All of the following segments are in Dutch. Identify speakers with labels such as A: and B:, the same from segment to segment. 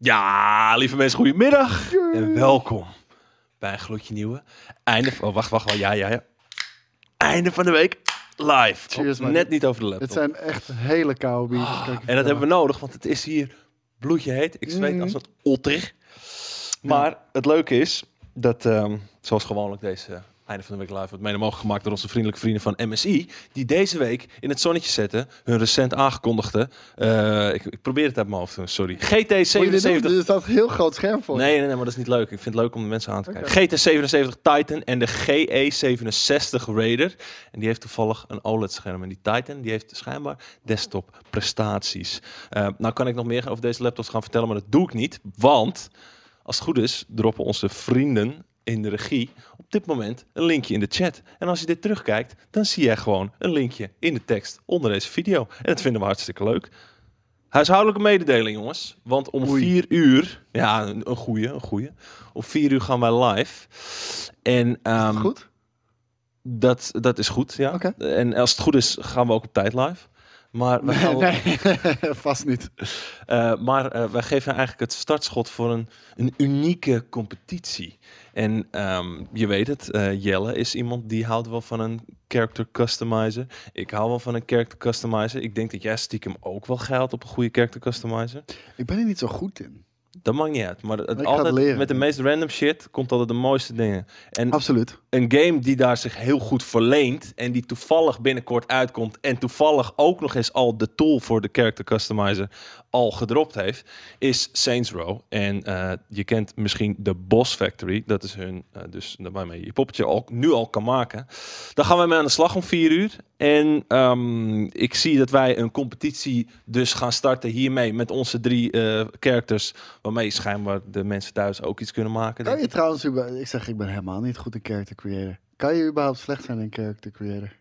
A: Ja, lieve mensen, goedemiddag en welkom bij een gloedje nieuwe einde. Oh, wacht, wacht, wacht, ja, ja, ja. Einde van de week live.
B: Cheers, man.
A: Net niet over de laptop.
B: Dit zijn echt hele koude biertjes.
A: Ah,
B: kan ik je
A: En dat
B: vertellen.
A: hebben we nodig, want het is hier bloedje heet. Ik zweet
B: Mhm.
A: als een otter. Maar het leuke is dat, ehm, zoals gewoonlijk, deze einde van de week live wordt mede mogelijk gemaakt door onze vriendelijke vrienden van MSI. Die deze week in het zonnetje zetten hun recent aangekondigde. eh, ik, ik probeer het uit mijn hoofd, te doen, sorry.
B: Moet je dit doen?
A: GT77
B: Er staat een heel groot scherm voor.
A: Nee, nee, nee, maar dat is niet leuk. Ik vind het leuk om de mensen aan te
B: Oké.
A: kijken. GT77 Titan en de GE67 Raider. En die heeft toevallig een OLED-scherm. En die Titan die heeft schijnbaar desktop prestaties. Eh, nou kan ik nog meer over deze laptops gaan vertellen, maar dat doe ik niet. Want als het goed is, droppen onze vrienden in de regie op dit moment een linkje in de chat. En als je dit terugkijkt, dan zie jij gewoon een linkje in de tekst onder deze video. En dat vinden we hartstikke leuk. Huishoudelijke mededeling, jongens. Want om
B: Oei.
A: vier uur... Ja, een, een goeie, een goeie. Om vier uur gaan wij live. En
B: Is het
A: ehm,
B: goed?
A: dat, dat is goed, ja.
B: Oké.
A: En als het goed is, gaan we ook op tijd live. Maar we
B: Nee,
A: gaan-
B: nee, vast niet.
A: eh, maar eh, wij geven eigenlijk het startschot voor een, een unieke competitie. En ehm, je weet het, eh, Jelle is iemand die houdt wel van een character customizer. Ik hou wel van een character customizer. Ik denk dat jij stiekem ook wel geld op een goede character customizer.
B: Ik ben er niet zo goed in.
A: Dat maakt niet uit. Maar het,
B: ga
A: altijd
B: het leren.
A: met de meest random shit komt altijd de mooiste dingen. En
B: Absoluut.
A: een game die daar zich heel goed verleent en die toevallig binnenkort uitkomt en toevallig ook nog eens al de tool voor de character customizer al gedropt heeft, is Saints Row. En eh, je kent misschien de Boss Factory, dat is hun, eh, dus waarmee je je poppetje al, nu al kan maken. Daar gaan wij mee aan de slag om vier uur. En ehm, ik zie dat wij een competitie dus gaan starten hiermee met onze drie eh, characters, waarmee schijnbaar de mensen thuis ook iets kunnen maken. denk
B: Kan je trouwens... über- Ik zeg, ik ben helemaal niet goed in character creator. Kan je überhaupt slecht zijn in character creator?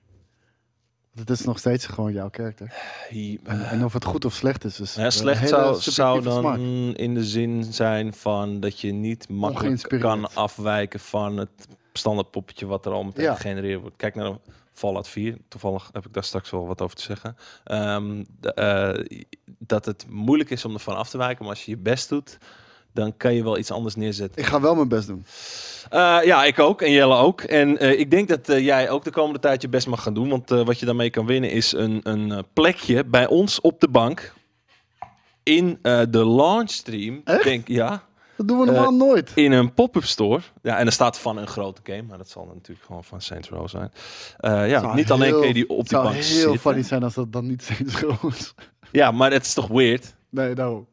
B: Want het is nog steeds gewoon jouw character.
A: ik. Hier, eh,
B: En, en of het goed of slecht is, is
A: Ja,
B: Dus een
A: slecht
B: hele
A: zou,
B: subjectieve
A: zou dan
B: smaak.
A: in de zin zijn van dat je niet makkelijk
B: Ongeïnspireerd.
A: kan afwijken van het standaard poppetje wat er al meteen
B: Ja.
A: gegenereerd wordt. Kijk naar Fallout 4. Toevallig heb ik daar straks wel wat over te zeggen. Ehm, de- eh, dat het moeilijk is om ervan af te wijken, maar als je je best doet, dan kan je wel iets anders neerzetten.
B: Ik ga wel mijn best doen.
A: Eh, ja, ik ook. En Jelle ook. En eh, ik denk dat eh, jij ook de komende tijd je best mag gaan doen. Want eh, wat je daarmee kan winnen is een, een eh, plekje bij ons op de bank. In eh, de launchstream.
B: Echt?
A: Denk, ja.
B: Dat
A: Eh,
B: doen we normaal nooit.
A: In een pop-up store. Ja, en er staat van een grote game. Maar dat zal natuurlijk gewoon van Saints Row zijn. Eh, ja,
B: Zou
A: niet alleen
B: heel-
A: kun je die op
B: Het
A: die
B: zou
A: bank
B: heel
A: zitten.
B: funny zijn als dat dan niet Saints Row is.
A: Ja, maar het is toch weird?
B: Nee, daarom.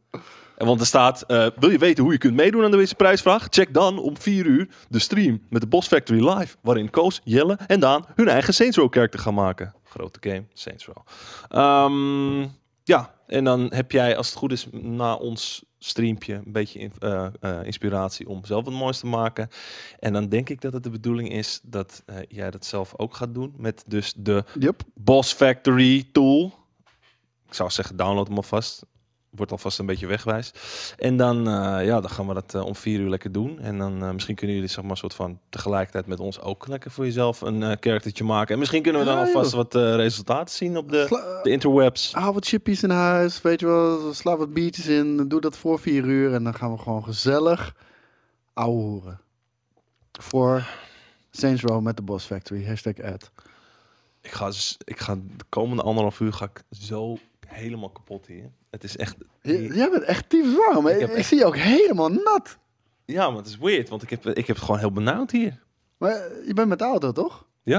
A: En Want er staat, eh, wil je weten hoe je kunt meedoen aan deze prijsvraag? Check dan om 4 uur de stream met de Boss Factory live. Waarin Koos, Jelle en Daan hun eigen Saints Row character gaan maken. Grote game, Saints Row. Ehm, ja, en dan heb jij als het goed is na ons streampje een beetje in- eh, eh, inspiratie om zelf het moois te maken. En dan denk ik dat het de bedoeling is dat eh, jij dat zelf ook gaat doen. Met dus de
B: Yup.
A: Boss Factory tool. Ik zou zeggen, download hem alvast. Wordt alvast een beetje wegwijs. En dan, eh, ja, dan gaan we dat eh, om vier uur lekker doen. En dan eh, misschien kunnen jullie zeg maar soort van tegelijkertijd met ons ook lekker voor jezelf een eh karaktertje maken. En misschien kunnen we dan
B: Ja, joh.
A: alvast wat eh, resultaten zien op de,
B: Sla-
A: de interwebs.
B: Haal wat chippies in huis, weet je wel. Sla wat biertjes in. Doe dat voor vier uur. En dan gaan we gewoon gezellig ouwe hoeren. Voor Saints Row met de Boss Factory. Hashtag ad.
A: Ik ga, z- ik ga de komende anderhalf uur ga ik zo helemaal kapot hier. Het is echt...
B: J- Jij bent echt tyfus warm.
A: Ik
B: Ik,
A: heb
B: ik
A: echt-
B: zie je ook helemaal nat.
A: Ja, maar het is weird, want ik heb, ik heb het gewoon heel benauwd hier.
B: Maar eh, je bent met de auto, toch?
A: Ja?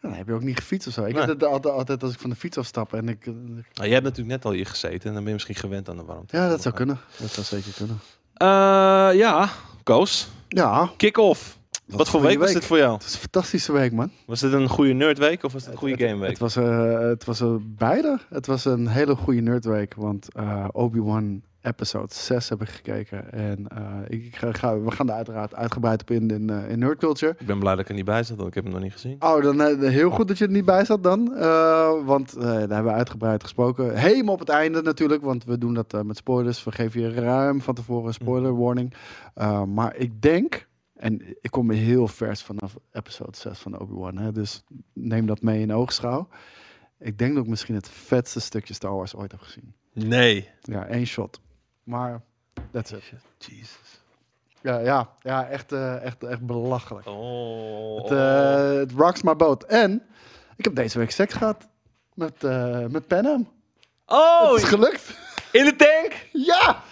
B: Ja, Dan heb je ook niet gefietst of zo. Ik
A: Nee.
B: heb dat altijd, altijd als ik van de fiets afstap. En ik, eh,
A: Nou, jij hebt natuurlijk net al hier gezeten en dan ben je misschien gewend aan de warmte.
B: ja, dat zou kunnen. Dat zou zeker kunnen.
A: Eh, ja, Koos.
B: Ja,
A: Kick-off. Wat, voor
B: goede
A: week, was
B: week.
A: dit voor jou?
B: het is een fantastische week, man.
A: Was dit een goede nerdweek of was het een goede gameweek?
B: Het was, eh, het was eh, beide. Het was een hele goede nerdweek. Want eh, Obi-Wan episode 6 heb ik gekeken. En eh, ik ik ga, ga- we gaan daar uiteraard uitgebreid op in, in, eh, in Nerd Culture.
A: Ik ben blij dat ik er niet bij zat, want ik heb hem nog niet gezien.
B: Oh, dan eh, heel goed dat je er niet bij zat dan. Eh, want eh, daar hebben we uitgebreid gesproken. Helemaal op het einde natuurlijk, want we doen dat eh, met spoilers. We geven je ruim van tevoren een spoiler warning. Eh, maar ik denk, en ik kom heel vers vanaf episode 6 van Obi-Wan. Hè, dus neem dat mee in oogschouw. Ik denk dat ik misschien het vetste stukje Star Wars ooit heb gezien.
A: Nee.
B: Ja, één shot. Maar That's it.
A: Jesus.
B: Ja, ja, ja echt, eh, echt, echt belachelijk.
A: Oh.
B: Het, eh, het rocks my boat. En ik heb deze week seks gehad met, eh met Panham.
A: oh,
B: Het is gelukt.
A: in de tank!
B: Ja!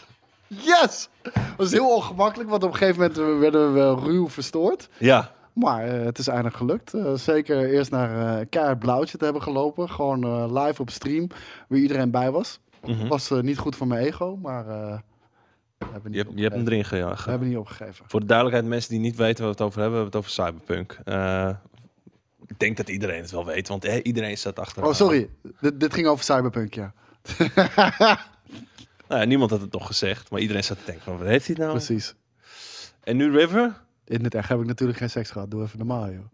B: Yes! Het was heel ongemakkelijk, want op een gegeven moment eh, werden we wel ruw verstoord.
A: Ja.
B: Maar eh, het is eindelijk gelukt. Eh, zeker eerst naar eh keihard blauwtje te hebben gelopen. Gewoon eh, live op stream, waar iedereen bij was.
A: Mhm. Hm?
B: Was eh, niet goed voor mijn ego, maar... eh, we hebben
A: Je,
B: niet
A: hebt- je hebt hem
B: opgegeven.
A: erin
B: We
A: gejaagd.
B: hebben niet opgegeven.
A: Voor de duidelijkheid, mensen die niet weten waar we het over hebben, hebben we het over Cyberpunk. Eh, ik denk dat iedereen het wel weet, want eh, iedereen staat achter.
B: Oh, sorry. Dit, dit ging over Cyberpunk, ja.
A: Nou ja, niemand had het nog gezegd, maar iedereen staat te denken van, wat heeft hij nou?
B: Precies.
A: En nu River?
B: In het echt heb ik natuurlijk geen seks gehad. Doe even normaal, joh.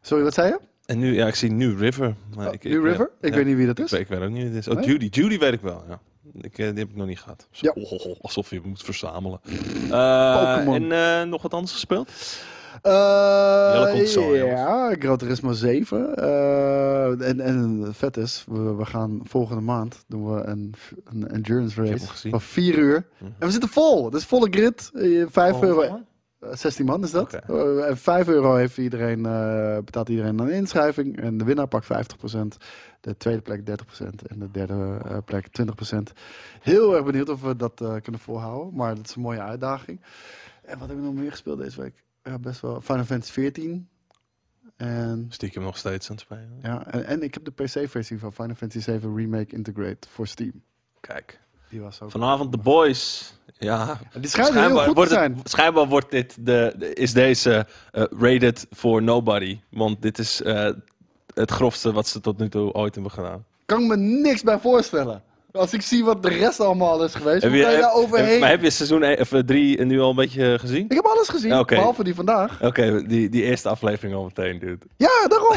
B: Sorry, wat zei je?
A: En nu, ja, ik zie nu River. Maar
B: Oh,
A: Nou, ik,
B: New River? ik weet niet wie dat
A: Ik
B: is.
A: weet, ik weet ook niet wie het is. Oh,
B: Nee?
A: Judy. Judy weet ik wel, ja. Ik, eh, die heb ik nog niet gehad. Zo-
B: Ja.
A: oh, oh, alsof je moet verzamelen. Eh,
B: Pokémon.
A: en eh, nog wat anders gespeeld? Jelle
B: Eh
A: komt zo,
B: ja, Gran Turismo 7. Eh, en, en vet is, we, we gaan volgende maand doen we een, een endurance
A: heb hem
B: race
A: gezien. Mhm.
B: van 4 uur. En we zitten vol. Dat is volle grid. Eh, 5 euro.
A: Hoeveel?
B: eh, 16 man is dat.
A: Oké.
B: Eh, en 5 euro heeft iedereen, eh, betaalt iedereen aan inschrijving. En de winnaar pakt 50%. De tweede plek 30%. En de derde eh, plek 20%. Heel erg benieuwd of we dat eh, kunnen volhouden. Maar dat is een mooie uitdaging. En wat heb ik nog meer gespeeld deze week? Ja, best wel. Final Fantasy 14. En,
A: Stiekem nog steeds aan het spelen.
B: ja, en, en ik heb de PC-versie van Final Fantasy 7 Remake Integrate voor Steam.
A: Kijk.
B: Die was ook.
A: Vanavond de boys. Ja.
B: En Die schijnt heel goed te
A: wordt
B: zijn.
A: Het, schijnbaar wordt dit de, de- is deze eh, rated for nobody. Want dit is eh, het grofste wat ze tot nu toe ooit hebben gedaan.
B: Kan ik me niks bij voorstellen. Als ik zie wat de rest allemaal is geweest,
A: Heb
B: hoe kan je daar
A: heb-
B: overheen?
A: heb- maar heb je seizoen 1 of 3 nu al een beetje eh, gezien?
B: Ik heb alles gezien,
A: Ja, oké.
B: behalve die vandaag.
A: Oké, die, die eerste aflevering al meteen, dude.
B: Ja, daarom.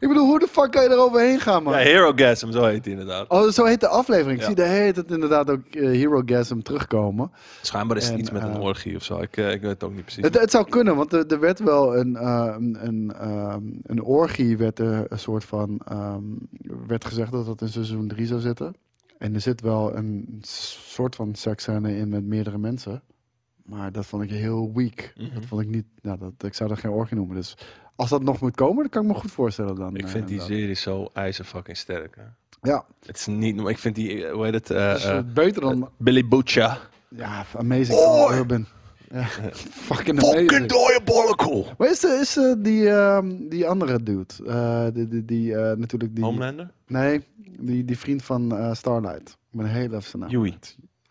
B: ik bedoel, hoe de fuck kan je er overheen gaan, man?
A: Ja, Hero Gasm, zo heet die inderdaad.
B: Oh, zo heet de aflevering. Ik
A: Ja.
B: zie de hele tijd inderdaad ook eh, Hero Gasm terugkomen.
A: Schijnbaar is het
B: En,
A: iets met een
B: eh,
A: orgie of zo. Ik, eh, ik weet het ook niet precies.
B: Het, het zou kunnen, want er, er werd wel een, eh, een, een, ehm, een orgie, werd er een soort van, ehm, werd gezegd dat dat in seizoen 3 zou zitten. En er zit wel een soort van seksscène in met meerdere mensen. Maar dat vond ik heel weak.
A: Mhm.
B: Dat vond ik niet, nou, dat, ik zou dat geen orgie noemen. Dus als dat nog moet komen, dan kan ik me goed voorstellen dan.
A: Ik
B: eh,
A: vind die
B: inderdaad.
A: serie zo ijzerfucking sterk. Hè.
B: Ja,
A: Het is niet... Ik vind die... eh, Hoe heet het? eh,
B: dus, eh,
A: eh,
B: beter dan...
A: Billy Butcher.
B: ja, Amazing
A: Oh!
B: Urban. Ja, fucking amazing.
A: diabolical!
B: Maar is, eh, is eh, die, ehm, die andere dude, eh, die, die, die eh, natuurlijk die...
A: Homelander?
B: Nee, die, die vriend van eh, Starlight. Ik ben heel even zijn naam.
A: Huey.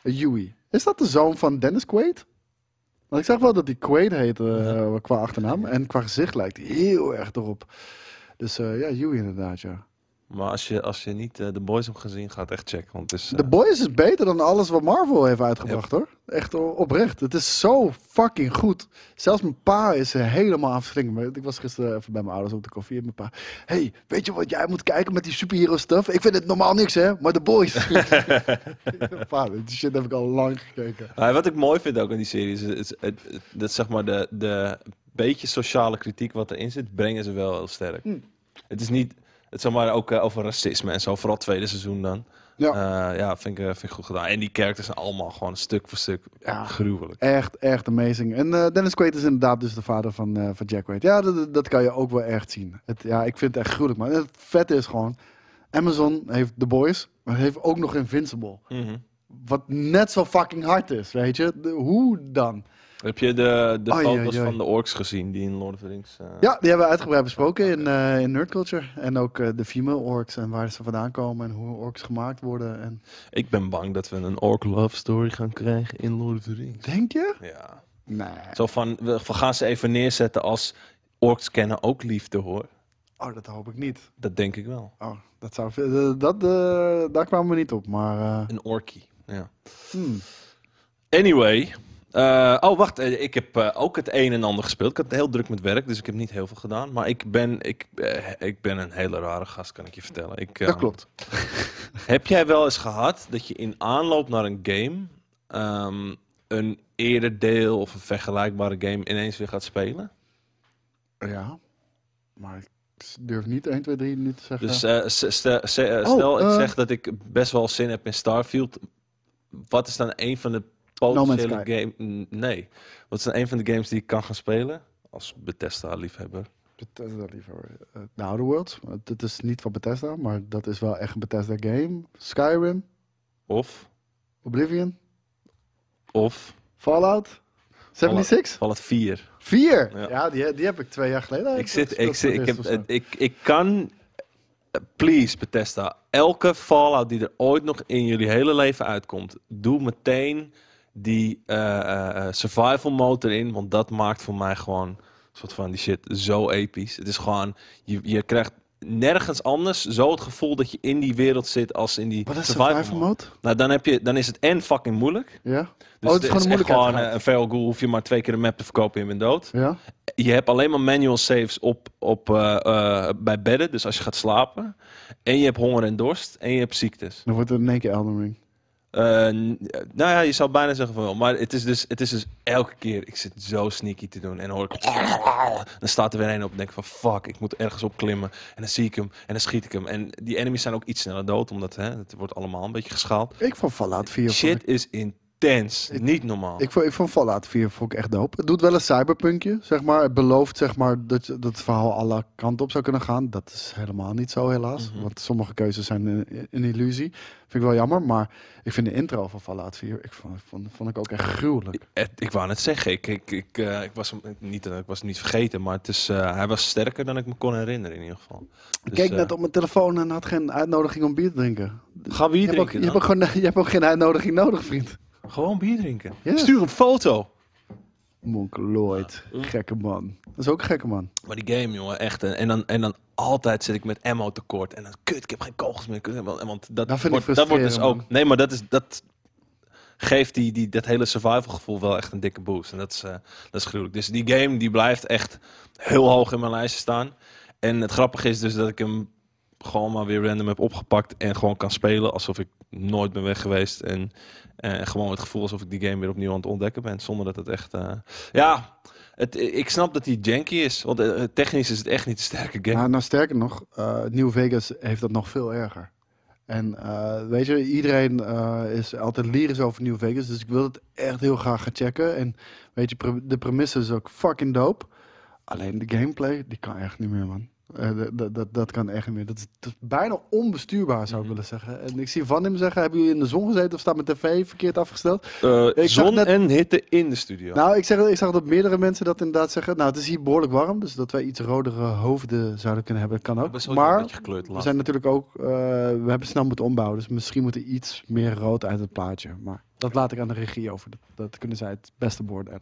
B: Eh, Huey. Is dat de zoon van Dennis Quaid? Want ik zag wel dat die Quaid heette eh, qua achternaam. En qua gezicht lijkt hij heel erg erop. Dus eh, ja, Huey inderdaad, ja.
A: Maar als je, als je niet eh, The Boys hebt gezien, ga het echt checken. Want het is, eh,
B: The Boys is beter dan alles wat Marvel heeft uitgebracht, hoor. Echt o- oprecht. Het is zo fucking goed. Zelfs mijn pa is eh, helemaal afgeschrikt. Ik was gisteren even bij mijn ouders op de koffie. En mijn pa... hey, weet je wat jij moet kijken met die superhero stuff? Ik vind het normaal niks, hè? Maar The Boys... pa, die shit heb ik al lang gekeken.
A: Maar wat ik mooi vind ook aan die serie is, het, het- het- dat zeg maar de, de beetje sociale kritiek wat erin zit, brengen ze wel heel sterk. Het is niet, het zeg maar ook eh, over racisme en zo, vooral het tweede seizoen dan.
B: Ja.
A: Ja, ja vind, ik, eh, vind ik goed gedaan. En die characters zijn allemaal gewoon stuk voor stuk
B: Ja.
A: gruwelijk.
B: Echt, echt amazing. En eh, Dennis Quaid is inderdaad dus de vader van, eh, van Jack Quaid. Ja, dat, dat kan je ook wel echt zien. Het, ja, ik vind het echt gruwelijk, man. En Het vette is gewoon... Amazon heeft The Boys, maar heeft ook nog Invincible. Wat net zo fucking hard is, weet je? De- hoe dan?
A: Heb je de, de
B: Ai,
A: foto's
B: ai, ai.
A: van de orks gezien die in Lord of the Rings... eh,
B: Ja, die hebben we uitgebreid besproken in, eh in Nerd Culture. En ook eh, de female orks en waar ze vandaan komen en hoe orks gemaakt worden. En...
A: Ik ben bang dat we een ork love story gaan krijgen in Lord of the Rings.
B: Denk je?
A: Ja.
B: Nee.
A: Zo van, we we gaan ze even neerzetten als orks kennen ook liefde hoor.
B: Oh, dat hoop ik niet.
A: Dat denk ik wel.
B: Oh, dat zou... eh, Dat, eh, daar kwamen we niet op, maar... eh,
A: Een orkie. Ja.
B: hmm.
A: Anyway. eh, oh, wacht. eh, Ik heb eh, ook het een en ander gespeeld. Ik had het heel druk met werk, dus ik heb niet heel veel gedaan. Maar ik ben, ik, eh, ik ben een hele rare gast, kan ik je vertellen. Ik, eh,
B: Dat klopt.
A: Heb jij wel eens gehad dat je in aanloop naar een game... ehm, een eerder deel of een vergelijkbare game ineens weer gaat spelen?
B: Ja, maar ik s- durf niet 1, 2, 3 nu te zeggen.
A: Dus eh, Dus, s- stel, s- eh,
B: Oh,
A: stel ik
B: eh.
A: zeg dat ik best wel zin heb in Starfield. wat is dan een van de
B: Man's
A: potentiële game? N- Nee. Wat is dan een van de games die ik kan gaan spelen? Als Bethesda-liefhebber.
B: Bethesda liever. eh, de Outer Worlds. Want Het is niet van Bethesda, maar dat is wel echt een Bethesda game. Skyrim,
A: Of,
B: Oblivion,
A: of,
B: Fallout. 76?
A: Fallout 4.
B: 4?
A: Ja.
B: Ja, die, die heb ik twee jaar geleden.
A: Ik zit, ik, zit, ik,
B: gespeeld
A: heb,
B: voor het eerst of zo.
A: ik, ik kan, eh, please Bethesda, elke Fallout die er ooit nog in jullie hele leven uitkomt, doe meteen die eh, eh, eh, survival mode erin, want dat maakt voor mij gewoon een soort van die shit zo episch. Het is gewoon, je, je krijgt nergens anders zo het gevoel dat je in die wereld zit als in die
B: Wat is
A: survival,
B: survival
A: mode.
B: mode?
A: Nou, dan, heb je, dan is het en fucking moeilijk.
B: Ja.
A: Dus
B: Oh, het is gewoon eh, een
A: echt gewoon
B: moeilijkheidsgraad.
A: eh, een feral goal, hoef je maar twee keer een map te verkopen en je bent dood
B: Ja.
A: je hebt alleen maar manual saves op, op, eh, eh, bij bedden, dus als je gaat slapen. En je hebt honger en dorst en je hebt ziektes.
B: Dan wordt het in één keer Elden Ring.
A: Eh, n- nou ja, je zou bijna zeggen van wel, maar het is, dus, het is dus elke keer, ik zit zo sneaky te doen en dan hoor ik... Dan staat er weer een op en denk ik van fuck, ik moet ergens op klimmen. En dan zie ik hem en dan schiet ik hem. En die enemies zijn ook iets sneller dood, omdat hè, het wordt allemaal een beetje geschaald.
B: Ik vond Fallout 4... vond ik-
A: Shit is intens, niet normaal.
B: Ik vond, ik vond Fallout 4 vond ik echt dope. Het doet wel een cyberpunkje, zeg maar. Het belooft zeg maar, dat, je- dat het verhaal alle kanten op zou kunnen gaan. Dat is helemaal niet zo, helaas.
A: Mhm.
B: Want sommige keuzes zijn een, een illusie. Vind ik wel jammer, maar ik vind de intro van Fallout 4... Ik vond, vond, vond ik ook echt gruwelijk.
A: Het- ik dus, wou net zeggen, ik, ik, ik, eh, ik, was hem, niet, eh, ik was hem niet vergeten, maar het is, eh, hij was sterker dan ik me kon herinneren in ieder geval.
B: Ik
A: Dus,
B: keek
A: eh,
B: net op mijn telefoon en had geen uitnodiging om bier te drinken.
A: Ga bier
B: Je hebt, ook,
A: drinken
B: je, hebt ook
A: dan.
B: gewoon, je hebt ook geen uitnodiging nodig, vriend.
A: Gewoon bier drinken.
B: Ja.
A: Stuur een foto.
B: Monk Lloyd, Hm. gekke man. Dat is ook een gekke man.
A: Maar die game, jongen, echt. eh, En en dan, en dan altijd zit ik met ammo tekort. En dan, kut, ik heb geen kogels meer. Kut, want want dat,
B: Dat vind ik
A: wordt, dat wordt dus
B: frustrerend,
A: ook... Nee, maar dat, is, dat geeft die, die, dat hele survival gevoel wel echt een dikke boost. En dat is, eh, dat is gruwelijk. Dus die game, die blijft echt heel hoog in mijn lijst staan. En het grappige is dus dat ik hem gewoon maar weer random heb opgepakt. En gewoon kan spelen alsof ik nooit ben weg geweest. En eh, gewoon het gevoel alsof ik die game weer opnieuw aan het ontdekken ben. Zonder dat het echt... eh, Ja, het, ik snap dat die janky is. Want eh, technisch is het echt niet een sterke game.
B: Nou, nou, sterker nog, eh New Vegas heeft dat nog veel erger. En eh, weet je, iedereen eh, is altijd lyrisch over New Vegas. Dus ik wil het echt heel graag gaan checken. En weet je, pre- de premisse is ook fucking dope. Alleen de gameplay, die kan echt niet meer, man. Eh, d- d- dat- dat kan echt niet meer. Dat is, dat is bijna onbestuurbaar,
A: Mhm.
B: zou ik willen zeggen. En ik zie Van hem zeggen, hebben jullie in de zon gezeten of staat mijn tv verkeerd afgesteld?
A: Eh,
B: Nou, ik zag
A: zon
B: net-
A: en hitte in de studio.
B: Nou, ik, zeg, ik zag dat meerdere mensen dat inderdaad zeggen. Nou, het is hier behoorlijk warm, dus dat wij iets rodere hoofden zouden kunnen hebben, kan
A: Ik ben
B: ook.
A: sowieso een
B: Maar
A: beetje gekleurd
B: we
A: laat.
B: zijn natuurlijk ook, eh, we hebben snel moeten ombouwen, dus misschien moet er iets meer rood uit het plaatje. Maar dat laat ik aan de regie over. Dat, dat kunnen zij het beste beoordelen.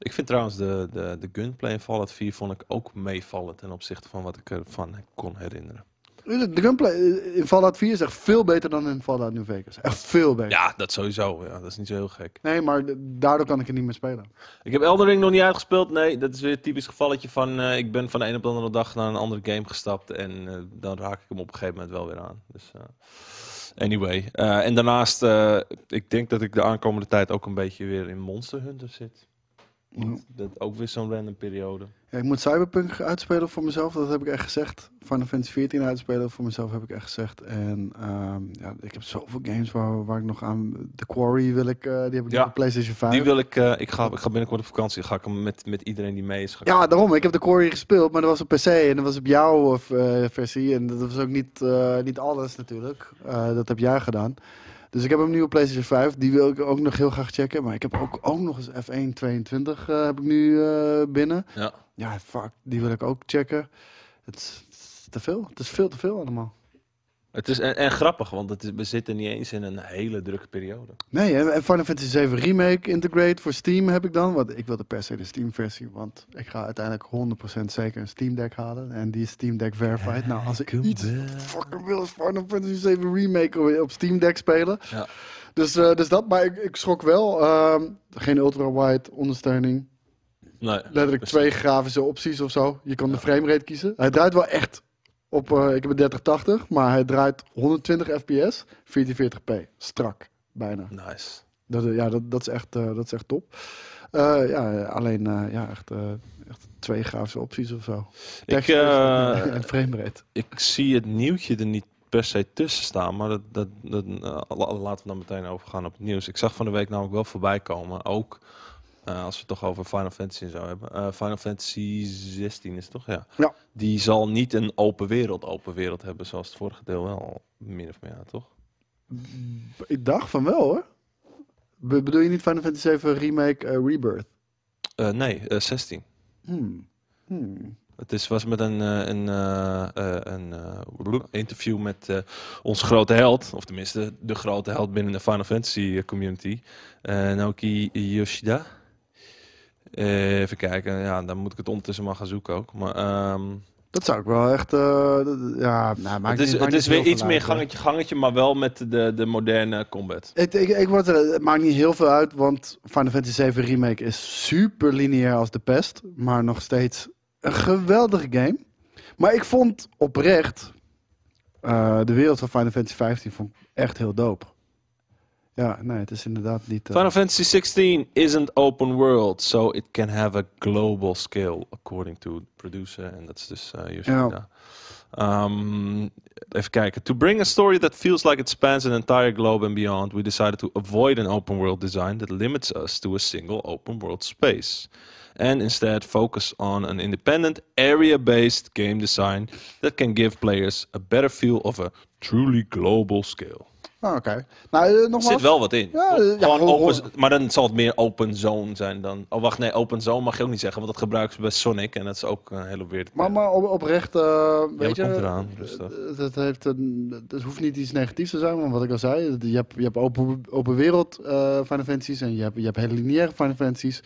A: Ik vind trouwens de, de, de gunplay in Fallout 4 vond ik ook meevallen ten opzichte van wat ik ervan kon herinneren.
B: De gunplay eh, in Fallout 4 is echt veel beter dan in Fallout New Vegas. Echt veel beter.
A: Ja, dat sowieso. Ja, dat is niet zo heel gek.
B: Nee, maar d- daardoor kan ik het niet meer spelen.
A: Ik heb Elden Ring nog niet uitgespeeld. Nee, dat is weer een typisch gevalletje van... eh, ik ben van de een op de andere dag naar een andere game gestapt. En eh, dan raak ik hem op een gegeven moment wel weer aan. Dus eh, anyway. Eh, en daarnaast, eh, ik denk dat ik de aankomende tijd ook een beetje weer in Monster Hunter zit. Want Dat ook weer zo'n random periode.
B: Ja, ik moet Cyberpunk uitspelen voor mezelf, dat heb ik echt gezegd. Final Fantasy 14 uitspelen voor mezelf heb ik echt gezegd. En ehm, ja, ik heb zoveel games waar, waar ik nog aan. The Quarry wil ik, eh, die heb ik
A: Ja.
B: nog op PlayStation 5.
A: Die wil ik... eh, ik, ga, ik ga binnenkort op vakantie. Ga ik hem met, met iedereen die mee is... Ga ik
B: Ja, daarom. Ik heb de Quarry gespeeld, maar dat was op PC en dat was op jouw eh, versie. En dat was ook niet, eh, niet alles natuurlijk. Eh, dat heb jij gedaan. Dus ik heb hem nu op PlayStation 5. Die wil ik ook nog heel graag checken. Maar ik heb ook, ook nog eens F1 22 eh, heb ik nu eh, binnen.
A: Ja.
B: Ja, fuck. Die wil ik ook checken. Het is, het is te veel. Het is veel te veel allemaal.
A: Het is en, en grappig, want het is, we zitten niet eens in een hele drukke periode.
B: Nee, en en Final Fantasy 7 Remake Integrate voor Steam heb ik dan. Want ik wilde per se de Steam versie. Want ik ga uiteindelijk 100% zeker een Steam Deck halen. En die is Steam Deck Verified. Nou, als ik iets fucking wil is Final Fantasy 7 Remake op- op Steam Deck spelen.
A: Ja.
B: Dus, eh, dus dat, maar ik, ik schrok wel. ehm, geen ultra-wide ondersteuning.
A: Nee.
B: Letterlijk
A: Precies.
B: twee grafische opties of zo. Je kan de framerate kiezen. Hij draait wel echt op, eh, ik heb een 3080, maar hij draait 120 fps, 1440p. Strak, bijna.
A: Nice.
B: Dat, eh, ja, dat, dat, is echt, eh, dat is echt top. Eh, ja, alleen eh, ja, echt, eh, echt twee grafische opties of zo.
A: Ik,
B: Textures
A: eh,
B: en framerate.
A: ik zie het nieuwtje er niet per se tussen staan. Maar dat, dat, dat, eh, la- laten we dan meteen overgaan op het nieuws. Ik zag van de week namelijk wel voorbij komen. Ook eh, als we het toch over Final Fantasy en zo hebben. Eh, Final Fantasy 16 is het toch? Ja.
B: Ja.
A: Die zal niet een open wereld open wereld hebben. Zoals het vorige deel wel. Min of meer, ja, toch?
B: Ik dacht van wel hoor. Be- bedoel je niet Final Fantasy VII Remake eh, Rebirth?
A: Eh, nee, eh, 16.
B: Hmm. Hmm.
A: Het is, was met een, eh, een, eh, eh, een eh, bloep, interview met eh onze grote held. Of tenminste, de grote held binnen de Final Fantasy eh, community. Eh Naoki Yoshida. Eh, even kijken. Ja, dan moet ik het ondertussen maar gaan zoeken ook. Maar, ehm,
B: Dat zou ik wel echt. eh, dat- ja, nou, maakt
A: het is,
B: niet- maakt
A: het
B: niet
A: is
B: heel
A: weer
B: veel
A: iets
B: uit,
A: meer
B: hoor.
A: gangetje, gangetje, maar wel met de, de moderne combat.
B: Ik, ik, ik word er, het maakt niet heel veel uit, want Final Fantasy VII Remake is super lineair als de pest. Maar nog steeds een geweldige game. Maar ik vond oprecht eh, de wereld van Final Fantasy 15 vond ik echt heel dope. Ja, nee, het is inderdaad niet... eh,
A: Final Fantasy 16 isn't open world, so it can have a global scale, according to the producer, en dat is dus eh Yoshida. Ehm, even kijken. To bring a story that feels like it spans an entire globe and beyond, we decided to avoid an open world design that limits us to a single open world space. And instead focus on an independent area-based game design that can give players a better feel of a truly global scale.
B: ah, Oké. Nou, eh,
A: Er
B: nogmaals...
A: zit wel wat in.
B: Ja, ja,
A: Gewoon
B: hoor,
A: open,
B: hoor.
A: Maar dan zal het meer open zone zijn dan. Oh, wacht, nee, open zone mag je ook niet zeggen, want dat gebruiken ze bij Sonic en dat is ook eh, een hele weird.
B: Maar, maar op, oprecht, eh, weet
A: dat
B: je,
A: komt eraan, rustig.
B: eh, dat, heeft een, dat hoeft niet iets negatiefs te zijn, want wat ik al zei, je hebt, je hebt open, open wereld eh Final Fantasy's en je hebt, je hebt hele lineaire Final Fantasy's.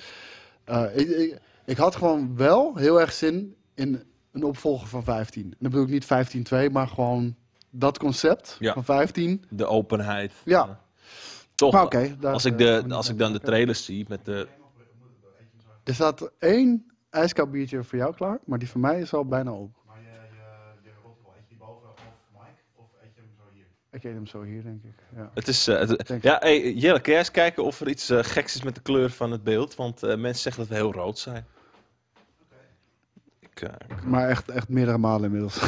B: Eh, ik, ik, ik had gewoon wel heel erg zin in een opvolger van 15. En dan bedoel ik niet 15-2, maar gewoon dat concept
A: Ja.
B: van 15.
A: de openheid. Eh,
B: Ja.
A: Toch,
B: Maar oké, daar-
A: als, ik de, als ik dan de trailers zie met de.
B: Er staat één ijskoud biertje voor jou klaar, maar die van mij is al bijna op.
C: Maar je, je, je rotrol, eet je die boven of Mike? Of eet je hem zo hier?
B: Ik eet hem zo hier, denk ik. Ja.
A: Het is, eh, het-
B: Thanks.
A: ja, hey, Jelle, kun jij eens kijken of er iets eh, geks is met de kleur van het beeld? Want eh, mensen zeggen dat we heel rood zijn. Ik, eh,
B: Maar echt, echt meerdere malen inmiddels.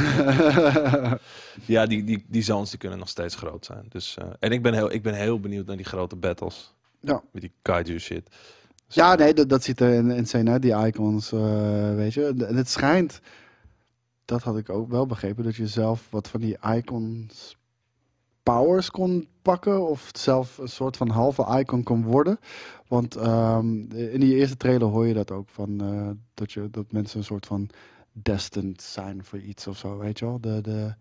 A: ja, die, die, die zones die kunnen nog steeds groot zijn. Dus, eh, en ik ben, heel, ik ben heel benieuwd naar die grote battles.
B: Ja.
A: Met die kaiju shit.
B: Ja, nee, dat, dat ziet er in- insane uit, die icons, eh, weet je. En het schijnt, dat had ik ook wel begrepen, dat je zelf wat van die icons powers kon pakken. Of zelf een soort van halve icon kon worden. Want ehm, in die eerste trailer hoor je dat ook, van, eh, dat, je, dat mensen een soort van destined zijn voor iets of zo, weet je wel. De, de...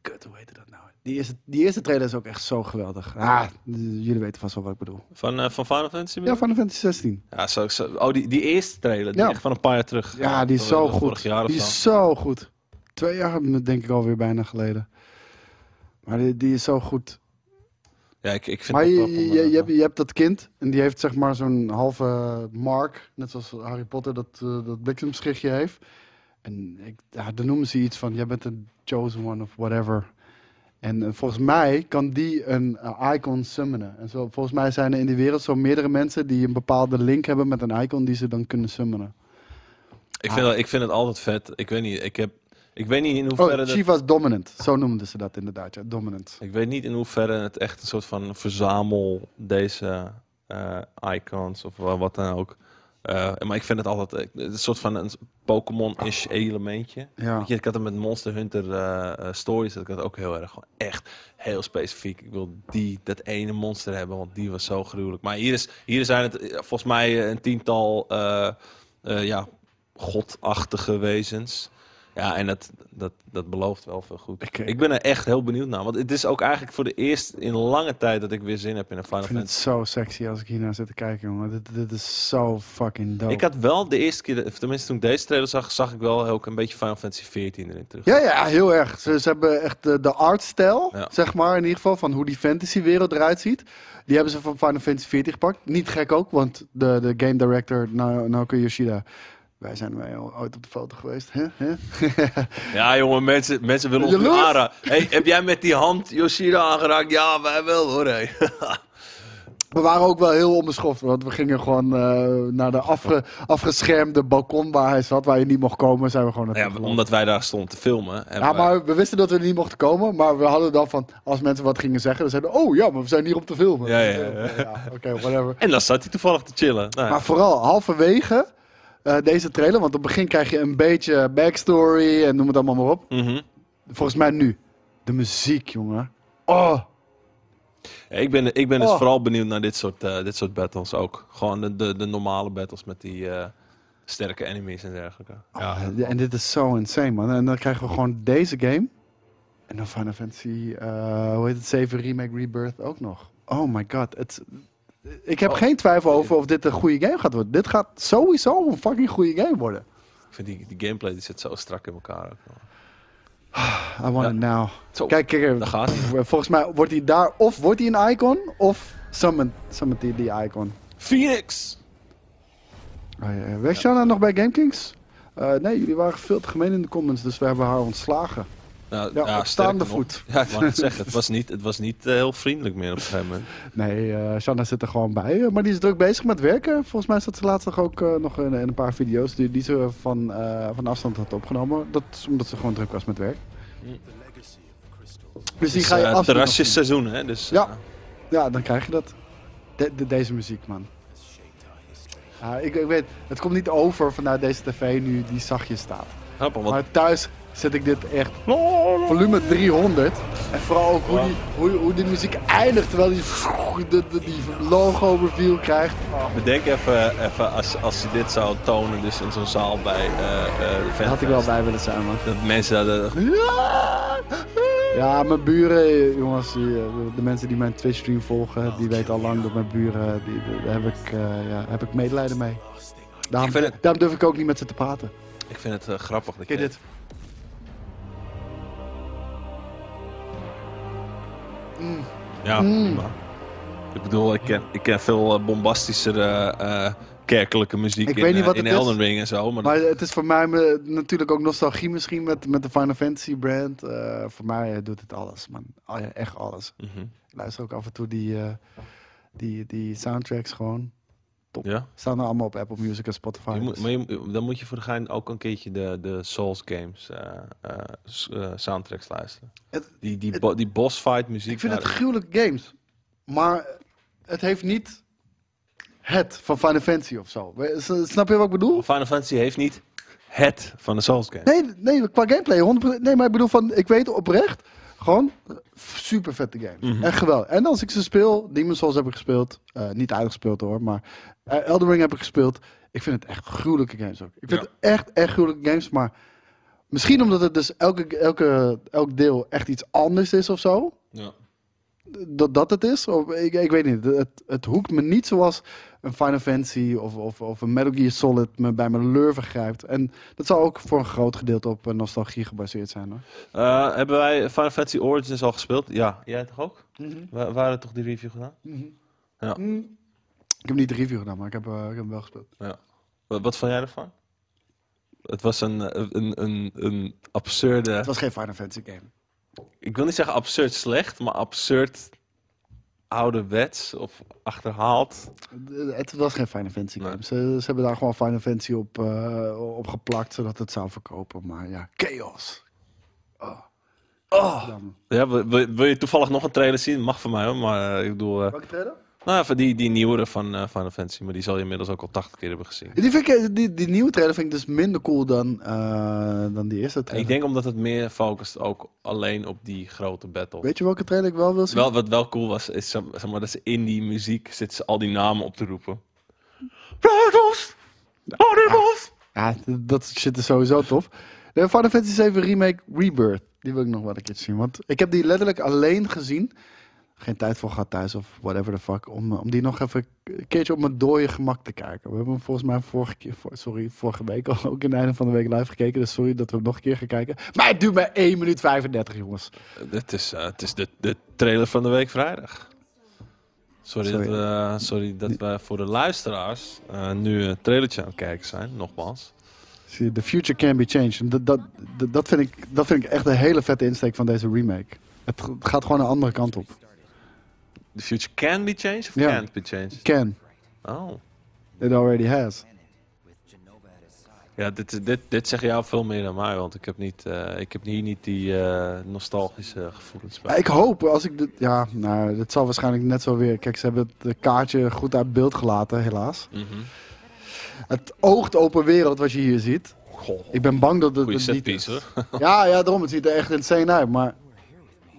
B: Kut, hoe heette dat nou? Die eerste, die eerste trailer is ook echt zo geweldig. Ah, jullie weten vast wel wat ik bedoel.
A: Van, eh, van Final Fantasy?
B: Ja, Final Fantasy 16.
A: Ja, zo, zo- oh, die, die eerste trailer, die
B: Ja.
A: echt van een paar jaar terug.
B: Ja, die is zo
A: Vorig
B: goed.
A: jaar of
B: Die
A: zo.
B: is zo goed. Twee jaar, denk ik alweer bijna geleden. Maar die, die is zo goed.
A: Ja, ik, ik vind
B: Maar
A: het
B: je,
A: wel knap om,
B: je,
A: eh,
B: je, hebt, je hebt dat kind en die heeft zeg maar zo'n halve mark. Net zoals Harry Potter dat, eh, dat bliksemschichtje heeft. En ik, ja, dan noemen ze iets van, jij bent een chosen one of whatever. En eh, volgens mij kan die een eh, icon summonen. En zo, volgens mij zijn er in die wereld zo meerdere mensen die een bepaalde link hebben met een icon die ze dan kunnen summonen.
A: ik, vind, dat- ik vind het altijd vet. Ik weet niet, ik heb, ik weet niet in hoeverre...
B: Ah. Oh,
A: dat-
B: Shiva's Dominant. Zo noemden ze dat inderdaad, ja. Dominant.
A: ik weet niet in hoeverre het echt een soort van verzamel deze eh, icons of wa- wat dan ook. Eh, maar ik vind het altijd eh, een soort van een Pokémon-ish elementje.
B: Ja.
A: Weet je, ik had het met Monster Hunter eh, eh, Stories, dat ik dat ook heel erg, gewoon echt heel specifiek. Ik wil die, dat ene monster hebben, want die was zo gruwelijk. Maar hier, is, hier zijn het eh, volgens mij eh, een tiental eh, eh, ja, godachtige wezens. Ja, en dat, dat, dat belooft wel veel goed.
B: Ik- eh,
A: Ik, ben er echt heel benieuwd naar, want het is ook eigenlijk voor de eerst in lange tijd dat ik weer zin heb in een Final
B: Ik vind het
A: Fantasy.
B: zo sexy als ik hiernaar zit te kijken, jongen. Dit, dit is zo fucking dope.
A: Ik had wel de eerste keer, of tenminste toen ik deze trailer zag, zag ik wel ook een beetje Final Fantasy 14 erin terug.
B: Ja, ja, heel erg. Ze, ze hebben echt de, de artstijl,
A: Ja.
B: zeg maar, in ieder geval, van hoe die fantasywereld eruit ziet. Die hebben ze van Final Fantasy 40 gepakt. Niet gek ook, want de, de game director, Na- Naoki Yoshida, wij zijn mee ooit op de foto geweest. hè? Hè?
A: Ja, jongen, mensen, mensen willen ons nu
B: Jaloers?
A: aanraken. Hey, heb jij met die hand Yoshida aangeraakt? Ja, wij wel hoor. hé.
B: We waren ook wel heel onbeschoft, want we gingen gewoon eh, naar de afge- afgeschermde balkon waar hij zat, waar je niet mocht komen, zijn we gewoon naartoe
A: Ja,
B: gelopen.
A: omdat wij daar stonden te filmen. En
B: Ja,
A: we-
B: maar we wisten dat we er niet mochten komen, maar we hadden dan van, als mensen wat gingen zeggen, dan zeiden we, oh ja, maar we zijn hier om te filmen.
A: Ja, ja,
B: Dus, eh,
A: ja.
B: Oké, whatever.
A: En dan zat hij toevallig te chillen. Nou, ja.
B: Maar vooral halverwege eh, deze trailer, want op het begin krijg je een beetje backstory en noem het allemaal maar op.
A: mhm.
B: Volgens mij nu. De muziek, jongen. Oh,
A: Ja, ik ben, ik ben dus
B: Oh.
A: vooral benieuwd naar dit soort, eh, dit soort battles ook. Gewoon de, de, de normale battles met die eh, sterke enemies en dergelijke.
B: Oh, ja, en dit is zo insane, man. En dan krijgen we gewoon deze game. En dan Final Fantasy, eh, hoe heet het, 7 Remake Rebirth ook nog. Oh my god. Het, ik heb
A: Oh.
B: geen twijfel over of dit een goede game gaat worden. Dit gaat sowieso een fucking goede game worden.
A: Ik vind die, die gameplay die zit zo strak in elkaar. Ook.
B: I want
A: Ja.
B: it now.
A: Zo,
B: Kijk, kijk. eh,
A: daar gaat hij.
B: Volgens mij wordt hij daar, of wordt hij een icon, of summon, summon die, die icon.
A: Phoenix!
B: Oh, ja, ja. Werkt Shanna nog bij GameKings? Eh nee, jullie waren veel te gemeen in de comments, dus we hebben haar ontslagen.
A: Nou,
B: Ja, op staande
A: sterker nog-
B: voet.
A: Ja, ik wou net zeggen, het was niet, het was niet eh, heel vriendelijk meer op een gegeven moment.
B: Nee, eh Shanna zit er gewoon bij. eh, maar die is druk bezig met werken. Volgens mij zat ze laatst nog ook eh, nog in, in een paar video's die, die ze van, eh, van afstand had opgenomen. Dat is omdat ze gewoon druk was met werk. Dus die
A: Het
B: ga je
A: is, eh,
B: afstand nog zien.
A: terrasjesseizoen, hè? Dus, eh,
B: Ja. Ja, dan krijg je dat. De- de- deze muziek, man. Ja, ik, ik weet, het komt niet over vanuit deze tv nu die zachtjes staat.
A: grappig, want
B: Maar thuis zet ik dit echt volume 300. En vooral ook hoe die, hoe, hoe die muziek eindigt terwijl die, de- de- die logo reveal krijgt. Oh,
A: bedenk even, even als, als je dit zou tonen, dus in zo'n zaal bij eh eh, de
B: daar had ik wel bij willen zijn, man.
A: Dat mensen dat,
B: Ja, mijn buren, jongens, die, eh, de mensen die mijn Twitch stream volgen, die weten al lang dat mijn buren, die, die- daar heb ik, eh, ja, heb ik medelijden mee. Daarom,
A: Ik vind het-
B: daarom durf ik ook niet met ze te praten.
A: Ik vind het eh, grappig. Dat
B: Kijk
A: je-
B: dit.
A: Ja,
B: Mm.
A: prima. Ik bedoel, ik ken, ik ken veel eh, bombastischere eh, kerkelijke muziek
B: Ik
A: in,
B: weet niet
A: eh,
B: wat
A: in
B: het is.
A: Elden Ring en zo. Maar,
B: Maar het is voor mij me- natuurlijk ook nostalgie misschien met, met de Final Fantasy brand. Eh, voor mij eh, doet het alles, man. Al- ja, echt alles.
A: Mhm.
B: Ik luister ook af en toe die, eh, die, die soundtracks gewoon.
A: ja?
B: Staan er allemaal op Apple Music en Spotify.
A: Je moet,
B: dus-
A: maar je- dan moet je voor de gein ook een keertje de, de Souls Games eh, eh, s- eh, soundtracks luisteren.
B: Het-
A: die, die,
B: het-
A: bo- die boss fight muziek.
B: ik vind
A: daar-
B: het gruwelijke games. Maar het heeft niet het van Final Fantasy of zo. We- s- Snap je wat ik bedoel?
A: Oh, Final Fantasy heeft niet het van de Souls Games.
B: Nee, nee qua gameplay. 100%, nee, maar ik bedoel van, ik weet oprecht, gewoon eh, super vette games. Echt geweldig. En als ik ze speel, Demon's Souls heb ik gespeeld. eh, niet uitgespeeld hoor, maar eh, Elden Ring heb ik gespeeld. Ik vind het echt gruwelijke games ook. Ik
A: Ja.
B: vind het echt, echt gruwelijke games, maar misschien omdat het dus elke, elke, elk deel echt iets anders is of zo
A: Ja.
B: dat dat het is? Of, ik, ik weet niet. Het, het hoekt me niet zoals een Final Fantasy of, of, of een Metal Gear Solid me bij mijn lurven grijpt. En dat zal ook voor een groot gedeelte op eh, nostalgie gebaseerd zijn. Hoor.
A: Eh, hebben wij Final Fantasy Origins al gespeeld? Ja. Jij toch ook?
B: Mhm.
A: Wa- waren toch die review gedaan?
B: Ik heb niet de review gedaan, maar ik heb, eh, ik heb hem wel gespeeld.
A: Ja. Wat, wat vond jij ervan? Het was een, eh, een, een, een absurde.
B: Het was geen Final Fantasy game.
A: Ik wil niet zeggen absurd slecht, maar absurd ouderwets of achterhaald.
B: Eh, Het was geen Final Fantasy
A: Nee.
B: game. Ze, ze hebben daar gewoon Final Fantasy op, eh, op geplakt, zodat het zou verkopen. Maar ja, chaos. Oh. Godverdamme.
A: Ja, wil, wil- wil je toevallig nog een trailer zien? Mag van mij hoor, maar eh, ik bedoel... eh,
B: Welke trailer?
A: nou, even die, die nieuwere van eh Final Fantasy, maar die zal je inmiddels ook al 80 keer hebben gezien.
B: Die, vind ik, die, die nieuwe trailer vind ik dus minder cool dan, eh, dan die eerste trailer.
A: Ik denk omdat het meer focust ook alleen op die grote battle.
B: Weet je welke trailer ik wel wil zien?
A: Wel, wat wel cool was, is zeg zeg maar, dat ze in die muziek zitten ze al die namen op te roepen. Battles! Battles!
B: Ja, d- dat shit is sowieso tof. De Final Fantasy 7 Remake Rebirth. Die wil ik nog wel een keer zien. Want ik heb die letterlijk alleen gezien. Geen tijd voor gehad thuis of whatever the fuck. Om, eh, om die nog even een keertje op mijn dode gemak te kijken. We hebben hem volgens mij vorige keer, voor- sorry, vorige week al ook in het einde van de week live gekeken. Dus sorry dat we hem nog een keer gaan kijken. Maar het duurt maar 1 minuut 35, jongens.
A: Het is, eh, het is de, de trailer van de week vrijdag. Sorry,
B: Sorry.
A: Dat, we, eh, sorry dat we voor de luisteraars eh, nu een trailertje aan het kijken zijn, nogmaals.
B: Zie je, The future can be changed. En Dat, dat, dat, dat vind ik, dat vind ik echt een hele vette insteek van deze remake. Het g- gaat gewoon een andere kant op.
A: The future can be changed of
B: Ja.
A: can't be changed?
B: Can.
A: Oh.
B: It already has.
A: Ja, dit, is- dit, dit zeg jou veel meer dan mij, want ik heb, niet, eh, ik heb hier niet die eh, nostalgische gevoelens bij.
B: Ik hoop, als ik dit... Ja, nou, dit zal waarschijnlijk net zo weer... Kijk, ze hebben het eh, kaartje goed uit beeld gelaten, helaas.
A: Mhm.
B: Het oogt open wereld wat je hier ziet.
A: Goh,
B: Ik ben bang dat het
A: goede
B: het niet is.
A: setpiece hoor.
B: Ja, ja, daarom. Het ziet er echt insane uit. Maar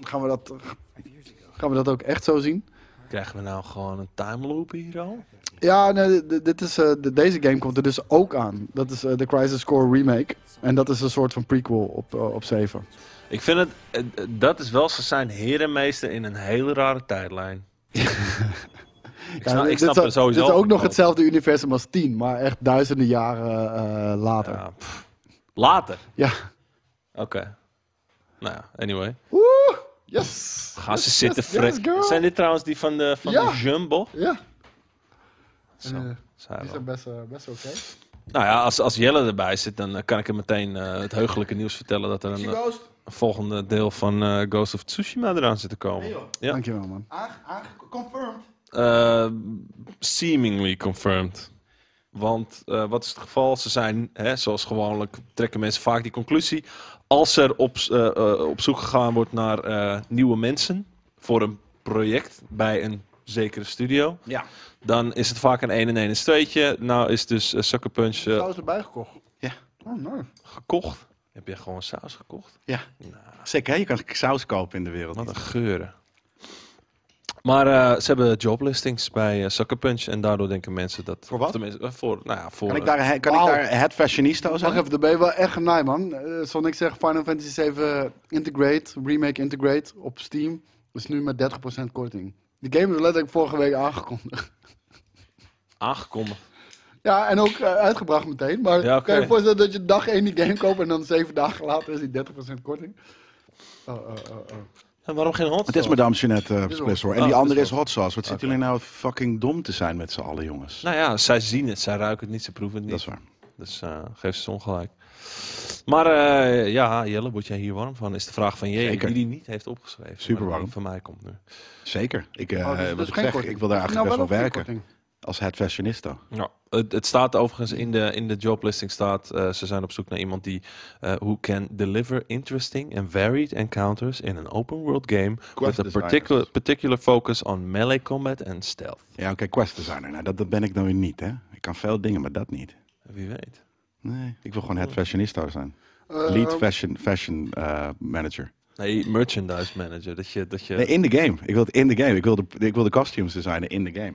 B: gaan we dat, gaan we dat ook echt zo zien?
A: Krijgen we nou gewoon een time loop hier al?
B: Ja, nee, d- dit is, eh, de- deze game komt er dus ook aan. Dat is eh, de Crisis Core Remake. En dat is een soort van prequel op, eh, op 7.
A: Ik vind het, eh, eh, dat is wel, ze zijn herenmeester in een hele rare tijdlijn. ik
B: Ja,
A: snap, ik
B: dit
A: snap
B: is,
A: er sowieso.
B: Dit is ook
A: van
B: nog
A: wel.
B: hetzelfde universum als 10, maar echt duizenden jaren eh, later.
A: Ja, pff. later?
B: Ja.
A: Oké. Nou ja, anyway.
B: Oeh, yes!
A: Gaan ze
B: Yes,
A: zitten
B: yes,
A: fret.
B: yes, girl.
A: zijn dit trouwens die van de, van
B: Ja. Eh,
A: de Jumbo?
B: Ja,
A: Zo,
B: Eh,
A: zei
B: die
A: wel.
B: zijn best, eh, best oké.
A: Nou ja, als, als Jelle erbij zit, dan eh, kan ik hem meteen eh, het heugelijke nieuws vertellen dat er een, eh,
C: Ghost.
A: volgende deel van eh, Ghost of Tsushima eraan zit te
C: Nee
A: komen.
C: joh.
A: Ja.
B: Dankjewel, man.
C: Aange- aange- confirmed.
A: Eh, seemingly confirmed. Want eh, wat is het geval? Ze zijn, hè, zoals gewoonlijk, trekken mensen vaak die conclusie. Als er op, s- eh, eh, op zoek gegaan wordt naar eh, nieuwe mensen voor een project bij een zekere studio,
C: Ja.
A: dan is het vaak een 1 en 1 is tweetje. Nou is dus eh, Sucker Punch eh,
B: Saus erbij gekocht.
D: Ja.
B: Oh, nice.
A: gekocht. Heb je gewoon saus gekocht?
D: Ja.
A: Nou.
D: Zeker, hè? je kan saus kopen in de wereld.
A: Wat een geuren. Maar eh, ze hebben joblistings bij eh Sucker Punch en daardoor denken mensen dat...
D: Voor wat?
A: of tenminste, eh, voor, nou ja, voor...
D: Kan ik daar, he- kan
B: Wauw.
D: ik daar het fashionista
B: Wacht
D: zijn?
B: even, daar ben je wel echt genaaid, man. Eh, Sonic zegt Final Fantasy 7 Integrate, Remake Integrate op Steam. Is nu met 30% korting. Die game is letterlijk vorige week aangekondigd.
A: eh, aangekondigd.
B: Ja, en ook eh, uitgebracht meteen. Maar
A: Ja, oké.
B: kan je je voorstellen dat je dag 1 die game koopt en dan 7 dagen later is die 30% korting? Oh, oh, oh, oh.
A: En waarom geen hot
D: Het is
A: sauce?
D: Madame Jeanette eh, Express hoor. En die
A: Oh,
D: andere is
A: Express.
D: hot sauce. Wat zitten jullie nou fucking dom te zijn met z'n allen, jongens?
A: Nou ja, zij zien het, zij ruiken het niet, ze proeven het
D: Dat
A: niet.
D: is waar.
A: Dus eh geef ze ongelijk. Maar eh, ja, Jelle, word jij hier warm van? Is de vraag van je,
D: Zeker.
A: die die niet heeft opgeschreven. maar
D: Superwarm.
A: die Van mij komt nu.
D: Zeker. Ik, eh
B: Oh, dus-
D: wat
B: dus
D: ik
B: geen
D: zeg,
B: korting.
D: ik wil daar eigenlijk
B: Nou,
D: best wel
B: op die
D: werken.
B: korting.
D: Als het fashionista.
A: Ja, het, het staat overigens in de, in de joblisting staat, eh, ze zijn op zoek naar iemand die eh who can deliver interesting and varied encounters in an open world game with a
D: designers.
A: particular, particular focus on melee combat and stealth.
D: Ja, oké, quest designer. Nou, dat, dat ben ik dan weer niet, hè. Ik kan veel dingen, maar dat niet.
A: Wie weet.
D: Nee, ik wil gewoon het fashionista zijn.
B: Eh,
D: Lead fashion, fashion eh, manager.
A: Nee, merchandise manager. Dat je, dat je,
D: Nee, in de game. Ik wil het in de game. Ik wil de, ik wil de costumes designen in de game.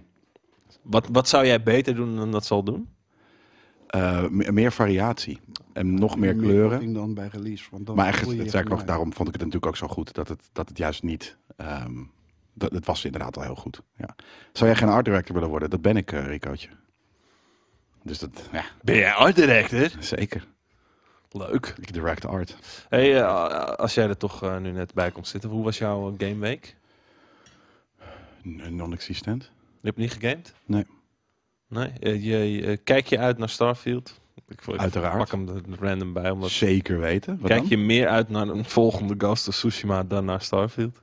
A: wat, wat zou jij beter doen dan dat zal doen?
D: Eh, me- meer variatie. En nog meer
B: korting
D: kleuren.
B: dan bij release. Want dan
D: Maar
B: voel je
D: eigenlijk,
B: je
D: het sterker nog,
B: genaaid.
D: daarom vond ik het natuurlijk ook zo goed. Dat het, dat het juist niet... ehm, dat, het was inderdaad al heel goed. Ja. Zou jij geen art director willen worden? Dat ben ik, eh, Ricootje. Dus dat, ja,
A: Ben jij art director?
D: zeker.
A: Leuk.
D: Ik direct art.
A: Hey, eh, als jij er toch eh, nu net bij komt zitten, hoe was jouw eh, game week?
D: N- Non-existent.
A: Je hebt niet gegamed?
D: Nee.
A: Nee? Eh, je, eh, kijk je uit naar Starfield? Ik, ik
D: Uiteraard.
A: pak hem er random bij. Omdat,
D: Zeker weten. Wat
A: kijk
D: dan?
A: je meer uit naar een volgende Ghost of Tsushima dan naar Starfield?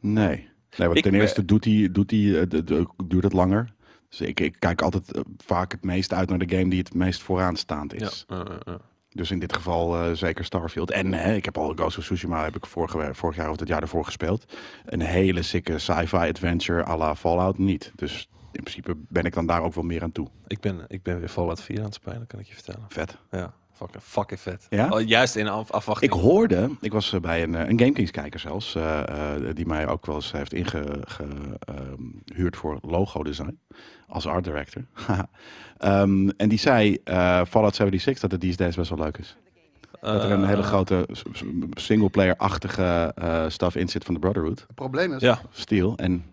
D: Nee. nee want
A: Ik
D: ten
A: ben-
D: eerste doet die, doet die, eh, de- de- duurt het langer. Dus ik, ik kijk altijd eh, vaak het meest uit naar de game die het meest vooraanstaand is.
A: Ja. eh, eh, eh.
D: Dus in dit geval eh, zeker Starfield. En eh, ik heb al Ghost of Tsushima heb ik vorige, vorig jaar of het jaar ervoor gespeeld. Een hele sikke sci-fi adventure à la Fallout niet. Dus in principe ben ik dan daar ook wel meer aan toe.
A: Ik, ben, ik ben weer Fallout 4 aan het spelen, kan ik je vertellen.
D: Vet.
A: Ja, fucking, fucking vet.
D: Ja?
A: Oh, juist in af-
D: Ik
A: afwachting.
D: hoorde, ik was eh, bij een, eh, een GameKings kijker zelfs, eh, eh, die mij ook wel eens heeft ingehuurd voor logo design als art director. Ehm, en die zei eh, Fallout 76 dat het these days best wel leuk is. Dat er een
A: Eh,
D: hele grote s- s- singleplayer-achtige eh stuff in zit van de Brotherhood,
B: Het probleem is,
A: Ja.
D: Steel. En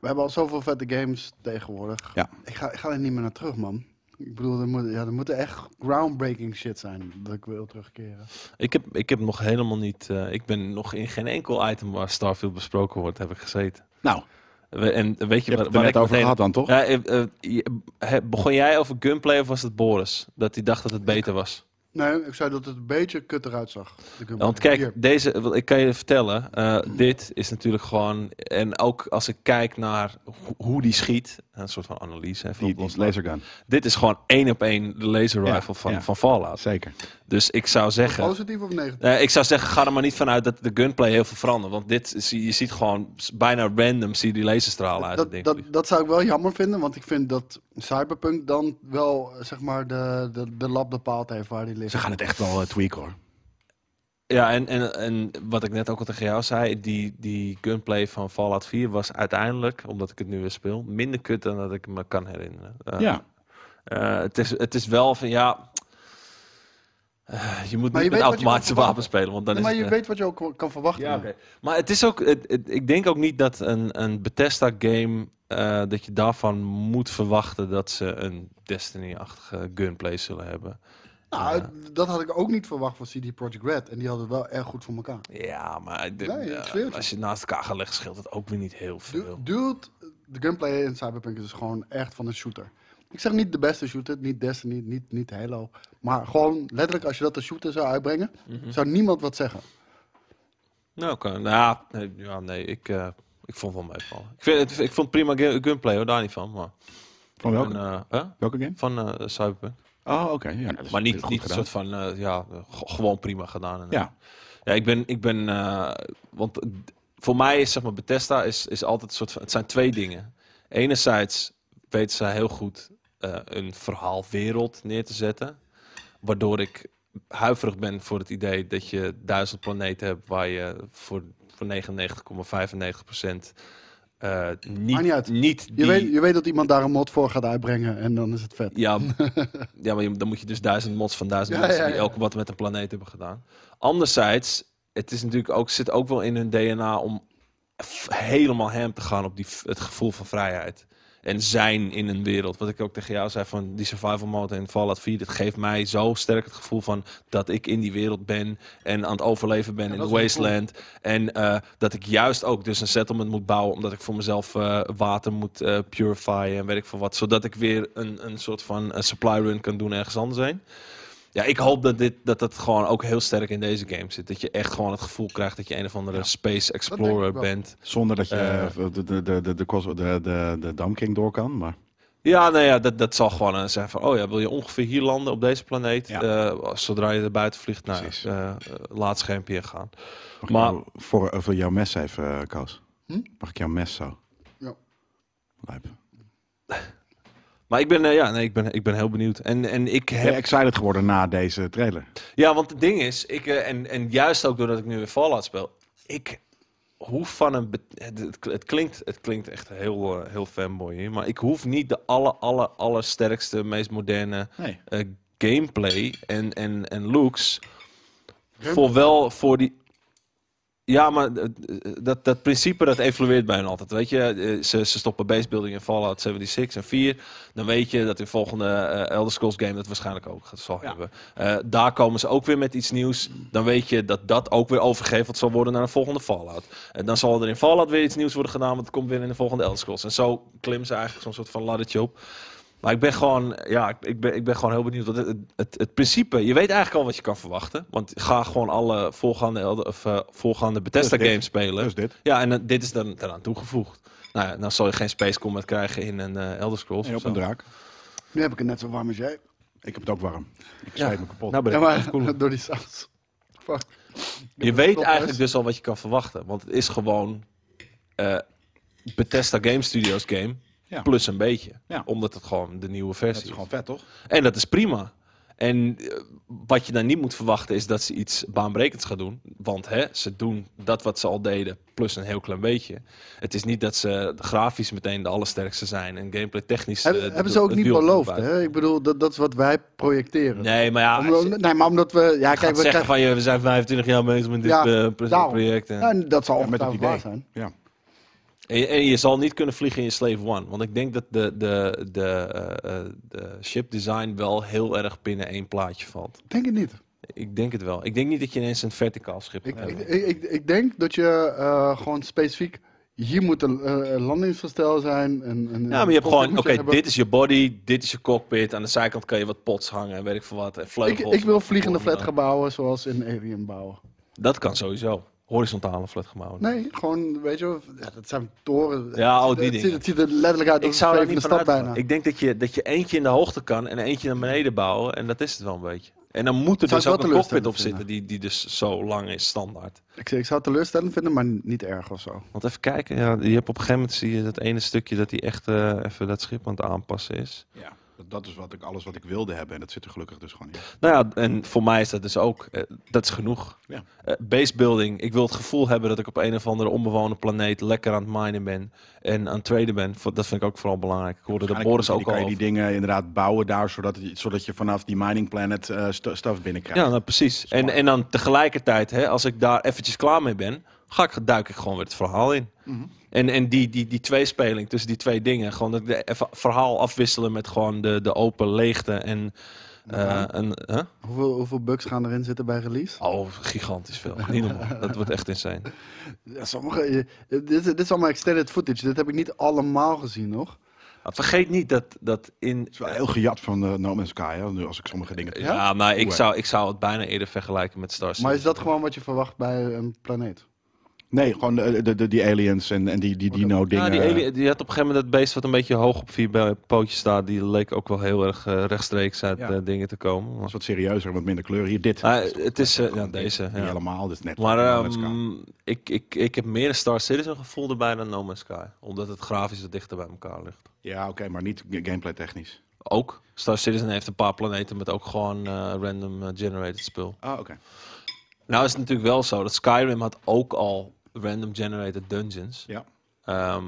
B: we hebben al zoveel vette games tegenwoordig.
D: Ja.
B: Ik, ga, ik ga er niet meer naar terug, man. Ik bedoel, er moet, ja, er moet echt groundbreaking shit zijn dat ik wil terugkeren.
A: Ik heb, ik heb nog helemaal niet. eh, ik ben nog in geen enkel item waar Starfield besproken wordt, heb ik gezeten.
D: nou,
A: We- en weet
D: je
A: je,
D: hebt
A: waar,
D: het er
A: waar
D: net
A: ik
D: over
A: meteen-
D: gehad dan, toch?
A: Ja, eh, eh, je- he- begon jij over gunplay of was het Boris? Dat hij dacht dat het beter was.
B: Nee, ik zei dat het een beetje kut eruit zag. Ik heb-
A: Want kijk,
B: hier.
A: deze, wel, ik kan je vertellen, eh, dit is natuurlijk gewoon. En ook als ik kijk naar ho- hoe die schiet, een soort van analyse. hè, van
D: Die,
A: Blond
D: die lasergun.
A: Dit is gewoon één op één de laser
D: Ja,
A: rifle van,
D: ja.
A: van Fallout.
D: Zeker.
A: Dus ik zou zeggen.
B: Positief of negatief?
A: eh, ik zou zeggen, ga er maar niet vanuit dat de gunplay heel veel verandert. Want dit, is- je ziet gewoon s- bijna random zie je die laserstralen uit. het
B: dat,
A: ding
B: dat,
A: vliegen.
B: dat zou ik wel jammer vinden, want ik vind dat Cyberpunk dan wel eh, zeg maar de, de, de lab bepaald heeft waar die ligt.
D: Ze gaan het echt wel eh, tweaken hoor.
A: Ja, en, en, en wat ik net ook al tegen jou zei, die, die gunplay van Fallout 4 was uiteindelijk, omdat ik het nu weer speel, minder kut dan dat ik me kan herinneren. Eh,
D: ja.
A: eh, het, is, het is wel van ja. eh, je moet
B: Maar je
A: niet met
B: weet wat je kan
A: automatische
B: verwachten.
A: wapens spelen, want dan
B: Nee,
A: is
B: maar
A: het,
B: je
A: eh,
B: weet wat je ook kan verwachten.
A: Ja, oké. Maar het is ook, het, het- ik denk ook niet dat een, een Bethesda-game, eh, dat je daarvan moet verwachten dat ze een Destiny-achtige gunplay zullen hebben.
B: Nou, dat had ik ook niet verwacht van CD Projekt Red. En die hadden het wel erg goed voor elkaar.
A: Ja, maar de-
B: Nee, ik
A: eh,
B: zweer het je.
A: als je het naast elkaar gaat leggen, scheelt het ook weer niet heel veel.
B: Du- Dude, de gunplay in Cyberpunk is dus gewoon echt van een shooter. Ik zeg niet de beste shooter, niet Destiny, niet, niet Halo. Maar gewoon letterlijk, als je dat als shooter zou uitbrengen,
A: Mhm.
B: zou niemand wat zeggen.
A: Nou, oké. Nou, nee, ja, nee, ik, eh, ik vond het wel meevallen. Ik, vind, het- ik vond het prima gu- gunplay, hoor, daar niet van. Maar,
D: Van welke?
A: En, eh, hè?
D: welke game?
A: Van eh, Cyberpunk.
D: Oh, oké. Ja, dat is
A: maar niet,
D: goed
A: niet een
D: gedaan.
A: soort van, eh, ja, g- gewoon prima gedaan. En,
D: Ja.
A: Ja, ik ben, ik ben eh, want eh, voor mij is zeg maar Bethesda is, is altijd een soort van, het zijn twee dingen. Enerzijds weten zij heel goed eh, een verhaalwereld neer te zetten, waardoor ik huiverig ben voor het idee dat je duizend planeten hebt waar je voor, voor 99,95 procent eh,
B: Maakt niet
A: niet,
B: uit.
A: niet
B: Je,
A: die-
B: weet, je weet dat iemand daar een mod voor gaat uitbrengen en dan is het vet.
A: ja, ja, maar je- dan moet je dus duizend mods van duizend
B: Ja,
A: mensen
B: ja,
A: die
B: ja.
A: elke wat met een planeet hebben gedaan. Anderzijds, het is natuurlijk ook, zit ook wel in hun DNA om f- helemaal hem te gaan op die, f- het gevoel van vrijheid. En zijn in een wereld. Wat ik ook tegen jou zei van die survival mode in Fallout 4. Dat geeft mij zo sterk het gevoel van dat ik in die wereld ben. En aan het overleven ben in de
B: dat is een
A: wasteland. En eh, dat ik juist ook dus een settlement moet bouwen. Omdat ik voor mezelf eh, water moet eh purifyen en weet ik veel wat. Zodat ik weer een, een soort van eh, supply run kan doen ergens anders heen. Ja, ik hoop dat, dit, dat dat gewoon ook heel sterk in deze game zit. Dat je echt gewoon het gevoel krijgt dat je een of andere space explorer
B: ik wel.
A: bent.
D: Zonder dat je
A: Eh.
D: eh, de, de, de, de, de, kos- de, de, de Dam King door kan. Maar
A: Ja, nou ja, dat, dat zal gewoon eh, zijn van... oh ja, wil je ongeveer hier landen op deze planeet?
D: Ja.
A: Eh, zodra je er buiten vliegt, nou,
D: Precies.
A: eh, eh, laat schermpje ingaan.
D: mag
A: Maar-
D: ik jou voor, eh, voor jouw mes even, eh, Koos?
B: Hm?
D: Mag ik jouw mes zo?
B: Ja.
D: Lijp.
A: Maar ik ben, eh, ja, nee, ik ben, ik ben heel benieuwd. En, en ik
D: Ben
A: heb...
D: je excited geworden na deze trailer?
A: Ja, want het ding is, ik, eh, en, en juist ook doordat ik nu weer Fallout speel, ik hoef van een. be- Het, het- het klinkt, het klinkt echt heel, eh, heel fanboy hier, maar ik hoef niet de aller, aller, allersterkste, meest moderne
D: Nee.
A: eh, gameplay en, en, en looks. Voor wel voor die. Ja, maar eh, eh, dat, dat principe dat evolueert bijna altijd. Weet je, Eh, ze, ze stoppen basebuilding in Fallout 76 en 4. Dan weet je dat in de volgende eh, Elder Scrolls game dat waarschijnlijk ook gaat- zal hebben. Eh, daar komen ze ook weer met iets nieuws. Dan weet je dat dat ook weer overgeheveld zal worden naar een volgende Fallout. En dan zal er in Fallout weer iets nieuws worden gedaan, want het komt weer in de volgende Elder Scrolls. En zo klimmen ze eigenlijk zo'n soort van laddertje op. Maar ik ben gewoon, ja, ik- ik ben, ik ben gewoon heel benieuwd. Want het, het, het principe, je weet eigenlijk al wat je kan verwachten. Want ga gewoon alle voorgaande, Elder- of, eh, voorgaande Bethesda
D: Dus dit.
A: games spelen.
D: Dus dit.
A: Ja, en eh, dit is dan daaraan toegevoegd. Nou ja, dan zal je geen space combat krijgen in een eh, Elder Scrolls.
D: En
A: of
D: op een
A: zo.
D: draak.
B: Nu heb ik het net zo warm als jij.
D: Ik heb het ook warm. Ik
A: Ja.
D: zweet me kapot.
A: Nou ben ik
B: Ja, maar
A: afkoelen.
B: door die saus. Fuck.
A: Dus, Je weet
B: Top
A: eigenlijk
B: is.
A: dus al wat je kan verwachten. Want het is gewoon eh Bethesda Game Studios game.
D: Ja.
A: Plus een beetje.
D: Ja.
A: Omdat het gewoon de nieuwe
D: dat
A: versie
D: is
A: is.
D: gewoon vet, toch?
A: En dat is prima. En eh, wat je dan niet moet verwachten is dat ze iets baanbrekends gaan doen. Want hè, ze doen dat wat ze al deden, plus een heel klein beetje. Het is niet dat ze grafisch meteen de allersterkste zijn en gameplay technisch.
B: Hebben-
A: eh, de-
B: hebben ze ook
A: het
B: niet
A: wiel
B: beloofd,
A: buiten.
B: hè? Ik bedoel, dat, dat is wat wij projecteren.
A: Nee, maar ja,
B: Omdat-
A: ze
B: nee, maar omdat we... Ja,
A: gaan
B: kijk, we
A: zeggen
B: krijgen...
A: van je, we zijn 25 jaar bezig met dit
B: Ja,
A: eh, pro-
B: daarom.
A: project. En,
B: Ja, dat zal
D: Ja, met het
B: ongetwijfeld waar
D: idee.
B: zijn.
D: Ja.
A: en je- en je zal niet kunnen vliegen in je Slave One. Want ik denk dat de, de, de, eh, eh, de ship design wel heel erg binnen één plaatje valt.
B: Ik Denk het niet.
A: Ik denk het wel. Ik denk niet dat je ineens een verticaal schip
B: Ik,
A: hebt.
B: ik, ik, ik denk dat je eh, gewoon specifiek hier moet een eh, landingsverstel zijn. En, en,
A: Ja, maar je hebt gewoon, oké,
B: dit.
A: dit is je body, dit is je cockpit. Aan de zijkant kan je wat pots hangen en weet ik veel wat. En
B: Ik,
A: vleugels.
B: ik wil
A: en
B: vliegende
A: vormen.
B: flat gaan bouwen zoals in Alien bouwen.
A: eh, Dat kan sowieso. Horizontale flat gaan bouwen.
B: Nee, gewoon, weet je wel, ja, dat zijn toren.
A: Ja, oh,
B: het, ziet-
A: die
B: het, ziet,
A: dingen.
B: het ziet er letterlijk uit
A: Ik
B: als een
A: zou er
B: zevende
A: niet van
B: stad
A: uitgaan.
B: bijna.
A: Ik denk dat je, dat je eentje in de hoogte kan en eentje naar beneden bouwen. En dat is het wel een beetje. En dan moet er
B: Zou
A: dus
B: ik
A: ook
B: wel
A: een cockpit
B: teleurstellend
A: op zitten die, die dus zo lang is, standaard.
B: Ik, zeg, ik zou het teleurstellend vinden, maar niet erg of zo.
A: Want even kijken, ja, je hebt op een gegeven moment zie je dat ene stukje dat hij echt eh, even dat schip aan het aanpassen is.
D: Ja, dat, dat is wat ik, alles wat ik wilde hebben. En dat zit er gelukkig dus gewoon in.
A: Nou ja, en voor mij is dat dus ook, eh, dat is genoeg.
D: Ja.
A: Eh, base building, ik wil het gevoel hebben dat ik op een of andere onbewoonde planeet lekker aan het minen ben en aan het traden ben. Vo- Dat vind ik ook vooral belangrijk. Ik hoorde dat Boris
D: Waarschijnlijk kan je-
A: ook al
D: kan je
A: over.
D: die dingen inderdaad bouwen daar, zodat, het- zodat je vanaf die mining planet eh stu- stuff binnenkrijgt.
A: Ja, nou, precies. En, en dan tegelijkertijd, hè, als ik daar eventjes klaar mee ben, ga ik, duik ik gewoon weer het verhaal in.
D: Mhm.
A: En, en die, die, die tweespeling tussen die twee dingen, gewoon dat ik de- even verhaal afwisselen met gewoon de, de open leegte en... eh, en hè?
B: Hoeveel, hoeveel bugs gaan erin zitten bij release?
A: Oh, gigantisch veel. Niet normaal. Dat wordt echt insane.
B: Ja, sommige, je- dit, dit is allemaal extended footage. Dit heb ik niet allemaal gezien nog.
A: Maar vergeet niet dat, dat in...
D: Het is wel heel gejat van eh, No Man's Sky, hè, nu als ik sommige dingen...
A: Ja, maar ik zou, ik zou het bijna eerder vergelijken met Star
B: Maar
A: Citizen.
B: is dat gewoon wat je verwacht bij een planeet?
D: Nee, gewoon eh, de, de, die aliens en, en die, die
A: Ja,
D: dino-dingen.
A: Ah, Nou, die, alien- die had op een gegeven moment dat beest wat een beetje hoog op vier be- pootjes staat. Die leek ook wel heel erg eh, rechtstreeks uit
D: Ja.
A: eh, dingen te komen. Maar-
D: was wat serieuzer, wat minder kleur. Hier, dit.
A: Ah,
D: Dat toch-
A: het is,
D: dat
A: eh,
D: toch
A: ja, deze,
D: Niet
A: ja.
D: helemaal, dit is net.
A: Maar
D: No Man's Sky.
A: ehm, ik, ik, ik heb meer een Star Citizen gevoel erbij dan No Man's Sky. Omdat het grafisch wat dichter bij elkaar ligt.
D: ja, oké, maar niet gameplay technisch.
A: Ook. Star Citizen heeft een paar planeten met ook gewoon eh, random eh, generated spul.
D: Ah, oké.
A: Nou is het natuurlijk wel zo dat Skyrim had ook al random generated dungeons.
D: Ja.
A: Ehm,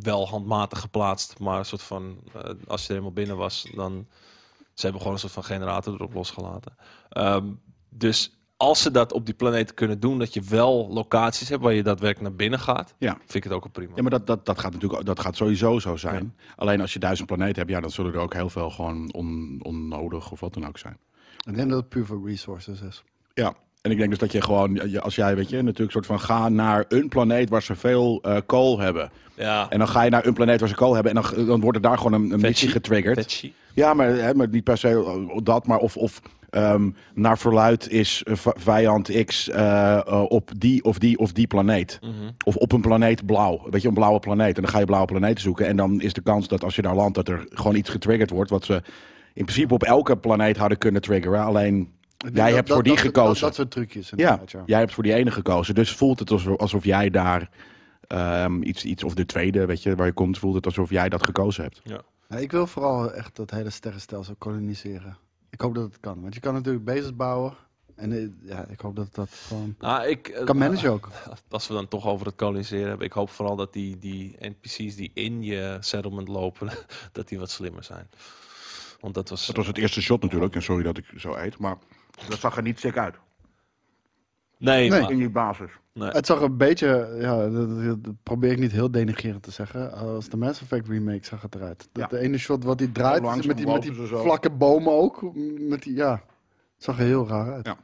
A: wel handmatig geplaatst, maar een soort van, eh, als je er helemaal binnen was, dan ze hebben gewoon een soort van generator erop losgelaten. Ehm, dus als ze dat op die planeet kunnen doen, dat je wel locaties hebt waar je daadwerkelijk naar binnen gaat,
D: Ja.
A: vind ik het ook al prima.
D: Ja, maar dat, dat, dat gaat natuurlijk dat gaat sowieso zo zijn. Alleen als je duizend planeten hebt, ja, dan zullen er ook heel veel gewoon on, onnodig of wat dan ook zijn.
B: Ik denk dat het puur voor resources is.
D: Ja. En ik denk dus dat je gewoon, je- als jij, weet je, natuurlijk soort van ga naar een planeet waar ze veel eh, kool hebben.
A: ja.
D: En dan ga je naar een planeet waar ze kool hebben en dan, eh, dan wordt er daar gewoon een, een missie getriggerd.
A: Fetchy.
D: Ja, maar, hè, maar niet per se eh, dat, maar of, of ehm, naar verluid is eh, v- vijand X eh, eh, op die of die of die planeet. Of op een planeet blauw. Weet je, een blauwe planeet. En dan ga je blauwe planeten zoeken. En dan is de kans dat als je daar landt, dat er gewoon iets getriggerd wordt. Wat ze in principe op elke planeet hadden kunnen triggeren. Alleen
B: Ik denk
D: jij
B: dat-
D: hebt
B: dat-
D: voor die
B: dat- dat-
D: gekozen.
B: Dat, soort trucjes.
D: ja,
B: inderdaad,
D: jij hebt voor die ene gekozen. Dus voelt het alsof, alsof jij daar ehm, iets, iets, of de tweede, weet je, waar je komt, voelt het alsof jij dat gekozen hebt.
B: Ja, ik wil vooral echt dat hele sterrenstelsel koloniseren. Ik hoop dat het kan. Want je kan natuurlijk bases bouwen. En eh, ja, ik hoop dat dat gewoon...
A: Nou, ik, eh,
B: Kan managen ook.
A: als we dan toch over het koloniseren hebben, ik hoop vooral dat die, die NPC's die in je settlement lopen, dat die wat slimmer zijn. Want dat was,
D: Dat was het eerste shot natuurlijk. En sorry dat ik zo eet, maar dat zag er niet sick uit.
A: Nee,
B: Nee.
A: maar-
D: In die basis.
A: nee.
B: Het zag een beetje, ja, dat, dat- dat probeer ik niet heel denigrerend te zeggen. Als de Mass Effect remake zag het eruit. Dat
D: Ja.
B: de ene shot wat hij draait,
D: Langzaam
B: met die, met die
D: lopen ze zo.
B: vlakke bomen ook. Met die, ja, het zag er heel raar uit.
D: Ja.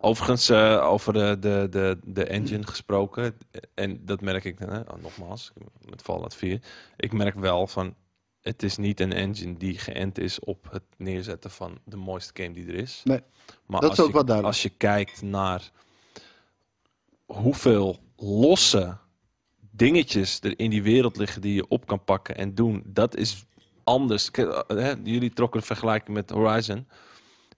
A: Overigens, eh, over de, de, de, de engine gesproken. En dat merk ik, eh, nogmaals, met Fallout 4. Ik merk wel van, het is niet een engine die geënt is op het neerzetten van de mooiste game die er is.
B: Nee,
A: maar
B: dat
A: als
B: is ook
A: je,
B: wel duidelijk.
A: Als je kijkt naar hoeveel losse dingetjes er in die wereld liggen die je op kan pakken en doen, dat is anders. Kijk, eh, hè, jullie trokken de vergelijking met Horizon.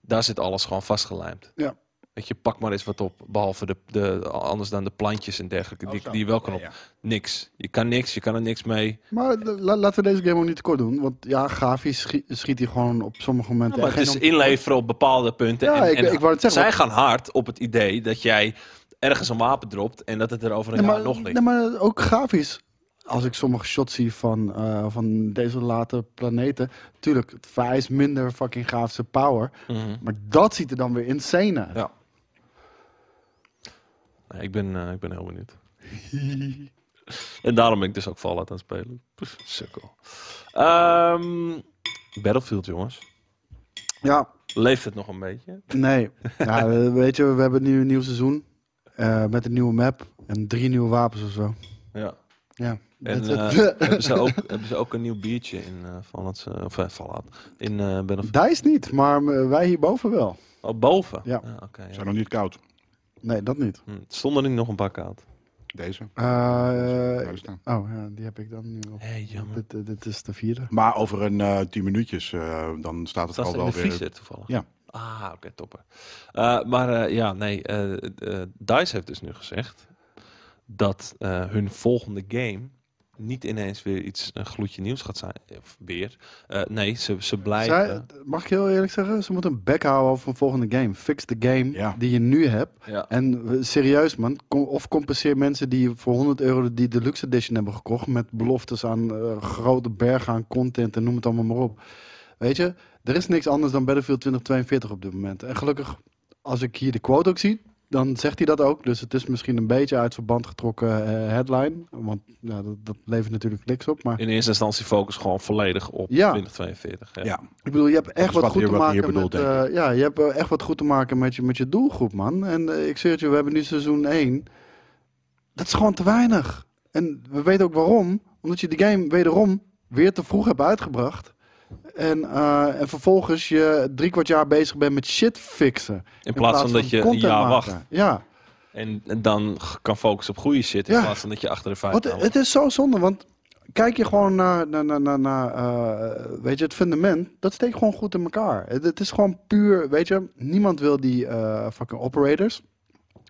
A: Daar zit alles gewoon vastgelijmd.
B: Ja.
A: Weet je, pak maar eens wat op. Behalve de, de anders dan de plantjes en dergelijke. Die,
D: Oh, zo.
A: die je wel kan op.
D: Ja,
A: Niks. Je kan niks, je kan er niks mee.
B: Maar de- la- laten we deze game ook niet te kort doen. Want ja, grafisch schiet, schiet hij gewoon op sommige momenten.
A: maar
B: echt
A: het is
B: geen om-
A: inleveren op bepaalde punten.
B: Ja,
A: en,
B: ik-
A: en
B: ik wou het zeggen,
A: Zij gaan hard op het idee dat jij ergens een wapen dropt en dat het er over een
B: Nee,
A: jaar
B: maar,
A: nog ligt.
B: nee, maar ook grafisch. Als ik sommige shots zie van, eh, van deze late planeten. Tuurlijk, het vereist minder fucking grafische power.
A: Mhm.
B: Maar dat ziet er dan weer insane uit.
A: Ja. Nee, ik, ben, eh, ik ben heel benieuwd. en daarom ben ik dus ook Fallout aan het spelen. Sukkel. Ehm, Battlefield, jongens.
B: Ja,
A: Leeft het nog een beetje?
B: nee. ja, eh, weet je, we hebben nu een nieuw seizoen. eh, met een nieuwe map. En drie nieuwe wapens of zo.
A: Ja.
B: Ja.
A: En
B: That's it.
A: eh, hebben, ze ook, hebben ze ook een nieuw biertje in eh Fallout, eh, of eh, Fallout, in eh Battlefield?
B: Dice niet, maar eh, wij hierboven wel.
A: Oh, boven?
B: Ja.
A: Ah, oké, ja.
D: Zijn nog niet koud.
B: Nee, dat niet.
A: Hm, Stonden er nog een paar koud?
D: Deze.
B: Eh,
D: Daar staan.
B: oh, ja, die heb ik dan nu op.
A: Hé, jammer.
B: Dit, eh, dit is de vierde.
D: Maar over een eh, 10 minuutjes, eh, dan staat het
A: Dat
D: al
A: was in
D: wel
A: de
D: weer.
A: vriezer toevallig.
D: Ja.
A: Ah, oké, topper. Eh, maar eh, ja, nee, eh, eh, DICE heeft dus nu gezegd dat eh, hun volgende game niet ineens weer iets, een gloedje nieuws gaat zijn. Of weer. Eh, nee, ze, ze blijven...
B: Zij, mag ik heel eerlijk zeggen, ze moeten een bek houden van volgende game. Fix de game
D: Ja.
B: die je nu hebt.
A: ja.
B: En eh, serieus man, com- of compenseer mensen die voor 100 euro die deluxe edition hebben gekocht met beloftes aan eh, grote bergen aan content en noem het allemaal maar op. Weet je, er is niks anders dan Battlefield 2042 op dit moment. En gelukkig, als ik hier de quote ook zie, dan zegt hij dat ook. Dus het is misschien een beetje uit verband getrokken eh, headline, want ja, dat, dat levert natuurlijk niks op. Maar
A: In eerste instantie focus gewoon volledig op
B: Ja.
A: 2042. Ja.
D: Ja.
B: Ik bedoel, je hebt echt
D: is
B: wat,
D: wat
B: goed
D: hier-
B: te
D: wat hier
B: maken
D: bedoeld,
B: met...
D: denk
B: eh, ja, je hebt eh, echt wat goed te maken met je, met je doelgroep, man. En eh, ik zeg het je, we hebben nu seizoen 1. Dat is gewoon te weinig. En we weten ook waarom. Omdat je de game wederom weer te vroeg hebt uitgebracht. En, eh, en vervolgens je drie kwart jaar bezig bent met shit fixen. In
A: In plaats van dat je een
B: content
A: jaar
B: maken.
A: wacht
B: Ja,
A: en en dan g- kan focussen op goede shit. In
B: Ja.
A: plaats van dat je achter de vijf
B: Wat,
A: aan
B: het is zo zonde, want kijk je gewoon naar, naar, naar, naar, naar, eh, weet je, het fundament, dat steekt gewoon goed in elkaar. Het, het is gewoon puur, weet je, niemand wil die eh, fucking operators.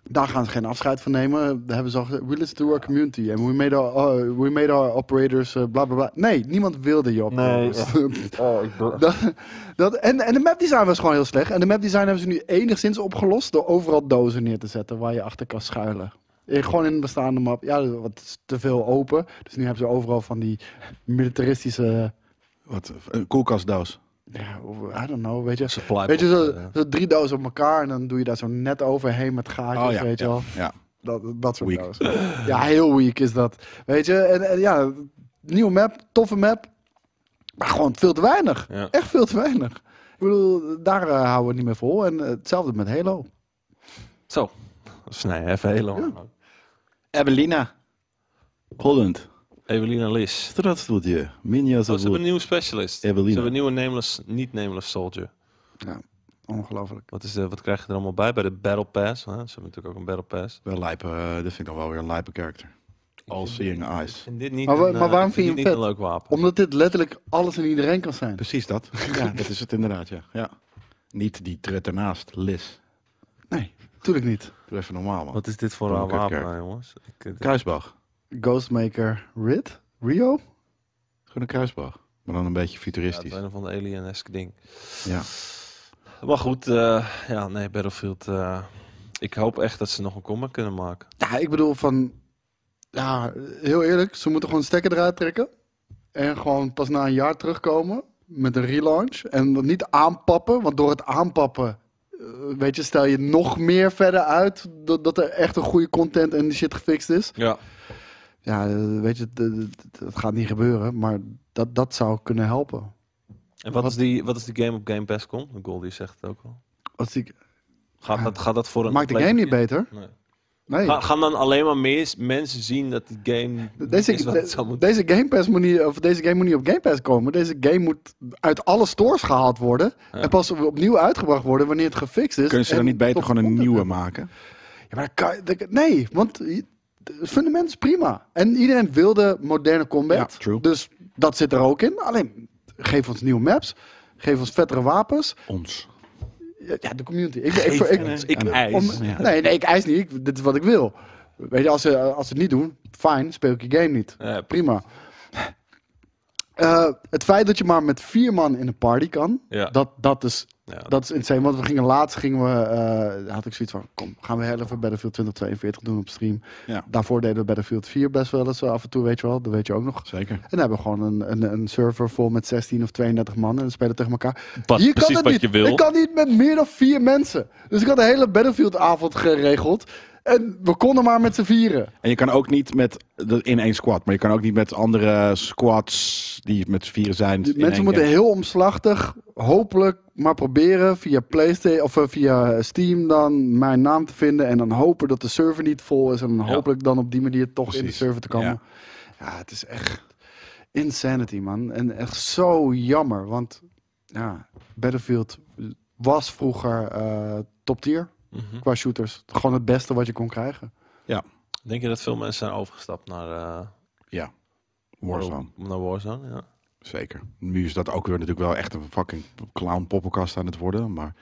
B: Daar gaan ze geen afscheid van nemen. Daar hebben ze al gezegd, we listen to our community and we made our, oh, we made our operators, eh, bla bla bla. Nee, niemand wilde je operators.
A: Oh,
B: dat, dat, en, en de mapdesign was gewoon heel slecht. En de mapdesign hebben ze nu enigszins opgelost door overal dozen neer te zetten waar je achter kan schuilen. Eh, Gewoon in de bestaande map. Ja, wat is te veel open. Dus nu hebben ze overal van die militaristische.
D: Wat, een koelkastdoos.
B: Ja, I don't know, weet je.
A: supply
B: Weet je,
A: bot,
B: zo,
A: eh.
B: zo drie dozen op elkaar en dan doe je daar zo net overheen met gaatjes,
D: Oh ja,
B: weet je
D: ja,
B: wel.
D: ja.
B: Dat, dat soort
D: Weak.
B: dozen. Ja, heel weak is dat. Weet je, en, en ja, nieuwe map, toffe map. Maar gewoon veel te weinig.
A: Ja.
B: Echt veel te weinig. Ik bedoel, daar eh, houden we het niet meer vol. En eh, hetzelfde met Halo.
A: Zo, snij even helemaal. lang.
D: Evelina. Holland.
A: Evelina Lis.
D: Straatstudie. Minjas
A: Oh, ze hebben een nieuwe specialist.
D: Evelina.
A: Ze hebben een nieuwe nameless, niet nameless soldier.
B: Ongelooflijk.
A: Wat, is de, wat krijg je er allemaal bij? Bij de Battle Pass. Hè? Ze hebben natuurlijk ook een Battle Pass.
D: Wel lijpe, eh, dit vind ik dan wel weer een lijpe karakter. All seeing eyes.
A: En dit niet
B: Maar wa-
A: een, eh,
B: maar waarom
A: ik
B: vind je
A: dit
B: hem
A: niet een leuk wapen?
B: Omdat dit letterlijk alles en iedereen kan zijn.
D: Precies dat. Ja, dat is het inderdaad, ja. ja. Niet die tret ernaast, Liz.
B: Nee, natuurlijk niet.
D: Doe even normaal, man.
A: Wat is dit voor
D: Kom
A: een
D: ik uit
A: wapen,
D: Kerk.
A: nou, jongens? Ik, eh,
D: Kruisbach.
B: Ghostmaker Rid? Rio?
D: Gewoon een kruisbach. Maar dan een beetje
A: ja, het is
D: futuristisch.
A: een of ander alien-esque ding.
D: Ja.
A: Maar goed, eh, ja, nee, Battlefield. eh, ik hoop echt dat ze nog een comeback kunnen maken.
B: Ja, ik bedoel van... Ja, heel eerlijk. Ze moeten gewoon stekker eruit trekken. En gewoon pas na een jaar terugkomen. Met een relaunch. En dat niet aanpappen. Want door het aanpappen... eh, Weet je, stel je nog meer verder uit dat, dat er echt een goede content en die shit gefixt is.
A: Ja.
B: Ja, eh, weet je, d- d- d- dat gaat niet gebeuren, maar dat, dat zou kunnen helpen.
A: En wat,
B: Wat-
A: is die, wat is die game op Game Pass komt? Goldie zegt het ook al.
B: Als ik,
A: Gaat dat, gaat dat voor een...
B: Ah, maakt de
A: compleet-
B: game niet beter?
A: Nee.
B: Nee.
A: Ga- gaan dan alleen maar meer mensen zien dat die game
B: Deze,
A: is wat het zou
B: de-
A: moeten
B: deze, game Pass moet niet, of deze game moet niet op Game Pass komen. Deze game moet uit alle stores gehaald worden.
A: Ja.
B: En pas op- opnieuw uitgebracht worden wanneer het gefixt is.
D: Kunnen ze dan
B: en
D: niet beter
B: tot-
D: gewoon een nieuwe maken?
B: Ja, maar dat kan- dat- nee, want i- het fundament is prima. En iedereen wilde moderne combat.
D: Ja, true.
B: Dus dat zit er ook in. Alleen, geef ons nieuwe maps. Geef ons vettere wapens.
D: Ons.
B: Ja, ja, de community. Ik, ik, ik,
A: Ik,
D: ik eis.
B: Om-
D: Ja.
B: nee, nee, ik eis niet. Ik- dit is wat ik wil. Weet je, als ze, als ze het niet doen, fijn, speel ik je game niet.
A: Ja,
B: Prima. Eh, het feit dat je maar met vier man in een party kan,
A: Ja.
B: dat, dat, is,
A: Ja.
B: dat is insane. Want we gingen laatst, gingen we, eh, had ik zoiets van, kom, gaan we heel even Battlefield 2042 doen op stream.
D: Ja.
B: Daarvoor deden we Battlefield 4 best wel eens eh, af en toe, weet je wel. Dat weet je ook nog.
D: Zeker.
B: En dan hebben we gewoon een, een, een server vol met 16 of 32 man en dan spelen we tegen elkaar.
A: Wat- precies
B: Hier kan het
A: wat
B: niet.
A: je wil.
B: Ik kan niet met meer dan vier mensen. Dus ik had een hele Battlefield avond geregeld. En we konden maar met z'n vieren.
D: En je kan ook niet met de, in één squad, maar je kan ook niet met andere squads die met z'n vieren zijn.
B: Die
D: in één
B: mensen moeten
D: game.
B: heel omslachtig, hopelijk maar proberen via PlayStation of eh, via Steam dan mijn naam te vinden. En dan hopen dat de server niet vol is. En dan
A: Ja.
B: hopelijk dan op die manier toch in de
D: Precies.
B: server te komen.
D: Ja.
B: Ja. het is echt insanity, man. En echt zo jammer. Want ja, Battlefield was vroeger eh, top tier
A: Mhm.
B: qua shooters. Gewoon het beste wat je kon krijgen.
A: Denk je dat veel mensen zijn overgestapt naar, eh,
D: Warzone,
A: naar Warzone? Ja.
D: zeker. Nu is dat ook weer natuurlijk wel echt een fucking clown poppenkast aan het worden, maar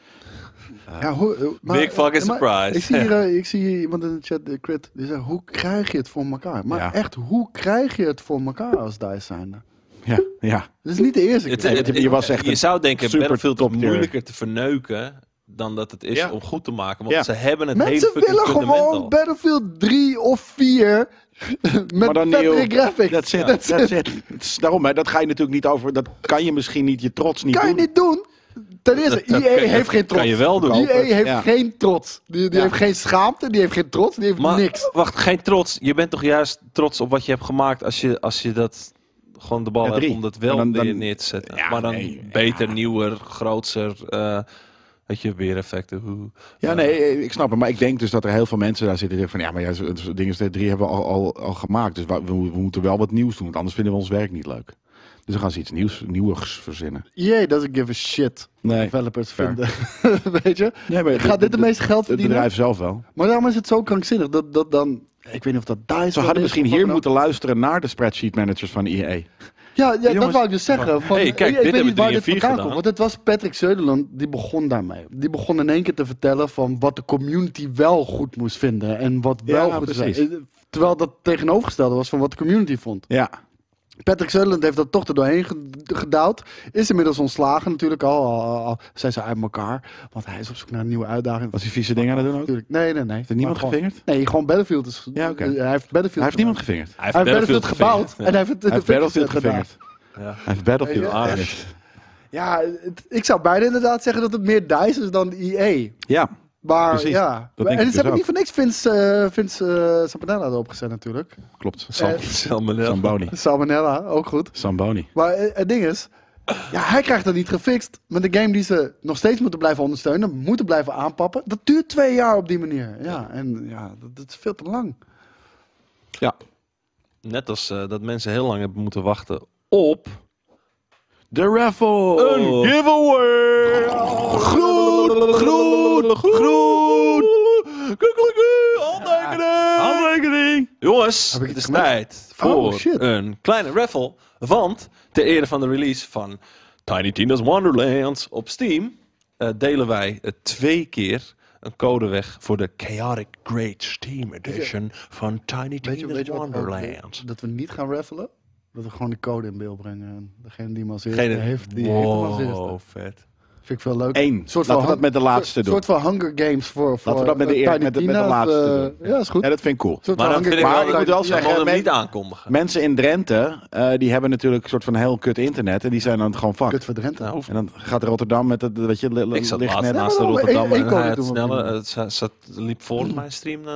B: Ja, hoe, eh, maar-
A: Big fucking
B: eh, maar-
A: surprise.
B: Ik zie, hier, eh, ik zie hier iemand in de chat, de crit, die zegt, hoe krijg je het voor elkaar? Maar
D: Ja.
B: echt, hoe krijg je het voor elkaar als DICE zijnde?
D: ja, ja.
B: Dat is niet de eerste
A: Het-
B: keer.
A: het-
D: je was echt
A: je
D: een
A: zou denken,
D: super
A: Battlefield is
D: top tier.
A: moeilijker te verneuken dan dat het is
D: Ja.
A: om goed te maken. Want
D: Ja.
A: ze hebben het hele
B: Mensen
A: fucking
B: willen
A: fundament
B: gewoon
A: al.
B: Battlefield 3 of 4 met
D: Maar dan
B: betere
D: nieuw.
B: graphics.
D: That's it,
B: Dat
D: that's it. Het is Daarom, hè, dat ga je natuurlijk niet over. Dat kan je misschien niet, je trots niet
B: kan je
D: doen.
B: niet doen. Ten eerste,
A: Dat- dat
B: EA
A: kan-
B: heeft
A: dat
B: geen trots.
A: kan je wel doen.
B: EA heeft
D: Ja.
B: geen trots. Die, die
D: Ja.
B: heeft geen schaamte, die heeft geen trots, die heeft
A: Maar
B: niks.
A: wacht, geen trots. Je bent toch juist trots op wat je hebt gemaakt als je, als je dat gewoon de bal
D: Ja,
A: hebt
D: drie.
A: om dat
D: Maar
A: wel
D: dan-
A: weer
D: dan-
A: neer te zetten.
D: Ja,
A: maar dan
D: nee,
A: beter, nieuwer, groter. eh weet je, weer effecten. hoe-
D: Ja, nee, ik snap het. Maar ik denk dus dat er heel veel mensen daar zitten die denken van ja, maar ja, zo- dingen drie hebben we al, al, al gemaakt. Dus wa- we, we moeten wel wat nieuws doen, want anders vinden we ons werk niet leuk. Dus dan gaan ze iets nieuws, nieuwigs verzinnen.
B: EA doesn't give a shit.
D: Nee,
B: Developers
D: Fair.
B: vinden. Weet je?
D: nee maar
B: Gaat dit de meeste geld
D: het
B: verdienen?
D: bedrijf zelf wel.
B: Maar daarom is het zo krankzinnig dat, dat dan. Ik weet niet of dat daar is.
D: Ze hadden misschien hier moeten luisteren naar de spreadsheet managers van E EA.
B: Ja, ja dat
D: Jongens,
B: wou ik dus zeggen. Van,
A: Hey, kijk,
B: ik-
A: dit
B: ik weet
A: hebben
B: niet
A: drie
B: waar
A: en
B: dit
A: vier
B: vandaan
A: gedaan.
B: komt. Want het was Patrick Söderland die begon daarmee. Die begon in één keer te vertellen van wat de community wel goed moest vinden. En wat
D: Ja,
B: wel goed is.
D: precies.
B: Terwijl dat tegenovergestelde was van wat de community vond.
D: Ja,
B: Patrick Sutherland heeft dat toch er doorheen ge- gedouwd. Is inmiddels ontslagen natuurlijk al, al, al- al Zijn ze uit elkaar. Want hij is op zoek naar een nieuwe uitdaging.
D: was hij vieze dingen aan het doen ook? Heeft
B: Natuurlijk. Nee, nee, nee.
D: er niemand
B: Maar gewoon-
D: gevingerd?
B: Nee, gewoon Battlefield. Is,
D: Ja, oké.
B: Hij heeft Battlefield
D: Hij heeft
B: gemaakt.
D: niemand gevingerd.
A: Hij heeft
B: Hij heeft Battlefield gebouwd
A: gevingerd,
B: en hij heeft het in
D: Hij
B: de
D: heeft Battlefield
B: fixer gedaan.
D: gevingerd.
A: Ja. Ja.
D: Hij heeft Battlefield
B: Ja.
D: gevingerd.
B: Ja, het- ik zou bijna inderdaad zeggen dat het meer DICE is dan EA.
D: Ja,
B: Maar
D: Precies,
B: ja,
D: denk
B: en
D: ik
B: ze
D: dus
B: hebben
D: ook.
B: niet voor niks Vince, eh Vince eh, Saponella erop gezet natuurlijk.
D: klopt.
A: Sam-
B: Eh,
A: Salmonella.
D: Samboni.
B: Salmonella, ook goed.
D: Samboni.
B: Maar eh, het ding is, ja, hij krijgt dat niet gefixt. Met de game die ze nog steeds moeten blijven ondersteunen, moeten blijven aanpappen. Dat duurt twee jaar op die manier. Ja, en ja, dat, dat is veel te lang.
D: Ja.
A: Net als eh, dat mensen heel lang hebben moeten wachten op
D: De raffle.
A: een giveaway. Groen, groen, groen. Kukkeleku, handtekening.
D: Handrekening.
A: Jongens,
B: Heb ik
A: het is
B: iets gemist?
A: tijd voor
B: Oh, shit.
A: een kleine raffle. Want ter ere van de release van Tiny Tina's Wonderlands op Steam... eh, delen wij eh, twee keer een code weg voor de Chaotic Great Steam Edition van Tiny
B: Weet je,
A: Tina's
B: weet je wat ook
A: Wonderlands.
B: is? Dat we niet gaan raffelen. Dat we gewoon de code in beeld brengen. En degene die hem als eerste
A: Degene-
B: heeft, die heeft hem als eerste.
A: wow, vet.
B: Vind ik veel leuk.
D: Eén.
B: Soort
D: Laten we
B: van
D: dat met de laatste
B: Een
D: doen.
B: soort van Hunger Games voor, voor
D: Laten we dat met de eer-
B: eh, Tiny
D: met de- met de
B: Tina of,
D: laatste
B: eh, Ja, is goed.
D: Ja, dat vind ik cool.
B: Een soort
A: Maar
B: van
A: dan
B: Hunger
A: vind ik
B: Games
A: wel,
D: Maar
B: voor
A: ik moet
B: Tiny
A: wel
B: Tina.
A: zeggen, hem
D: men-
A: niet aankondigen.
D: Mensen in Drenthe, eh, die hebben natuurlijk een soort van heel kut internet. En die zijn dan gewoon fuck.
B: Kut voor Drenthe.
A: Nou, hoeft
D: En dan gaat Rotterdam met dat, weet je, li- li-
A: Ik zat
D: ligt
A: laatst
D: net... Oké,
A: naast de
B: Ja, Oh, maar
A: Rotterdam
B: één-
A: en
B: één
A: hij
B: code
A: had
B: doen we
A: snelle,
B: prima.
A: het za- zat, liep voor mijn stream. eh.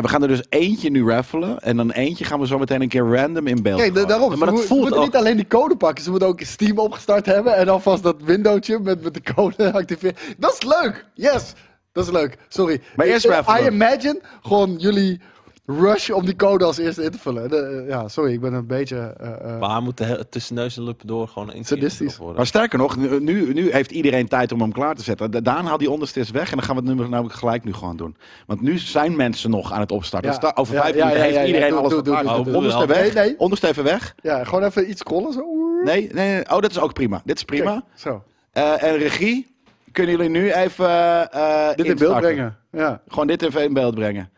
D: we gaan er dus eentje nu raffelen. En dan eentje gaan we zo meteen een keer random in beeld
B: Kijk, da-
D: gooien.
B: daarom.
A: Ja,
B: maar
A: maar dat
B: ze mo- ze
A: voelt
B: moeten
A: ook-
B: niet alleen die code pakken. Ze moeten ook Steam opgestart hebben. En alvast dat windowtje met, met de code activeren. Dat is leuk. Yes. Dat is leuk. Sorry.
D: Maar eerst
B: I,
D: maar even
B: I
D: doen.
B: imagine gewoon jullie rush om die code als eerste in te vullen. De- eh, ja, sorry. Ik ben een beetje... eh, eh,
A: Maar hij moet de he- tussen neus en lippen door gewoon een
B: Sadistisch.
D: Maar sterker nog, nu- nu, nu heeft iedereen tijd om hem klaar te zetten. Da- Daan haal die onderste eens weg en dan gaan we het nummer namelijk gelijk nu gewoon doen. Want nu zijn mensen nog aan het opstarten.
B: Ja.
D: Dus da- over
B: Ja,
D: vijf
B: ja,
D: minuten
B: ja,
D: heeft
B: ja, ja.
D: iedereen
B: Doe,
D: alles
B: doe, doe,
D: klaar.
B: doe,
A: doe, doe.
B: Nee,
D: Onderste weg,
B: nee.
D: onderste even weg.
B: ja, gewoon even iets scrollen. Zo.
D: Nee, nee, nee. Oh, dat is ook prima. Dit is prima.
B: Kijk, zo.
D: Eh, en regie, kunnen jullie nu even... eh, eh,
B: Dit in beeld
D: instarten?
B: brengen. Ja.
D: Gewoon dit even in beeld brengen.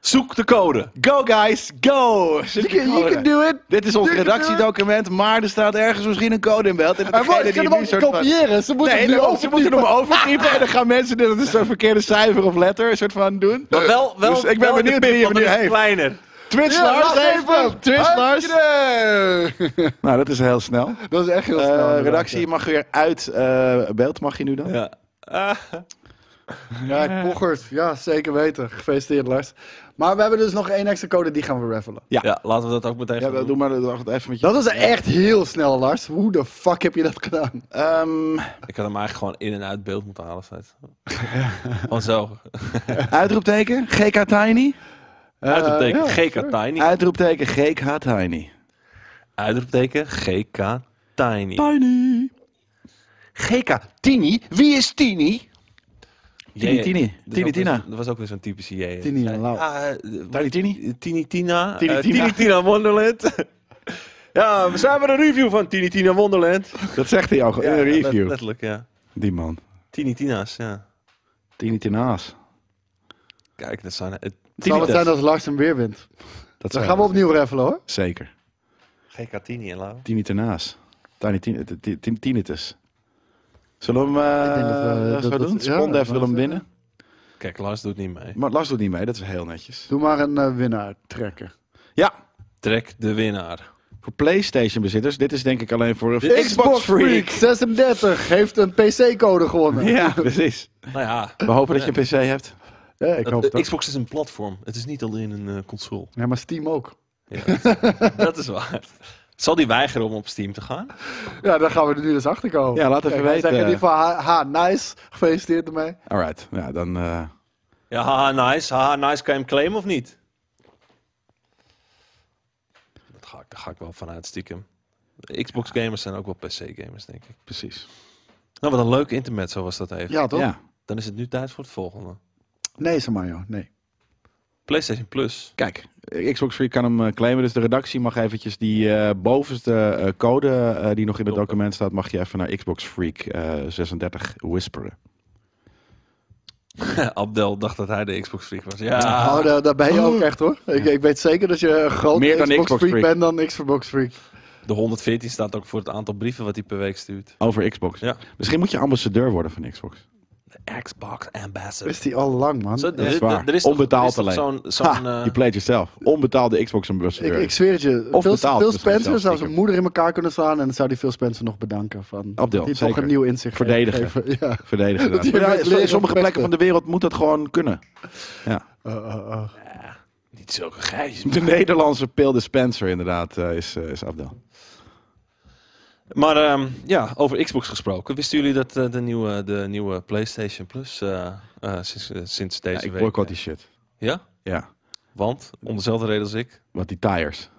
A: Zoek de code.
D: Go guys, go!
B: You can, you can do it.
D: Dit is ons
B: You can do it.
D: redactiedocument, maar er staat ergens misschien een code in beeld. En
B: En
D: degene
B: wat, ze
D: die
B: kunnen hem
D: nu
B: ook
D: soort van-
B: kopiëren. Ze moeten
D: Nee,
B: hem nu
D: daarom, ze moeten hem
B: overtypen.
D: overtypen en dan gaan mensen dit, dat is zo'n verkeerde cijfer of letter, een soort van doen.
A: Maar wel, wel,
D: Dus ik ben
A: wel in de
D: benieuwd wie
A: pip,
D: hem
A: want
D: nu
A: het is
D: heeft.
A: kleiner.
D: Twitch
B: Ja,
D: Lars
B: wacht even.
D: even! Twitch Lars!
B: Huppakee.
D: Nou, dat is heel snel.
B: Dat is echt heel
D: Eh,
B: snel. inderdaad,
D: redactie
B: ja.
D: mag weer uit eh, beeld, mag je nu dan?
A: Ja. Ah,
B: Ja, pochert. Ja, zeker weten. Gefeliciteerd, Lars. Maar we hebben dus nog één extra code, die gaan we raffelen.
A: Ja. laten we dat ook meteen
D: Ja,
A: gaan doen.
D: doe maar wacht even met je.
B: Dat was echt heel snel, Lars. Hoe de fuck heb je dat gedaan?
D: Ehm,
A: Ik had hem eigenlijk gewoon in en uit beeld moeten halen. steeds. Gewoon zo.
D: uitroepteken GK Tiny. Eh,
A: Uitroepteken
B: ja,
A: GK
B: sure.
A: Tiny.
D: Uitroepteken GK Tiny.
A: Uitroepteken GK Tiny.
D: Tiny.
A: GK Tini? Wie is Tini?
D: Tini, Tini. Tini, Tina.
A: Dat was eh, dus ook weer zo'n typische J.
B: Tini en Lau.
A: Ah, eh,
D: Tiny Tini.
A: Tini Tina.
D: Tini
A: eh,
D: Tina.
A: Tini Tina Wonderland. ja, we zijn met een review van Tini Tina Wonderland.
D: Dat zegt hij ook in
A: Ja,
D: een
A: let-
D: review.
A: Letterlijk, ja.
D: Die man.
A: Tini Tina's, ja.
D: Tini Tina's.
A: Kijk, dat zijn... eh, het-
B: Het zal het
A: Tini
B: zijn als Lars hem weer wint.
D: Dat
B: Dan
D: zijn
B: gaan we opnieuw raffelen, hoor.
D: Zeker.
A: GK Tini en Lau.
D: Tini Tina's. Tiny Tini. t- t- t- Tinitus. Zullen we hem
B: Ik denk dat we-
D: eh,
B: dat-
D: zo
B: dat-
D: doen?
B: ja,
D: Spondef
B: dat- eh,
D: wil hem
B: dat-
D: winnen.
A: Kijk, Lars doet niet mee.
D: Maar Lars doet niet mee, dat is heel netjes.
B: Doe maar een eh, winnaar trekken.
D: Ja,
A: Trek de winnaar.
D: voor PlayStation bezitters. Dit is denk ik alleen voor een
A: Dit-
D: Xbox, Freak.
B: 36 heeft een PC-code gewonnen.
D: Ja, precies.
A: Nou ja,
D: We hopen dat je een PC hebt.
B: Ja, ik
A: dat-
B: hoop dat.
A: Xbox is een platform. Het is niet alleen een eh, console.
B: Ja, maar Steam ook.
A: Ja, dat is waar. Zal die weigeren om op Steam te gaan?
B: Ja, daar gaan we er nu dus achter komen.
D: Ja, laat even
B: Kijk, hij
D: weten.
B: zegt in ieder geval, ha, ha, nice. Gefeliciteerd ermee.
D: Alright, ja, dan... eh,
A: Ja, haha, nice. Haha, nice. Kan je hem claimen of niet? Dat ga ik, daar ga ik wel vanuit, stiekem. Xbox gamers zijn ook wel PC gamers, denk ik.
D: precies.
A: Nou, wat een leuk internet, zo was dat even.
B: Ja, toch?
D: Ja,
A: Dan is het nu tijd voor het volgende.
B: Nee, Samayo, nee.
A: PlayStation Plus.
D: kijk. Xbox Freak kan hem eh, claimen, dus de redactie mag eventjes die eh, bovenste eh, code eh, die nog in het document staat, mag je even naar Xbox Freak eh, 36 whisperen.
A: Abdel dacht dat hij de Xbox freak was.
B: Oh,
A: Ja.
B: daar, daar ben je ook echt, hoor. Ik, ik weet zeker dat je een groot
D: Meer dan
B: Xbox,
D: Xbox
B: freak,
D: freak.
B: bent dan Xbox freak.
A: De 114 staat ook voor het aantal brieven wat hij per week stuurt.
D: Over Xbox.
A: Ja.
D: Misschien moet je ambassadeur worden van Xbox.
A: De Xbox Ambassador.
B: Is die al lang, man.
A: Zo,
B: Ik,
A: er-
D: is
A: er-
D: waar.
A: Er is toch-
D: Onbetaald
A: er is toch
D: alleen.
A: Zo'n, zo'n,
D: ha,
A: eh,
D: je playt jezelf. Onbetaalde Xbox ambassadeur.
B: ik zweer het je.
D: Of
B: Phil,
D: betaald,
B: Phil
D: misschien
B: Spencer
D: zelfs,
B: zou zijn
D: stiekem.
B: moeder in elkaar kunnen slaan... en dan zou die Phil Spencer nog bedanken. Van,
D: Abdel,
B: dat hij toch
D: zeker.
B: een nieuw inzicht heeft
D: Verdedigen.
B: gegeven. Ja.
D: Verdedigen.
B: Dat je
D: Ja,
B: met
D: in
B: leren
D: sommige plekken
B: vechten.
D: van de wereld moet dat gewoon kunnen. Ja. Eh,
B: Oh, oh, oh.
A: Niet zulke grijs.
D: De Nederlandse Pil Dispenser inderdaad eh, is, eh, is Abdel.
A: Maar ehm, ja, over Xbox gesproken. Wisten jullie dat eh, de, nieuwe, de nieuwe PlayStation Plus eh, eh, sinds, eh, sinds deze
D: Ja, ik
A: week...
D: boycott die shit.
A: Ja?
D: Ja,
A: Want, om dezelfde reden als ik...
D: want die tires.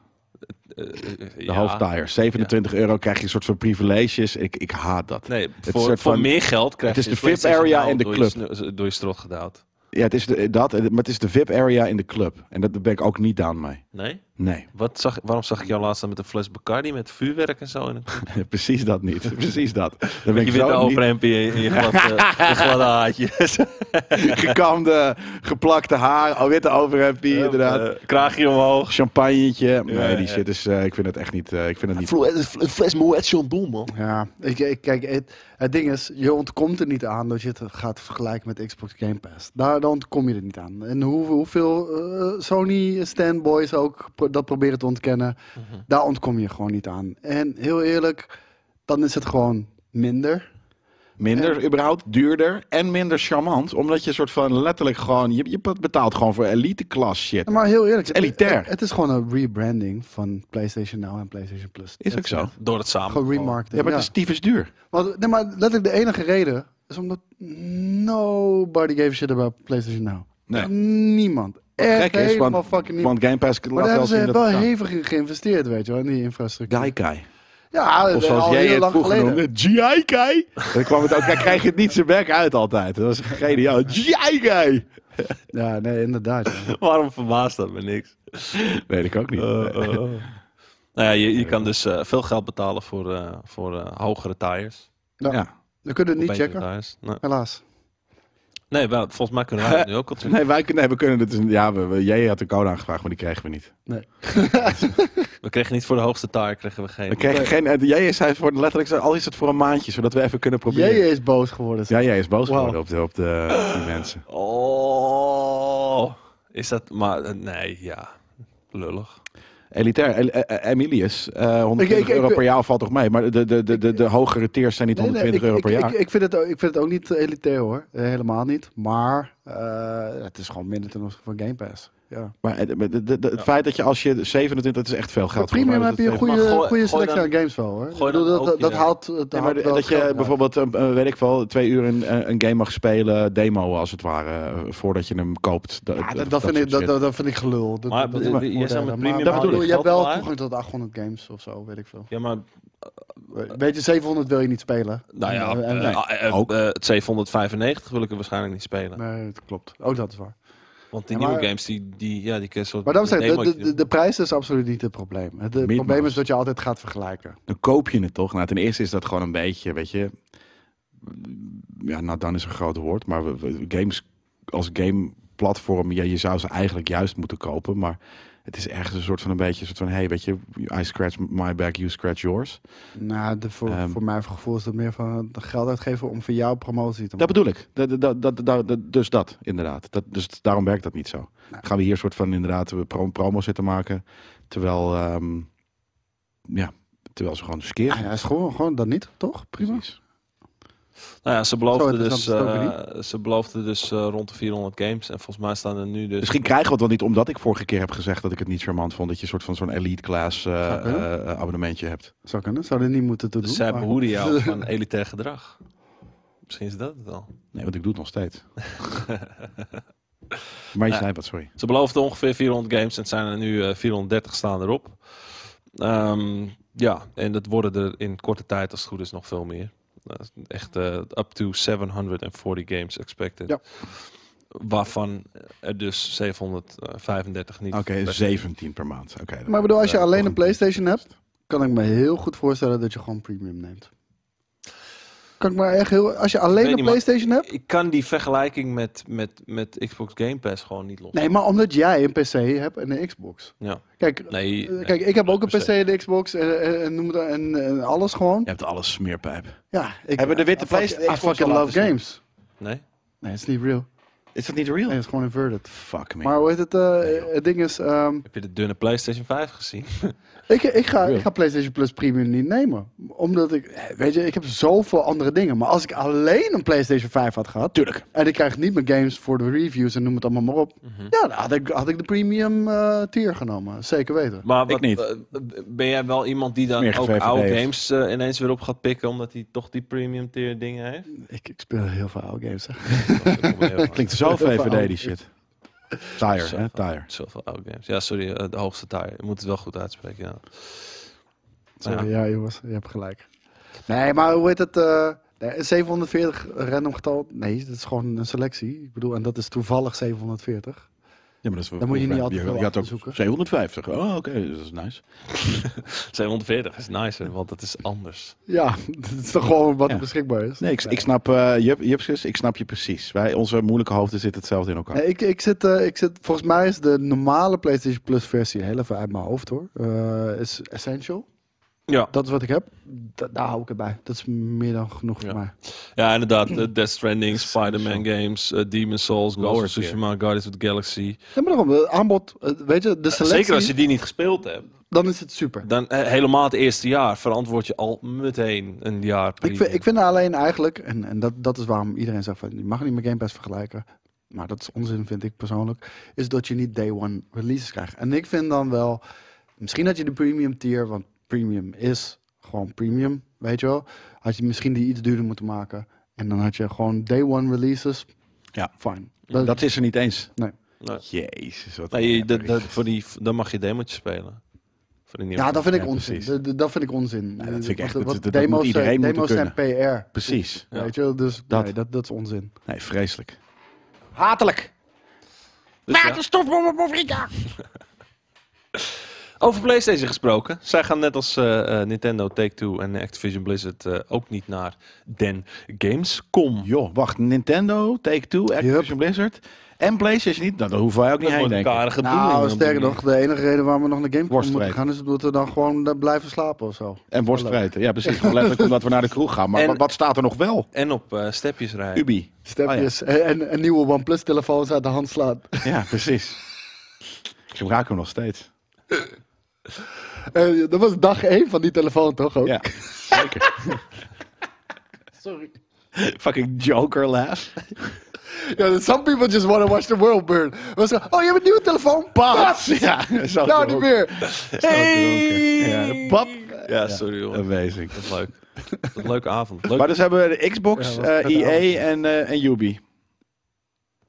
A: eh, eh,
D: De
A: ja.
D: hoofdtires. 27 euro krijg je een soort van privileges. Ik, ik haat dat.
A: Nee,
D: een
A: voor,
D: soort
A: voor
D: van-
A: meer geld krijg
D: het
A: je
D: is de
A: een
D: VIP area
A: PlayStation
D: in de
A: door je snu- door je strot gedouwd.
D: Ja, het is de, dat, eh, maar het is de VIP-area in de club. En dat daar ben ik ook niet down mee.
A: Nee?
D: Nee,
A: Wat zag, waarom zag ik jou laatst dan met een fles Bacardi met vuurwerk en zo? In een,
D: precies dat niet. Precies dat. Dan ben
A: je
D: ik
A: witte
D: zo niet
A: overhemdje E in je- eh, in je gladde je gladde haartjes.
D: gekamde, geplakte haar, al witte overhemdje, inderdaad.
A: Eh, kraagje omhoog.
D: Champagnetje. Nee,
A: ja,
D: die
A: ja.
D: shit is, eh, ik vind het echt niet, eh, ik vind het niet.
A: Een fles Moet Chandon, man.
B: Ja, ik, ik, kijk, het, het ding is, je ontkomt er niet aan dat je het gaat vergelijken met Xbox Game Pass. Daar dan ontkom je er niet aan. En hoe, hoeveel eh, Sony-standboys ook pro- dat proberen te ontkennen, daar ontkom je gewoon niet aan. En heel eerlijk, dan is het gewoon minder.
D: Minder, überhaupt duurder en minder charmant. Omdat je een soort van letterlijk gewoon, je, je betaalt gewoon voor elite klas shit.
B: Maar heel eerlijk,
D: Het is elitair.
B: Het, het is gewoon een rebranding van PlayStation Now en PlayStation Plus.
D: Is ook
B: That's
D: zo.
B: it.
A: Door het samen.
B: Gewoon remarketing.
D: Ja, maar het is tyfus duur.
B: Want, nee, maar letterlijk de enige reden is omdat nobody gave a shit about PlayStation Now.
D: Nee.
B: Niemand. Echt
D: Gek is,
B: helemaal
D: want,
B: fucking niemand.
D: want Game Pass laat
B: Maar daar hebben
D: wel
B: ze
D: zien dat
B: wel
D: het kan.
B: hevig in geïnvesteerd, weet je wel, in die infrastructuur.
D: Gaikai.
B: Ja,
D: Of
B: al
D: zoals jij
B: heel
D: het
B: lang
D: vroeger
B: geleden.
D: noemde, Gaikai. Dan kwam het ook, dan krijg je het niet zijn bek uit altijd. Dat was geniaal. Gaikai.
B: Ja, nee, inderdaad. ja.
A: Waarom verbaast dat me niks?
D: Weet ik ook niet.
A: nou ja, je, je kan dus eh, veel geld betalen voor, eh, voor eh, hogere tires.
D: ja.
B: We kunnen
A: Of
B: het niet
A: betere
B: checken,
A: Tires. Nee,
B: helaas.
A: nee wel, volgens mij kunnen wij dat nu ook al doen.
D: Nee, wij kunnen, nee, we kunnen het. dus- Ja, we, we- jij had de code aangevraagd, maar die kregen we niet.
A: We kregen niet voor de hoogste tire, kregen we geen.
D: We kregen geen. eh, Jij zei voor letterlijk, zo, al is het voor een maandje, zodat we even kunnen proberen.
B: Jij is boos geworden.
D: Ja, jij is boos
B: Wauw.
D: geworden op, de, op de, die mensen.
A: Oh, is dat... Maar eh, nee, ja. Lullig.
D: elitair. El- eh, eh, Emilius, eh 120
B: Ik- ik- ik-
D: euro per jaar valt toch mee. Maar de, de, de, de, de hogere tiers zijn niet
B: Nee, nee,
D: 120
B: ik-
D: euro per
B: ik,
D: jaar.
B: Ik, ik, vind het, ook- ik vind het ook niet elitair hoor. Eh, Helemaal niet. Maar eh, het is gewoon minder ten opzichte van Game Pass. Ja.
D: maar eh, de- de- de- het feit dat je als je 27, dat is echt veel
B: Voor
D: geld. Volgens
B: premium
D: mij
B: heb
D: dat
B: je
D: het
B: een
A: maar
D: even-
B: goede,
A: gooi-
B: goede
A: gooi
B: selectie
A: dan-
B: aan games wel hoor. Ik
A: gooi dan
B: bedoel, dat,
A: ook
B: dat, dat
A: je-
B: haalt. Dat,
D: Nee,
B: haalt
D: maar
B: wel
D: dat je
B: geld uit.
D: bijvoorbeeld, een, een- weet ik wel, twee uur een, een game mag spelen, demo als het ware, eh, voordat je hem koopt.
B: Ja, dat, dat, vind ik,
D: soort
B: dat,
D: shit.
B: dat, dat vind ik gelul. Dat,
A: Maar
B: dat,
A: je-
B: dat-
A: je
B: dat-
A: zou met
B: maar-
A: premium
B: maar
D: haal je
B: bedoel, je hebt
A: geld
B: wel
A: wel uit?
B: toegang tot 800 games of zo, weet ik veel.
A: Ja, maar
B: Weet je, 700 wil je niet spelen.
A: nou ja,
B: En- en-
A: eh, eh, eh,
D: Ook.
A: eh, het 795 wil ik er waarschijnlijk niet spelen.
B: Nee, dat klopt. Ook dat is waar.
A: Want die
B: Ja, maar-
A: nieuwe games, die, die, ja, die kun je soort
B: Maar dan zeg ik, de,
A: demootje
B: de, de, de prijs is absoluut niet het probleem. Het het
D: Meat
B: probleem is
D: Mouse.
B: dat je altijd gaat vergelijken.
D: Dan koop je het toch? Nou, ten eerste is dat gewoon een beetje, weet je. Ja, nou dan is een groot woord, maar we- we- games als gameplatform, ja, je zou ze eigenlijk juist moeten kopen, maar het is ergens een soort van een beetje, een soort van, hey, weet je, I scratch my back, you scratch yours.
B: Nou, de, voor,
D: Ehm.
B: voor mijn gevoel is dat meer van eh, geld uitgeven om voor jou promotie te
D: Dat
B: maken.
D: bedoel ik. Dat, dat, dat, dat- dat- dus dat, inderdaad. Dat, dus daarom werkt dat niet zo.
B: Nou.
D: Gaan we hier een soort van inderdaad we pro promo zitten maken, terwijl, ehm, ja, terwijl ze gewoon skeren.
B: Ah, ja, is gewoon, gewoon dat niet, toch? Prima.
D: Precies.
A: Nou ja, ze beloofden
B: Zo
A: dus,
B: interessant is het
A: eh, ze beloofden dus eh, rond de 400 games. En volgens mij staan er nu dus...
D: Misschien krijgen we het wel niet, omdat ik vorige keer heb gezegd dat ik het niet charmant vond. Dat je een soort van zo'n elite class eh,
B: Zou kunnen.
D: eh, abonnementje hebt.
B: Zou kunnen, zouden niet moeten te doen.
A: Dus zij
B: maar-
A: behoeden jou van elitair gedrag. Misschien is dat het wel.
D: Nee, want ik doe het nog steeds. maar je zei wat, sorry.
A: Ze beloofden ongeveer 400 games en het zijn er nu eh, 430 staan erop. Ehm, ja, en dat worden er in korte tijd als het goed is nog veel meer. Dat is Echt eh, up to 740 games expected.
B: Ja.
A: Waarvan er dus 735 niet.
D: Oké,
A: per-
D: 17 per maand. Oké. dan-
B: Maar ik bedoel, als je
D: dan-
B: alleen
D: toch
B: een PlayStation hebt, kan ik me heel goed voorstellen dat je gewoon premium neemt. Kan ik maar echt heel. Als je alleen
A: weet
B: een
A: niet, maar-
B: PlayStation hebt.
A: Ik kan die vergelijking met, met, met Xbox Game Pass gewoon niet los.
B: Nee, maar omdat jij een PC hebt en een Xbox.
A: Ja.
B: Kijk,
A: Nee,
B: eh,
A: nee,
B: kijk ik heb ook een
A: per
B: PC
A: se.
B: en een Xbox en, eh, en, en noem het- en, en alles gewoon.
D: Je hebt alles smeerpijp.
B: Ja, ik,
D: Hebben de witte
B: I fuck-
D: PlayStation-
B: I fucking
D: al
B: love
D: laten zien.
B: games.
A: Nee?
B: Nee, het is niet real.
D: Is dat niet real?
B: Nee, het is gewoon inverted.
D: Fuck me.
B: Maar hoe heet het? eh,
D: Nee, joh.
B: het ding is, ehm,
A: Heb je de dunne PlayStation 5 gezien?
B: ik, ik, ga,
D: Real.
B: ik ga PlayStation Plus Premium niet nemen. Omdat ik, eh, weet je, ik heb zoveel andere dingen. Maar als ik alleen een PlayStation 5 had gehad.
D: Tuurlijk. Mhm.
B: En ik krijg niet mijn games voor de reviews en noem het allemaal maar op. Ja, dan had ik, had ik de premium eh, tier genomen. Zeker weten.
A: Maar wat,
D: Ik niet.
A: eh, ben jij wel iemand die dan
D: Meer
A: ook
D: GVVD
A: oude
D: heeft.
A: games eh, ineens weer op gaat pikken, omdat hij toch die premium tier dingen heeft?
B: Ik, ik speel heel veel oude games. hè.
A: Dat
D: Klinkt zo VVD, die
B: veranderd.
D: shit. Tire,
A: Zo.
D: hè? Tire.
A: Zoveel oude games. Ja, sorry, eh, de hoogste tire. Je moet het wel goed uitspreken. Ja.
B: Sorry, Ah, ja. jongens, je hebt gelijk. Nee, maar hoe heet het? eh, nee, 740 random getal? Nee, dat is gewoon een selectie. Ik bedoel, en dat is toevallig 740.
D: Ja, maar dat is wel-
B: Dan moet je niet altijd
D: Je
B: veel
D: had ook
B: zoeken.
D: 750. Oh, oké. Dat is nice.
A: 740 is nicer, want dat is anders.
B: Ja, dat is toch gewoon wat
D: Ja.
B: er beschikbaar is.
D: Nee, ik, ik snap, eh Jup, Jupskes, ik snap je precies. Wij, onze moeilijke hoofden zitten hetzelfde in elkaar.
B: Nee, ik, ik, zit, eh, ik zit, volgens mij is de normale PlayStation Plus versie, heel even uit mijn hoofd hoor, eh, is Essential.
A: Ja,
B: Dat is wat ik heb. Da- daar hou ik het bij. Dat is meer dan genoeg
A: Ja.
B: voor mij.
A: ja inderdaad. eh, Death Stranding, Spider-Man games, eh, Demon's Souls, Ghost
D: Lower
A: of Tsushima, Guardians of the Galaxy.
B: Ja, maar daarom, het aanbod, eh, weet je, de selectie,
A: Zeker als je die niet gespeeld hebt.
B: dan is het super.
A: Dan eh, helemaal het eerste jaar verantwoord je al meteen een jaar
B: Ik
A: premium.
B: vind, ik vind alleen eigenlijk, en, en dat, dat is waarom iedereen zegt van je mag niet met Game Pass vergelijken. Maar dat is onzin, vind ik persoonlijk. Is dat je niet day one releases krijgt. En ik vind dan wel, misschien had je de premium tier, want premium is gewoon premium, weet je wel. Had je misschien die iets duurder moeten maken. En dan had je gewoon day one releases.
D: Ja.
B: fine.
D: dat, is er niet eens.
B: Nee.
A: Nee.
D: Jezus, wat
A: Nee,
D: een
A: dat-
D: erg.
A: dat- voor die, dan mag je demotjes spelen. Voor die nieuwe
B: Ja, dat vind ik
D: Ja,
B: onzin.
D: precies.
B: Dat- Dat, dat vind ik onzin.
D: dat vind ik echt-
B: Want-
D: dat-
B: want
D: dat- dat moet
B: demo's zijn-
D: iedereen
B: demo's
D: moeten
B: zijn PR.
D: Precies.
A: Ja.
B: Weet je wel, dus
D: Dat.
B: nee, dat, dat is onzin.
D: Nee, vreselijk.
E: Hatelijk.
A: Dus ja.
E: Waterstofbom op Afrika.
A: Over PlayStation gesproken. Zij gaan net als eh, eh, Nintendo, Take-Two en Activision Blizzard eh, ook niet naar Den Gamescom.
D: Joh, wacht. Nintendo, Take-Two, Activision Blizzard en PlayStation niet. Nou, daar hoeven wij ook niet
A: Dat
D: heen,
A: wordt een
D: denk ik.
A: karige
B: Nou,
A: bedoeling.
B: sterker nog, de enige reden waarom we nog naar Gamecom
D: Worstvreten.
B: moeten gaan is omdat we dan gewoon eh, blijven slapen of zo.
D: En worstvreten. Ja, precies. Gewoon letterlijk omdat we naar de kroeg gaan. Maar
A: En-
D: wat, wat staat er nog wel?
A: En op eh, stepjes rijden.
D: Ubi.
B: Stepjes en, eh, en, en nieuwe
D: Oh
B: OnePlus-telefoons uit de hand slaan.
D: Ja, precies. Ik gebruik hem nog steeds.
B: Eh, dat was dag één van die telefoon, toch? Ook?
D: Ja, zeker.
B: Sorry.
D: Fucking Joker laugh.
B: Ja, dus some people just want to watch the world burn. Was zo, oh, je hebt een nieuwe telefoon? Pas!
D: Ja, zo
B: Nou, niet
D: dronken.
B: meer.
D: Zo dronken. Ja, pap.
A: Ja, sorry joh.
D: Amazing.
A: Dat is leuk. Dat is een leuke avond. Leuk.
D: Maar dus hebben we de Xbox,
A: Ja, wat
D: eh,
A: een vette
D: EA en, eh en Ubi.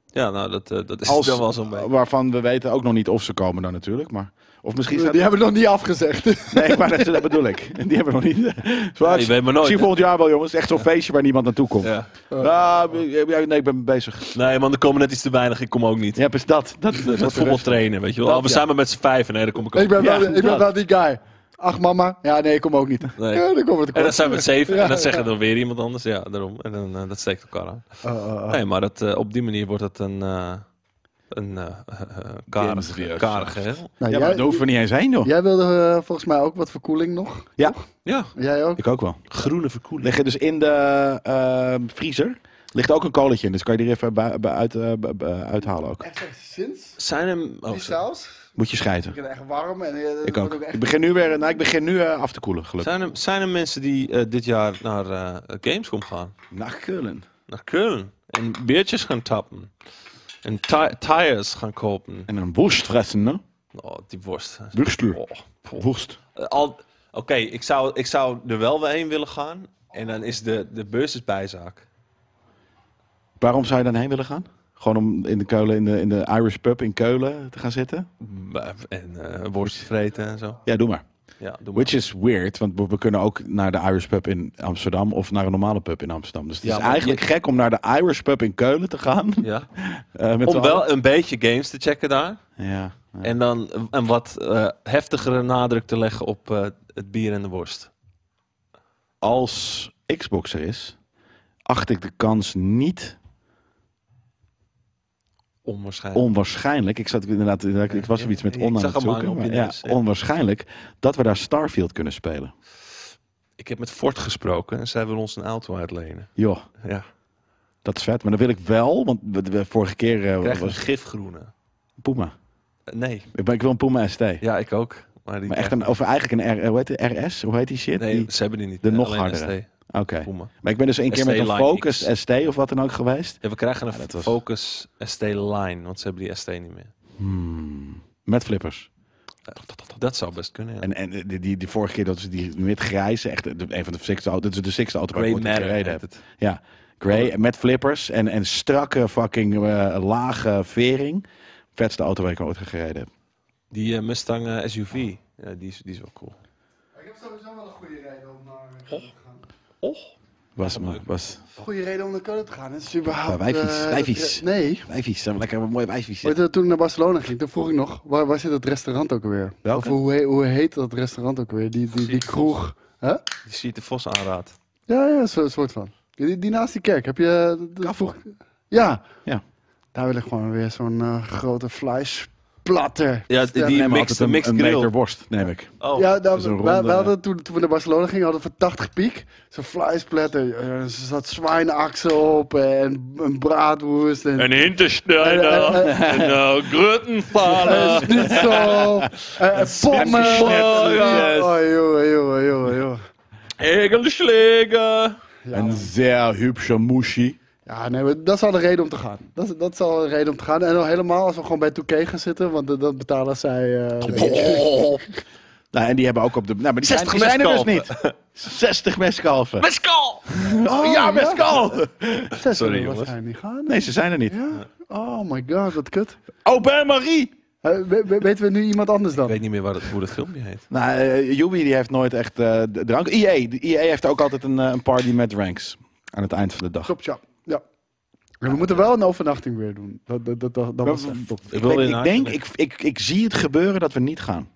A: Ja, nou, dat, eh, dat is
D: Als-
A: dan wel zo'n beetje.
D: Waarvan we weten ook nog niet of ze komen dan natuurlijk. Maar, of misschien staat...
B: Die hebben nog niet afgezegd.
D: Nee, maar dat, dat bedoel ik. Die hebben we nog niet. Zo,
A: Ja, je weet maar nooit, hè?
D: Misschien volgend jaar wel, jongens. Het is echt zo'n feestje waar niemand naartoe komt.
A: Ja.
D: Ah, ja, nee, ik ben bezig.
A: Nee, man, er komen net iets te weinig. Ik kom ook niet.
D: Ja, is dat. Dat, dat,
A: Met voetbal trainen, weet je wel.
D: Dat,
A: Oh, we
D: ja.
A: zijn maar met z'n vijven. Nee, dan kom ik ook.
B: Ik ben,
D: Ja,
B: wel, ik ben
D: dat.
B: wel die guy. Ach, mama. Ja, nee, ik kom ook niet.
A: Nee.
B: Ja, dan komt het
A: En dan
B: kort.
A: zijn we met zeven. en
B: Ja,
A: dan zeggen dan weer iemand anders. Ja, daarom. En dan, eh, dat steekt elkaar aan.
B: Oh, oh, oh.
A: Nee, maar dat, eh, op die manier wordt het een, eh een eh eh, karig,
D: Demiserieus.
A: karig geheel.
B: Nou,
D: Ja, maar
B: jij,
D: daar hoeven we niet eens heen, joh.
B: jij wilde eh, volgens mij ook wat verkoeling nog.
D: Ja,
A: Ja,
B: Jij ook?
D: ik ook wel.
A: groene verkoeling.
D: Liggen dus in de eh, vriezer. Ligt ook een koletje in, dus kan je er even bij, bij uit, eh, bij- bij uithalen ook.
B: Echt sinds
A: Zijn hem... Oh,
B: die
A: sorry.
B: saus.
D: Moet je schijten.
B: Ik ben echt warm en eh, het
D: Ik
B: wordt
D: ook.
B: ook echt
D: Ik begin nu weer, nou, ik begin nu eh, af te koelen, gelukkig.
A: zijn, hem, zijn er mensen die eh, dit jaar naar eh, Gamescom gaan?
D: Naar Keulen.
A: Naar Keulen. En beertjes gaan tappen. En ti- tires gaan kopen.
D: En een worst fressen, hè?
A: Oh, die worst.
D: Wurstlu.
A: Oh, poh.
D: Worst.
A: Eh, al- Oké, ik, zou, ik zou er wel weer heen willen gaan. En dan is de, de beurs is bijzaak.
D: Waarom zou je dan heen willen gaan? Gewoon om in de Keulen, in de, in de Irish pub in Keulen te gaan zitten?
A: Maar- En eh worst vreten en zo.
D: Ja, doe maar.
A: Ja, doe maar.
D: Which is weird, want we, we kunnen ook naar de Irish pub in Amsterdam of naar een normale pub in Amsterdam. Dus het
A: Ja,
D: is
A: maar
D: eigenlijk gek om naar de Irish pub in Keulen te gaan.
A: Ja.
D: eh, met z'n
A: Om
D: allen.
A: wel een beetje games te checken daar.
D: Ja. ja.
A: En dan een wat eh, heftigere nadruk te leggen op eh, het bier en de worst.
D: Als Xbox er is, acht ik de kans niet
A: Onwaarschijnlijk.
D: onwaarschijnlijk. Ik, zat inderdaad, ik, ik was er iets met
A: Ik
D: on aan
A: zag
D: het
A: hem hangen
D: zoeken.
A: op je
D: maar ja,
A: neus, ja.
D: onwaarschijnlijk dat we daar Starfield kunnen spelen.
A: Ik heb met Ford gesproken en zij wil ons een auto uitlenen.
D: Joh,
A: Ja.
D: dat is vet. Maar dan wil ik wel, want we, we- vorige keer eh,
A: Krijg een
D: was
A: gifgroene.
D: Puma.
A: Eh, nee.
D: Ik, ben- ik wil een Puma ST.
A: Ja, ik ook. Maar, die
D: Maar echt
A: krijgt-
D: een, of eigenlijk een R, eh, hoe heet die, RS, hoe heet die shit?
A: Nee,
D: Die-
A: ze hebben die niet.
D: de
A: Eh,
D: nog
A: alleen
D: hardere.
A: ST.
D: Oké.
A: Puma.
D: Maar ik ben dus een keer
A: ST
D: met een
A: Line
D: Focus
A: X.
D: ST of wat dan ook geweest.
A: Ja, we krijgen een
D: Ja, dat was-
A: Focus ST Line, want ze hebben die ST niet meer.
D: Hmm. Met flippers.
A: Dat zou best kunnen. Ja.
D: En, en die, die, die vorige keer dat ze die met grijze, echt de- een van de sixte auto's. Dat is de sixte auto waar ik
A: Grey
D: ooit in
A: Matter
D: gereden
A: heet
D: heb. Ja, grey met flippers en, en strakke fucking eh, lage vering. Vetste auto waar ik ooit gereden heb.
A: Die eh, Mustang eh, SUV, ja, die, is, die is wel cool.
B: Ik heb sowieso wel een goede reden om naar Keulen te gaan.
A: Och.
D: Was, was
B: Goede reden om naar Keulen te gaan. Het is überhaupt...
D: Ja, wijfies,
B: eh,
D: wijfies.
B: Nee.
D: wijfies, zijn we lekker een mooie wijfies.
B: Weet je, toen ik naar Barcelona ging, toen vroeg ik nog, waar, waar zit dat restaurant ook weer?
D: Welke?
B: Of hoe, he- hoe heet dat restaurant ook weer? Die, die, die kroeg. Hè?
A: Die ziet de Vos aanraadt.
B: Ja, ja, zo, soort van. Die, die naast die kerk, heb je... dat- dat vroeg- Ja.
D: Ja.
B: Daar wil ik gewoon weer zo'n eh, grote vleesplatter.
A: Ja, die, die
D: Neem maar
A: mixed,
D: altijd een,
A: mixed
D: een
A: grill.
D: meter worst, neem ik.
A: Oh,
B: ja, dan,
D: zo'n
B: wij,
D: ronde-
B: wij hadden toen, toen we naar Barcelona gingen, hadden we 80 piek. Zo'n vleesplatter. eh, Er zat zwijnaxen op en een braadwoest. En,
A: Een Hintersteiner.
B: Eh,
A: een uh, Gruttenfalen.
B: Dat is niet zo. Eh, Pommen.
D: Schnitzels.
B: Oh, joh, joh, joh, joh. eh.
A: Egelschläger.
B: Ja,
D: Een zeer hübsche mushi.
B: ja nee, maar dat is al een reden om te gaan. Dat is, dat is al een reden om te gaan. En al helemaal als we gewoon bij 2K gaan zitten, want dat- dat betalen zij. eh
D: Nou, en die hebben ook op de... Nou, maar die
A: 60
D: zijn, die zijn er dus
A: meskalven.
D: niet. 60 meskalven.
A: Mescal!
D: Oh, ja, mescal!
B: Zij zullen
A: jongens.
B: waarschijnlijk niet gaan.
D: Nee, ze zijn er niet.
B: Ja? Oh my god, wat kut.
D: Oh, ben Marie!
B: Eh, we- we- weten we nu iemand anders
A: Ik
B: dan?
A: weet niet meer waar dat, hoe dat filmpje heet.
D: Nou, eh, Yubi die heeft nooit echt eh, d- drank. EA, de EA heeft ook altijd een, eh, een party met ranks. Aan het eind van de dag.
B: Klopt, ja. ja. En we moeten wel een overnachting weer doen. Dat, dat, dat, dat, dat was echt top.
D: Ik,
A: wil
D: weet-
A: in
D: ik denk,
A: Haarlem.
D: ik, ik, ik zie het gebeuren dat we niet gaan.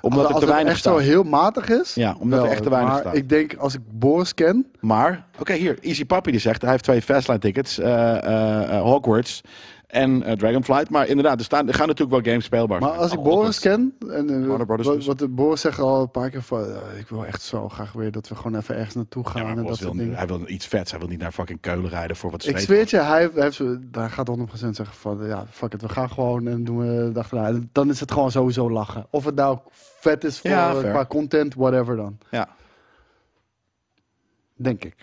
D: Omdat
B: Als
D: er te
B: het
D: weinig
B: echt zo
D: staat.
B: heel matig is.
D: Ja, omdat er echt te weinig
B: maar
D: staat.
B: Ik denk als ik Boris ken,
D: Maar, oké, hier, Easy Papi die zegt, hij heeft twee Fastlane tickets. eh, eh, eh, Hogwarts en eh, Dragonflight. Maar inderdaad, er, staan, er gaan natuurlijk wel games speelbaar
B: Maar
D: zijn.
B: als ik
D: Oh,
B: Boris
D: dat-
B: ken, en, eh,
D: Warner Brothers
B: wat,
D: dus.
B: wat de Boris zegt al een paar keer van, eh, ik wil echt zo graag weer dat we gewoon even ergens naartoe gaan
D: Ja, maar
B: en
D: Boris
B: dat soort
D: wil,
B: dingen.
D: hij wil iets vets. Hij wil niet naar fucking Keulen rijden voor wat
B: Ik
D: zweet.
B: zweer het je, hij, heeft- hij heeft, zo- hij gaat 100% zeggen van, ja, fuck it, we gaan gewoon en doen we de achterna. En Dan is het gewoon sowieso lachen. Of het nou vet is voor,
D: Ja, fair.
B: qua content, whatever dan.
D: Ja.
B: Denk ik.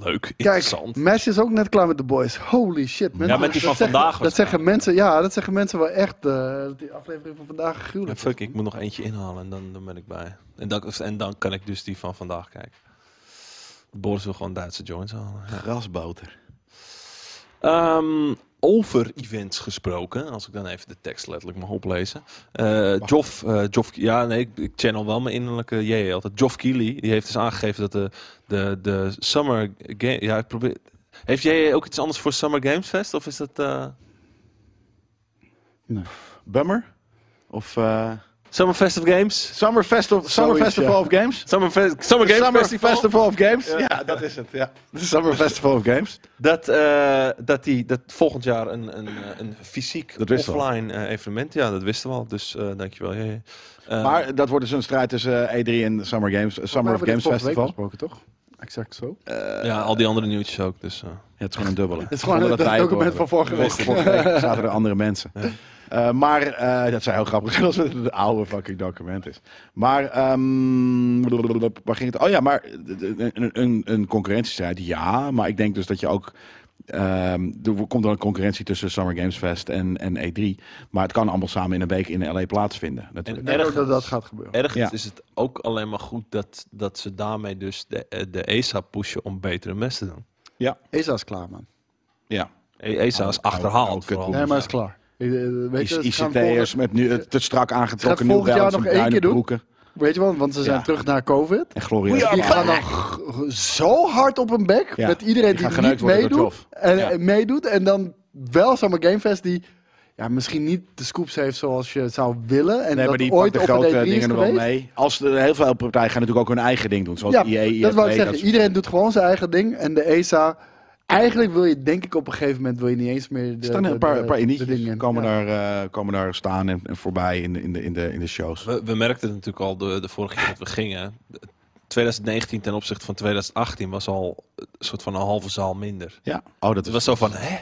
A: Leuk,
B: Kijk,
A: interessant.
B: Mesh is ook net klaar met de boys. Holy shit.
A: Ja,
B: mensen.
A: met die
B: Dat
A: van
B: zeggen-
A: vandaag
B: Dat zeggen mensen, ja, dat zeggen mensen wel echt. eh, die aflevering van vandaag
A: Ja,
B: gruwelijk.
A: fuck, ik moet nog eentje inhalen en dan, dan ben ik bij. En dan, en dan kan ik dus die van vandaag kijken. Boris wil gewoon Duitse joints halen. Ja.
D: Grasboter.
A: Ehm, over events gesproken, als ik dan even de tekst letterlijk mag oplezen. Eh Joff, eh, Joff, ja nee, ik, ik channel wel mijn innerlijke jij altijd. Joff Keely, die heeft dus aangegeven dat de, de, de Summer Game, ja ik probeer... Heeft jij ook iets anders voor Summer Games Fest? Of is dat... eh,
D: Bummer? Of eh,
A: Summer Fest of Games?
D: Summer, Festival, Summer
B: Zoiets,
D: Festival
B: ja.
D: of Games?
A: Summer, Fe- Summer Games
D: Summer
A: Festival?
D: Festival of Games? Ja. dat is het. Ja. De Summer Festival of Games.
A: Dat, eh, dat, die, dat volgend jaar een, een, eh, een fysiek
D: Dat wisten we al.
A: offline eh, evenement. Ja, dat wisten we al. Dus eh dankjewel. Ja, ja. Eh,
D: Maar dat wordt dus een strijd tussen eh, E3 en Summer Games, eh, Summer of Games Festival.
B: gesproken, toch? Exact
A: Eh,
B: zo.
A: ja, al die andere nieuwtjes ook. Dus, eh.
D: Ja, het is gewoon een dubbele.
B: Het is gewoon het document van vorige
D: Vorige
B: week.
D: vorige week zaten er andere mensen. Eh, maar eh, dat zijn heel grappig zijn als het een oude fucking document is. Maar ehm, waar ging het? Oh ja, maar een, een, een concurrentiestrijd, ja. Maar ik denk dus dat je ook. ehm, er komt dan een concurrentie tussen Summer Games Fest en, en E3. Maar het kan allemaal samen in een week in LA plaatsvinden.
B: Ik
D: Natuurlijk.
B: denk ook dat
A: Ergens.
B: dat gaat gebeuren.
A: Ergens
D: Ja.
A: is het ook alleen maar goed dat, dat ze daarmee dus de, eh, de ESA pushen om betere mes te doen. Eh,
B: ESA is klaar, man.
D: Ja.
A: E- ESA is
D: Oude- oude
A: achterhaald.
D: kut.
A: vooral.
B: Nee, maar is klaar. Eh, eh, Weet je, ze gaan
A: nou
D: ICT'ers
B: volgend-
D: met nu het te strak aangetrokken
B: Gaat volgend
D: New
B: jaar
D: Balance
B: nog één
D: en bruine
B: keer doen?
D: broeken.
B: Weet je wel, want ze zijn
D: Ja.
B: terug naar COVID.
D: En glorieus.
B: Die gaan dan g- zo hard op hun bek
D: Ja.
B: met iedereen
D: Die
B: die,
D: gaan geneukt
B: niet
D: worden door
B: meedoet
D: Joff.
B: en,
D: Ja.
B: en meedoet. En dan wel Summer Game Fest die ja, misschien niet de scoops heeft zoals je het zou willen. En
D: Nee,
B: dat
D: maar die
B: ooit
D: pakken
B: op
D: grote
B: een E3 is
D: dingen er wel
B: geweest.
D: mee. Als er, heel veel partijen gaan natuurlijk ook hun eigen ding doen. Zoals E,
B: Ja,
D: EA, EA,
B: dat wou ik
D: dat
B: zeggen.
D: soort-
B: Iedereen doet gewoon zijn eigen ding. En de ESA... Eigenlijk wil je, denk ik, op een gegeven moment wil je niet eens meer de,
D: Er staan
B: E, de-
D: een paar,
B: de-
D: een paar
B: de
D: indietjes,
B: dingen in.
D: komen,
B: Ja.
D: daar, eh, komen daar staan en, en voorbij in de, in, de, in, de, in de shows.
A: We, we merkten het natuurlijk al de, de vorige keer dat we gingen. 2019 ten opzichte van 2018 was al een soort van een halve zaal minder.
D: Ja. Oh, dat
A: Het
D: is...
A: was zo van, hè?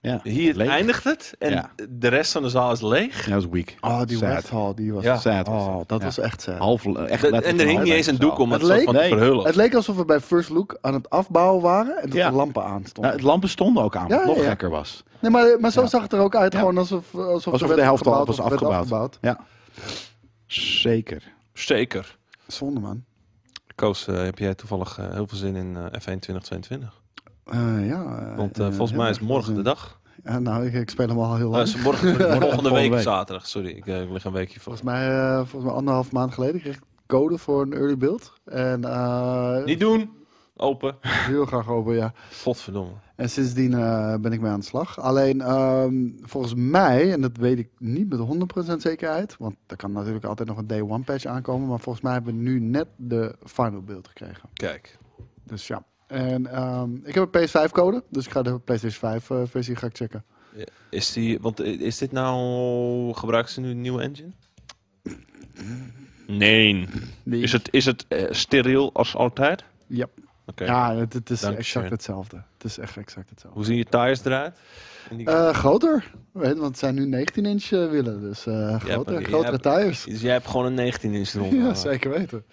D: ja.
A: Hier
D: Leeg.
A: eindigt het en
D: Ja.
A: de rest van de zaal is leeg.
D: Ja, dat is weak.
B: Oh, die
D: Sad.
B: West Hall, die was...
A: Ja.
D: Sad.
B: Oh, dat
D: Ja.
B: was echt sad.
D: Half, eh, echt
A: De- en
D: letterlijk
A: er hing niet
D: half
A: eens een
D: zaal.
A: doek om het,
B: Het
A: soort
B: leek-
A: van
D: Nee.
A: te verhullen.
B: Het leek alsof we bij First Look aan het afbouwen waren en dat
D: Ja.
B: de lampen aanstonden.
D: Nou, het lampen stonden ook aan, wat
B: Ja,
D: nog
B: ja, ja.
D: gekker was.
B: Nee, maar, maar zo
D: Ja.
B: zag het er ook uit.
D: Ja.
B: Gewoon alsof, alsof,
D: Alsof
B: er
D: de
B: werd
D: helft al
B: gebouwd
D: was
B: of er werd
D: afgebouwd. Ja. Zeker.
A: Zeker.
B: Zonde, man.
A: Koos, eh, heb jij toevallig eh, heel veel zin in eh, F1 2022?
B: Eh, ja, eh,
A: Want eh,
B: eh,
A: volgens mij
B: heel
A: is
B: erg
A: morgen de
B: zin.
A: dag.
B: Ja, nou, ik, ik speel hem al heel
A: Eh,
B: lang.
A: is morgen, volgende week,
D: week.
A: zaterdag. Sorry, ik, eh, ik lig een weekje voor.
B: volgens, mij, eh, volgens mij anderhalf maand geleden kreeg ik code voor een early build. En eh
A: Niet doen. Open.
B: heel graag open, ja.
A: Godverdomme.
B: En sindsdien eh, ben ik mee aan de slag. Alleen ehm, volgens mij, en dat weet ik niet met 100% zekerheid, want er kan natuurlijk altijd nog een day one patch aankomen, maar volgens mij hebben we nu net de final build gekregen.
A: Kijk.
B: Dus ja. En ehm, ik heb een PS5-code, dus ik ga de PlayStation 5-versie ga ik checken.
A: Is, die, want, eh, is dit nou... Gebruiken ze nu een nieuwe engine? Nee.
B: Die-
A: Is het, is het eh, steriel als altijd?
B: Ja.
A: Oké.
B: Ja, het, het is
A: Dankjewel.
B: exact hetzelfde. Het is echt exact hetzelfde.
A: Hoe zien je tires eruit? In die-
B: Eh, groter, weet, je, want het zijn nu 19-inch eh, willen, dus eh, groter,
A: maar die-
B: grotere
A: ja,
B: tires.
A: Dus jij hebt gewoon een 19 inch rond. eh,
B: Ja, zeker weten.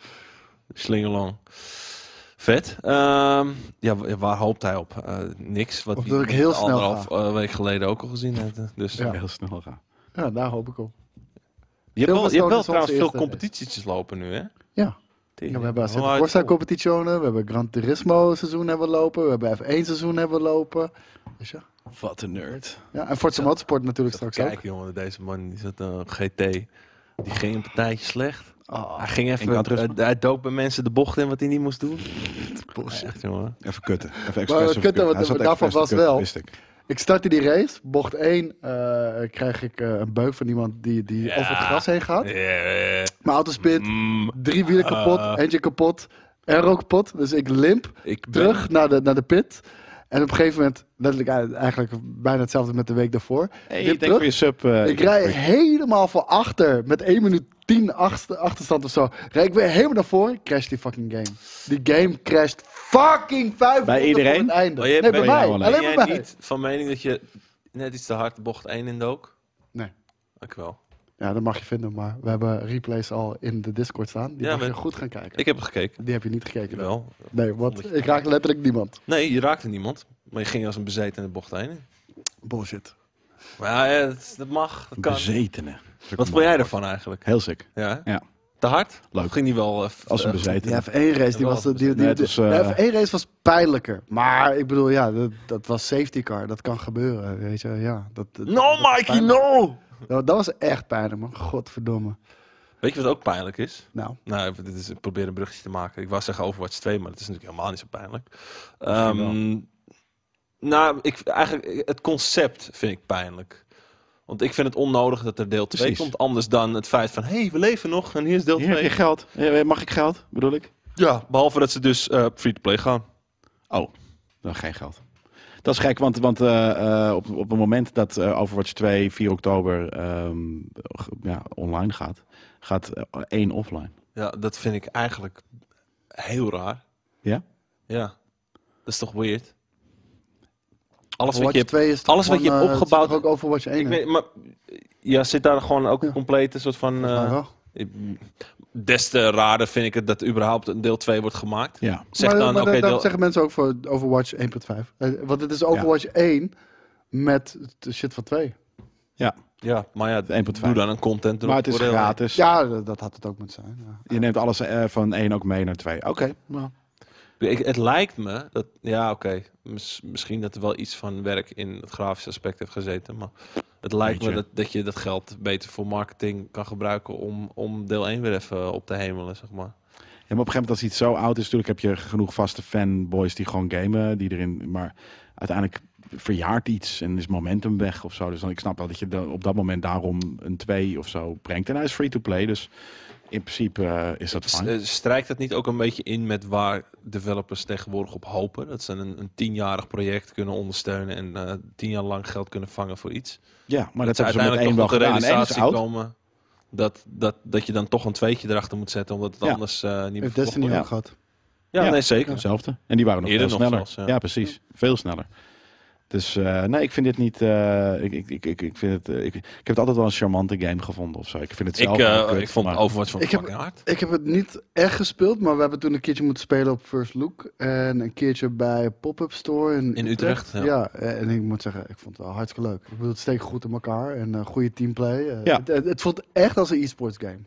A: Slingerlang. Vet. Ehm, ja, wa- waar hoopt hij op? Eh, niks. Wat
B: Op
A: hij
B: dat ik heel snel
A: anderhalf eh, week geleden ook al gezien had. eh, Dus
B: Ja.
D: Heel snel gaan.
B: Ja, daar hoop ik op.
A: je hebt wel, je
B: Silverstone
A: hebt wel
B: is
A: trouwens
B: onze
A: veel
B: eerste
A: competitietjes lopen nu, hè?
B: Ja. Ja, we hebben Assetto Corsa competitionen, we hebben Gran Turismo seizoen hebben we lopen, we hebben F1 seizoen hebben we lopen. Dus ja.
D: Wat een nerd.
B: ja, en Forza Motorsport natuurlijk straks
A: Kijk,
B: ook.
A: jongen, deze man die zat eh, een GT. Die ging een partijtje slecht.
B: Ah,
A: Hij ging
D: Ik
A: even.
D: had rust-
A: eh, hij dook bij mensen de bocht in wat hij niet moest doen. Echt, jongen.
D: Even kutten. Even expres
B: wat kutten,
D: even kutten.
B: want
D: Hij zat
B: daarvan
D: expres te
B: was
D: kutten,
B: wel-
D: wist ik.
B: Ik startte die race. Bocht 1 eh krijg ik eh, een beuk van iemand die, die
A: Ja. Mm.
B: over het gras heen gaat.
A: Yeah.
B: Mijn auto spint. Drie wielen kapot.
A: Ah.
B: eentje kapot. Aero kapot. Dus ik limp
A: Ik ben-
B: terug naar de, naar de pit. En op een gegeven moment, letterlijk e- eigenlijk bijna hetzelfde met de week daarvoor.
D: Hey,
B: Dit
D: denk voor je sub. eh,
B: ik rij helemaal voor achter met 1 minuut 10 achter, achterstand of zo. Rijd ik weer helemaal naar voren, crasht die fucking game. Die game crasht fucking 5
D: Bij iedereen?
B: het einde.
A: Maar Oh, jij-
B: nee, bij,
A: ben-
B: mij.
D: ben
A: Ben
B: Alleen
A: jij
B: bij mij.
A: niet van mening dat je net iets te hard de bocht 1 in dook?
B: Nee.
A: Ik wel.
B: Ja, dat mag je vinden, maar we hebben replays al in de Discord staan. Die
A: Ja,
B: mag je
A: maar-
B: goed gaan kijken.
A: Ik heb er gekeken.
B: Die heb je niet gekeken. dan.
A: Wel.
B: Nee, want
A: Vond ik-
B: ik raak letterlijk niemand.
A: Nee, je raakte niemand. Maar je ging als een bezeten in de bocht 1 in.
B: Bullshit.
A: Maar ja, ja, dat, dat mag. Dat kan.
D: Bezetene.
A: Wat vond jij ervan eigenlijk?
D: Heel sick.
A: Ja?
D: Ja.
A: Te hard?
D: Leuk.
A: Of ging die wel... eh, f-
D: Als een
A: eh,
D: bezetene.
B: De F1 race, die
A: Wel,
B: was, de, die, die,
D: nee, het was, eh,
B: de F1 race was pijnlijker. Maar ik bedoel, ja, dat, dat was safety car. Dat kan gebeuren, weet je. Ja, dat, dat-
A: No, Mikey, no!
B: dat, dat was echt pijnlijk, man. Godverdomme.
A: Weet je wat ook pijnlijk is?
B: Nou,
A: Nou, even- dit is, ik probeer een bruggetje te maken. Ik wou zeggen Overwatch 2, maar dat is natuurlijk helemaal niet zo pijnlijk.
D: Misschien
A: Ehm, nou, ik, eigenlijk, het concept vind ik pijnlijk. Want ik vind het onnodig dat er deel 2
D: Precies.
A: komt. Anders dan het feit van, hé, hey, we leven nog en hier is deel
D: Hier heb
A: 2.
D: je geld. Eh, Mag ik geld, bedoel ik?
A: Ja, behalve dat ze dus eh, free-to-play gaan.
D: Oh, dan geen geld. Dat is gek, want, want eh, eh, op, op het moment dat eh, Overwatch 2 4 oktober ehm, g- ja, online gaat, gaat eh, één offline.
A: Ja, dat vind ik eigenlijk heel raar.
D: Ja?
A: Ja. Dat is toch weird? Alles wat
B: Overwatch
A: je hebt
B: 2 is toch
A: alles wat je
B: gewoon,
A: hebt
B: eh, het is
A: opgebouwd-
B: toch ook Overwatch 1.
A: Ik
B: hè?
A: weet, maar ja, zit daar gewoon ook een
B: Ja.
A: complete soort van.
B: Maar
A: eh
B: wel.
A: des te raarder vind ik het dat überhaupt een deel 2 wordt gemaakt.
D: Ja.
A: Zeg
B: maar
A: dan,
B: maar
A: oké,
B: dat, dat
A: deel-
B: zeggen mensen ook voor Overwatch 1.5. Eh, want het is Overwatch 1 met de shit van 2.
A: ja, maar ja,
D: 1.5.
A: doe dan een content erop
D: Maar het is
A: voor deel één.
D: gratis.
B: Ja, dat, dat had het ook moeten zijn. Ja.
D: Je neemt alles eh, van één ook mee naar twee. Oké.
B: Nou,
A: Ik, het lijkt me dat, ja, oké, mis- misschien dat er wel iets van werk in het grafische aspect heeft gezeten, maar het lijkt me
D: Beetje.
A: dat, dat je dat geld beter voor marketing kan gebruiken om, om deel 1 weer even op te hemelen, zeg maar.
D: Ja, maar op een gegeven moment als iets zo oud is, natuurlijk heb je genoeg vaste fanboys die gewoon gamen, die erin, maar uiteindelijk verjaart iets en is momentum weg of zo. Dus dan ik snap wel dat je da- op dat moment daarom een 2 of zo brengt. En hij is free to play, dus in principe eh, is dat
A: S-
D: fijn.
A: eh, Strijkt dat niet ook een beetje in met waar developers tegenwoordig op hopen? Dat ze een, een tienjarig project kunnen ondersteunen en eh, tien jaar lang geld kunnen vangen voor iets.
D: Ja, maar dat,
A: ze
D: hebben ze met één wel
A: tot de
D: gedaan. Eén is
A: realisatie
D: oud.
A: komen dat, dat, dat je dan toch een tweetje erachter moet zetten, omdat het
D: Ja.
A: anders eh, niet meer
B: heeft
A: verkocht
B: Destiny
A: wordt.
B: ook gehad.
A: Ja,
D: Ja.
A: nee, zeker.
D: Hetzelfde. En die waren nog
A: Eerder
D: veel
A: nog
D: sneller.
A: zelfs,
D: ja.
A: ja.
D: precies. Veel sneller. Dus eh, nee, ik vind dit niet. eh, ik, ik, ik, ik- ik, vind het, eh, ik, ik heb het altijd wel een charmante game gevonden of zo. Ik vind het zelf.
A: Ik, eh,
D: wel kut,
A: ik vond
D: maar-
A: Overwatch van
B: Ik heb-
A: fucking hard.
B: Ik heb het niet echt gespeeld, maar we hebben toen een keertje moeten spelen op First Look. En een keertje bij Pop-Up Store in,
A: In Utrecht,
B: Ja. en ik moet zeggen, ik vond het wel hartstikke leuk. Ik bedoel, het steekt goed in elkaar en eh, goede teamplay. Eh,
D: Ja.
B: het, het, het voelt echt als een e-sports game.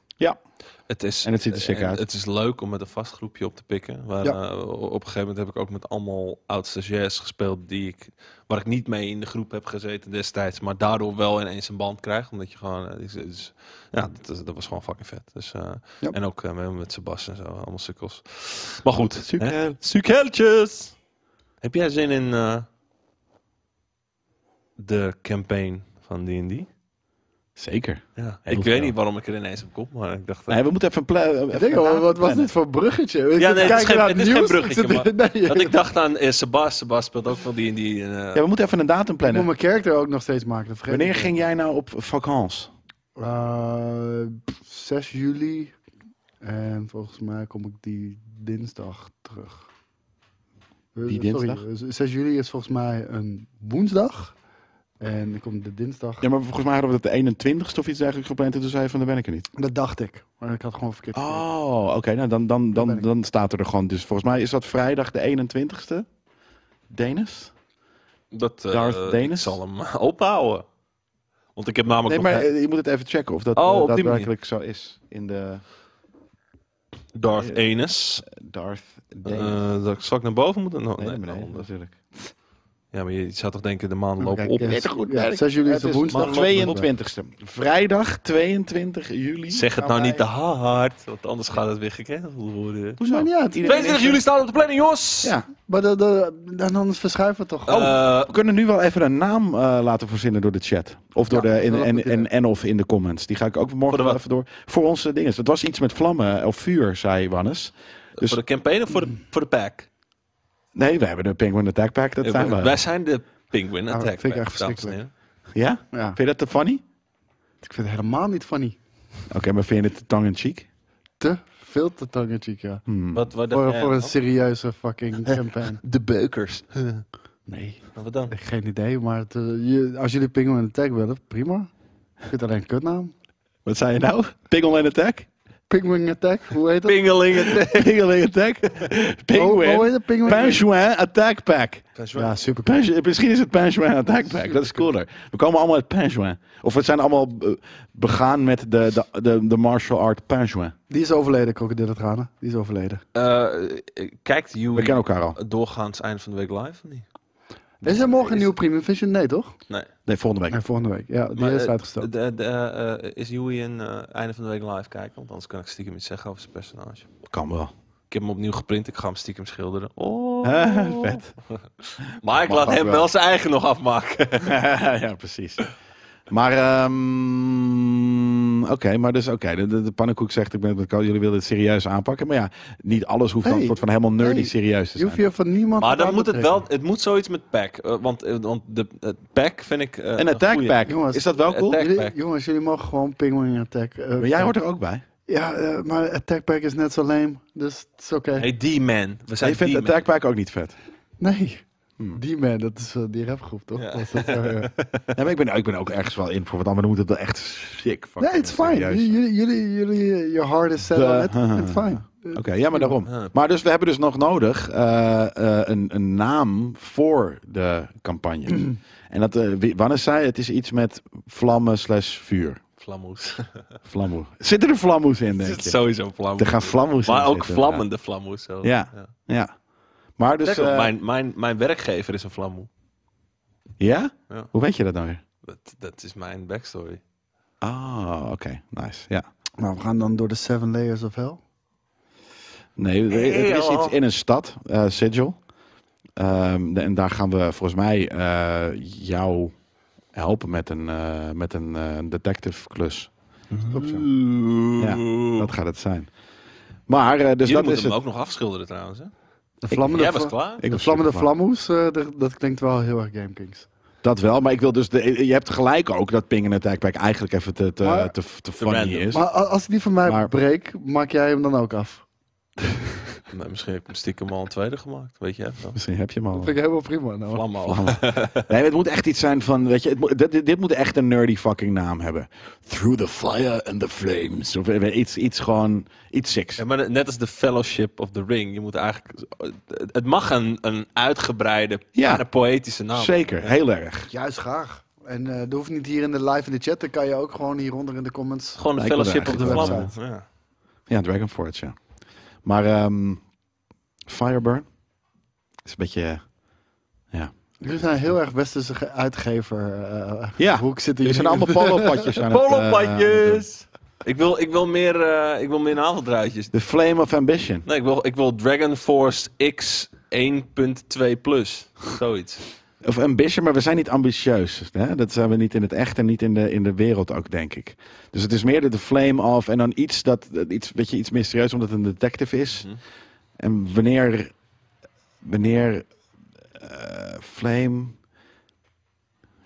A: Het is,
D: En het ziet er sick
A: en
D: uit.
A: Het is leuk om met een vast groepje op te pikken. Waar,
B: Ja.
A: eh, op een gegeven moment heb ik ook met allemaal oud-stagiairs gespeeld die ik, waar ik niet mee in de groep heb gezeten destijds, maar daardoor wel ineens een band krijg, omdat je gewoon, eh, is- is- ja, dat, is- dat was gewoon fucking vet. Dus, eh,
B: Ja.
A: En ook eh, met- met Sebas en zo, allemaal sukkels. Maar goed,
D: Sukel.
A: hè? sukkeltjes. Heb jij zin in eh, de campaign van D&D?
D: Zeker.
A: Ja,
D: Heel
A: ik
D: veel.
A: weet niet waarom ik er ineens op kom, maar ik dacht... eh,
D: Nee, we moeten even een pla- even
B: Ik denk,
D: een
B: wel, wat was
D: plannen.
B: dit voor een bruggetje? Ik
A: Ja,
B: zit
A: nee,
B: te
A: het is
B: kijken
A: geen-
B: naar
A: het is geen
B: nieuws.
A: bruggetje,
B: Ik zit- nee,
A: Dat ik dacht aan eh, Sebas. Sebas speelt ook veel die en die. en, eh,
D: Ja, we moeten even een datum
B: ik moet
D: plannen.
B: mijn character ook nog steeds maken. dat vergeet
D: Wanneer
B: ik.
D: ging jij nou op vakantie?
B: Eh, 6 juli. En volgens mij kom ik die dinsdag terug. Eh,
D: Die dinsdag?
B: Sorry, eh, 6 juli is volgens mij een woensdag. En ik kom de dinsdag.
D: Ja, maar volgens mij hadden we dat de 21ste of iets eigenlijk gepland. En toen zei je van, daar ben ik er niet.
B: Dat dacht ik. Maar ik had gewoon verkeerd. gekeken.
D: Oh, oké. nou, dan, dan,
B: Daar
D: dan,
B: ben
D: dan,
B: ik.
D: staat er er gewoon... Dus volgens mij is dat vrijdag de 21ste. Denis?
A: dat eh,
D: Darth
A: ik
D: Danis?
A: zal hem ophouden. Want ik heb namelijk
D: Nee,
A: nog
D: maar eh, je moet het even checken of dat
A: Oh,
D: eh,
A: op die manier.
D: daadwerkelijk zo is. In de eh,
A: Darth Enes.
D: Darth Denis.
A: Eh dat zal ik naar boven moeten? No,
D: eh, nee,
A: nee,
D: nee,
A: naar
D: nee,
A: onder.
D: natuurlijk.
A: Ja, maar je zou toch denken, de maan loopt
B: Kijk,
A: op.
B: ja,
D: Net goed,
B: ja,
D: Dirk.
B: 6 juli is
D: Het
B: de
D: is
B: woensdag.
D: maar 22ste. Vrijdag 22 juli.
A: Zeg het nou niet te hard, want anders gaat het weer gecanceld worden.
D: Hoezo?
B: Maakt niet uit.
D: Iedereen is
A: 22
D: er.
A: juli staat op de planning, jongens!
D: Ja, Oh,
B: Maar dat- dat- dan anders verschuiven we toch.
A: Eh,
D: we kunnen nu wel even een naam eh, laten voorzinnen door de chat. Of door
B: Ja,
D: de, in,
B: dat is een
D: en,
B: goed
D: en, en of in de comments. Die ga ik ook
A: Voor
D: morgen
A: de
D: wel
A: wat?
D: even door. Voor onze dingen. Het was iets met vlammen of vuur, eh, zei Wannes. Dus
A: Voor de campaign of voor de, voor de pack?
D: Nee, we hebben de Penguin Attack Pack. Dat zijn we.
A: Wij zijn de Penguin Attack.
B: vind ik
A: Pack,
B: echt
A: dames en
B: verschrikkelijk.
A: heren.
D: Ja?
B: Ja.
D: Vind je dat te funny?
B: Ik vind het helemaal niet funny.
D: Oké, maar vind je het te tong in cheek? Hmm.
B: Te veel te tongue-in-cheek, ja.
A: Wat, wat
B: Voor,
A: eh,
B: voor een
A: wat?
B: serieuze fucking campaign.
A: De beukers.
D: Nee.
A: Wat dan?
B: Geen idee, maar het, eh, je- als jullie Penguin Attack willen, prima. Ik vind alleen een kutnaam.
D: Wat zei je nou? Penguin Attack?
B: Penguin Attack, hoe heet dat?
A: Pingelingen.
D: Penguin Attack?
B: Hoe- hoe
D: Penguin.
B: heet het? Penguin
D: Penguin Attack Pack.
B: Ja, super.
D: Penguin- Misschien is het Penguin Attack Pack. Dat is cooler. We komen allemaal uit Penguin. Of we zijn allemaal eh, begaan met de, de, de, de martial art Penguin.
B: Die is overleden, krokodillentranen. Die is overleden.
A: Eh, kijkt
D: We
A: jullie
D: kennen elkaar al.
A: doorgaans eind van de week live? Of niet?
B: Is er morgen een
A: Is-
B: nieuwe Premium Vision? Nee, toch?
A: Nee.
D: Nee, volgende
B: Nee,
D: week.
B: volgende week. Ja, die
A: Maar,
B: is
A: eh,
B: uitgesteld.
A: de- de, eh, is Joey een eh, einde van de week live kijken? Want anders kan ik stiekem iets zeggen over zijn personage.
D: Kan wel.
A: Ik heb hem opnieuw geprint. Ik ga hem stiekem schilderen. Oh.
D: Eh, vet.
A: Maar ik
D: Mag
A: laat
D: ook
A: hem
D: wel.
A: wel zijn eigen nog afmaken.
D: ja, precies. Maar, ehm, oké, maar dus, oké, de, de, de pannenkoek zegt, ik ben het met Carl, jullie willen het serieus aanpakken. Maar ja, niet alles hoeft dan
B: Hey.
D: een soort van helemaal nerdy
B: Hey.
D: serieus te
B: Je
D: zijn.
B: hoeft hier van niemand
A: Maar
B: wat
A: dan
B: aan
A: moet
B: te
A: het wel,
B: trekken.
A: het moet zoiets met pack. eh, want eh, want de, het pack vind ik. eh,
D: Een
A: een
D: attack
A: goeie.
D: pack,
B: Jongens,
D: is dat wel cool?
A: attack-
B: Jullie-
A: pack.
B: jongens, jullie mogen gewoon Penguin Attack. eh,
D: Maar jij hoort er ook bij.
B: Ja, eh, maar Attack Pack is net zo lame. Dus het is oké.
A: Hey, D-Man. We
D: Jij
A: zijn
D: vindt
A: D-Man.
D: Attack Pack ook niet vet.
B: Nee. Die man, dat is eh, die rapgroep, toch?
A: Ja.
B: Was dat, eh,
D: Nee, maar ik ben, ik ben ook ergens wel in voor wat anders. moet het wel echt sick.
B: nee, het is fijn.
D: serieus.
B: Jullie, jullie, jullie, eh, your heart is set
D: De-
B: on it. It's fine.
D: Oké, ja, maar daarom.
A: Ja.
D: Maar dus we hebben dus nog nodig eh, eh, een, een naam voor de campagne. En dat, eh, wie- Wannes zei, het is iets met vlammen slash vuur.
A: Flammoes.
D: Vlammoe. Zitten er vlammoes in, denk
A: Het is
D: je?
A: Sowieso vlammoes.
D: Er gaan vlammoes in
A: Maar ook
D: zitten.
A: vlammende vlammoes. zelfs.
D: Ja. Ja. Ja. Maar dus...
A: Kijk op,
D: eh,
A: mijn, mijn, mijn werkgever is een vlammoe.
D: Ja?
A: Ja.
D: Hoe weet je dat nou weer?
A: Dat, dat is mijn backstory.
D: Ah, oké. Nice, ja.
B: Nou, we gaan dan door de Seven Layers of Hell.
D: Nee, er- er is
A: Heel.
D: iets in een stad, eh, Sigil. Ehm, de- en daar gaan we volgens mij eh, jou helpen met een, eh, met een eh, detective klus.
B: Mm-hmm.
D: Ja, dat gaat het zijn. Maar, eh, dus
A: Jullie
D: dat is
A: moeten hem
D: het.
A: ook nog afschilderen trouwens. Hè?
B: De vlammende,
A: Jij was
B: vla-
A: klaar.
D: Ik
B: de
D: was
B: vlammende
D: super klaar.
B: vlammoes, eh, de- dat klinkt wel heel erg Game Kings.
D: Dat wel, maar ik wil dus... De, je hebt gelijk ook dat Ping en Attack Pack eigenlijk even te, te,
B: Maar-
D: te, te funny
A: random.
D: is.
B: Maar Oh. a- als ik die van mij
D: Maar-
B: breek, maak jij hem dan ook af.
A: Nee, misschien heb ik hem stiekem al een tweede gemaakt. Weet je het wel?
D: Misschien heb je hem
B: Dat
D: al.
B: vind ik helemaal prima. Nou.
A: Vlammen al.
D: Nee, het moet echt iets zijn van, weet je, het moet- dit, dit- dit moet echt een nerdy fucking naam hebben. Through the fire and the flames. Of eh, iets, iets gewoon, iets seks.
A: Ja, maar net als de Fellowship of the Ring. Je moet eigenlijk... Het mag een, een uitgebreide,
D: Ja.
A: bijna poëtische naam.
D: Zeker, heel erg.
B: Juist graag. En eh, dat hoeft niet hier in de live in de chat. Dan kan je ook gewoon hieronder in de comments.
A: Gewoon de
D: Lijkt me
A: Fellowship of the
D: eigenlijk
A: Vlammen. Ja.
D: Ja, Dragon Forge, ja. Maar ehm, Fireburn is een beetje, eh, ja.
B: Jullie zijn heel erg westerse ge- uitgever. eh,
D: Ja,
B: Hoek zitten
D: Jullie zijn allemaal polopatjes aan het, eh, aan het eh, doen.
A: Polopatjes! Ik wil, ik wil meer, eh, ik wil meer naveldruitjes.
D: The eh, Flame of Ambition.
A: Nee, ik wil, ik wil Dragon Force X 1.2 plus. Zoiets.
D: Of ambition, maar we zijn niet ambitieus. Hè? Dat zijn we niet in het echt en niet in de, in de wereld ook, denk ik. Dus het is meer de, de flame of en dan iets dat dat iets, weet je, iets mysterieus omdat het een detective is.
A: Mhm.
D: En wanneer, wanneer eh, flame.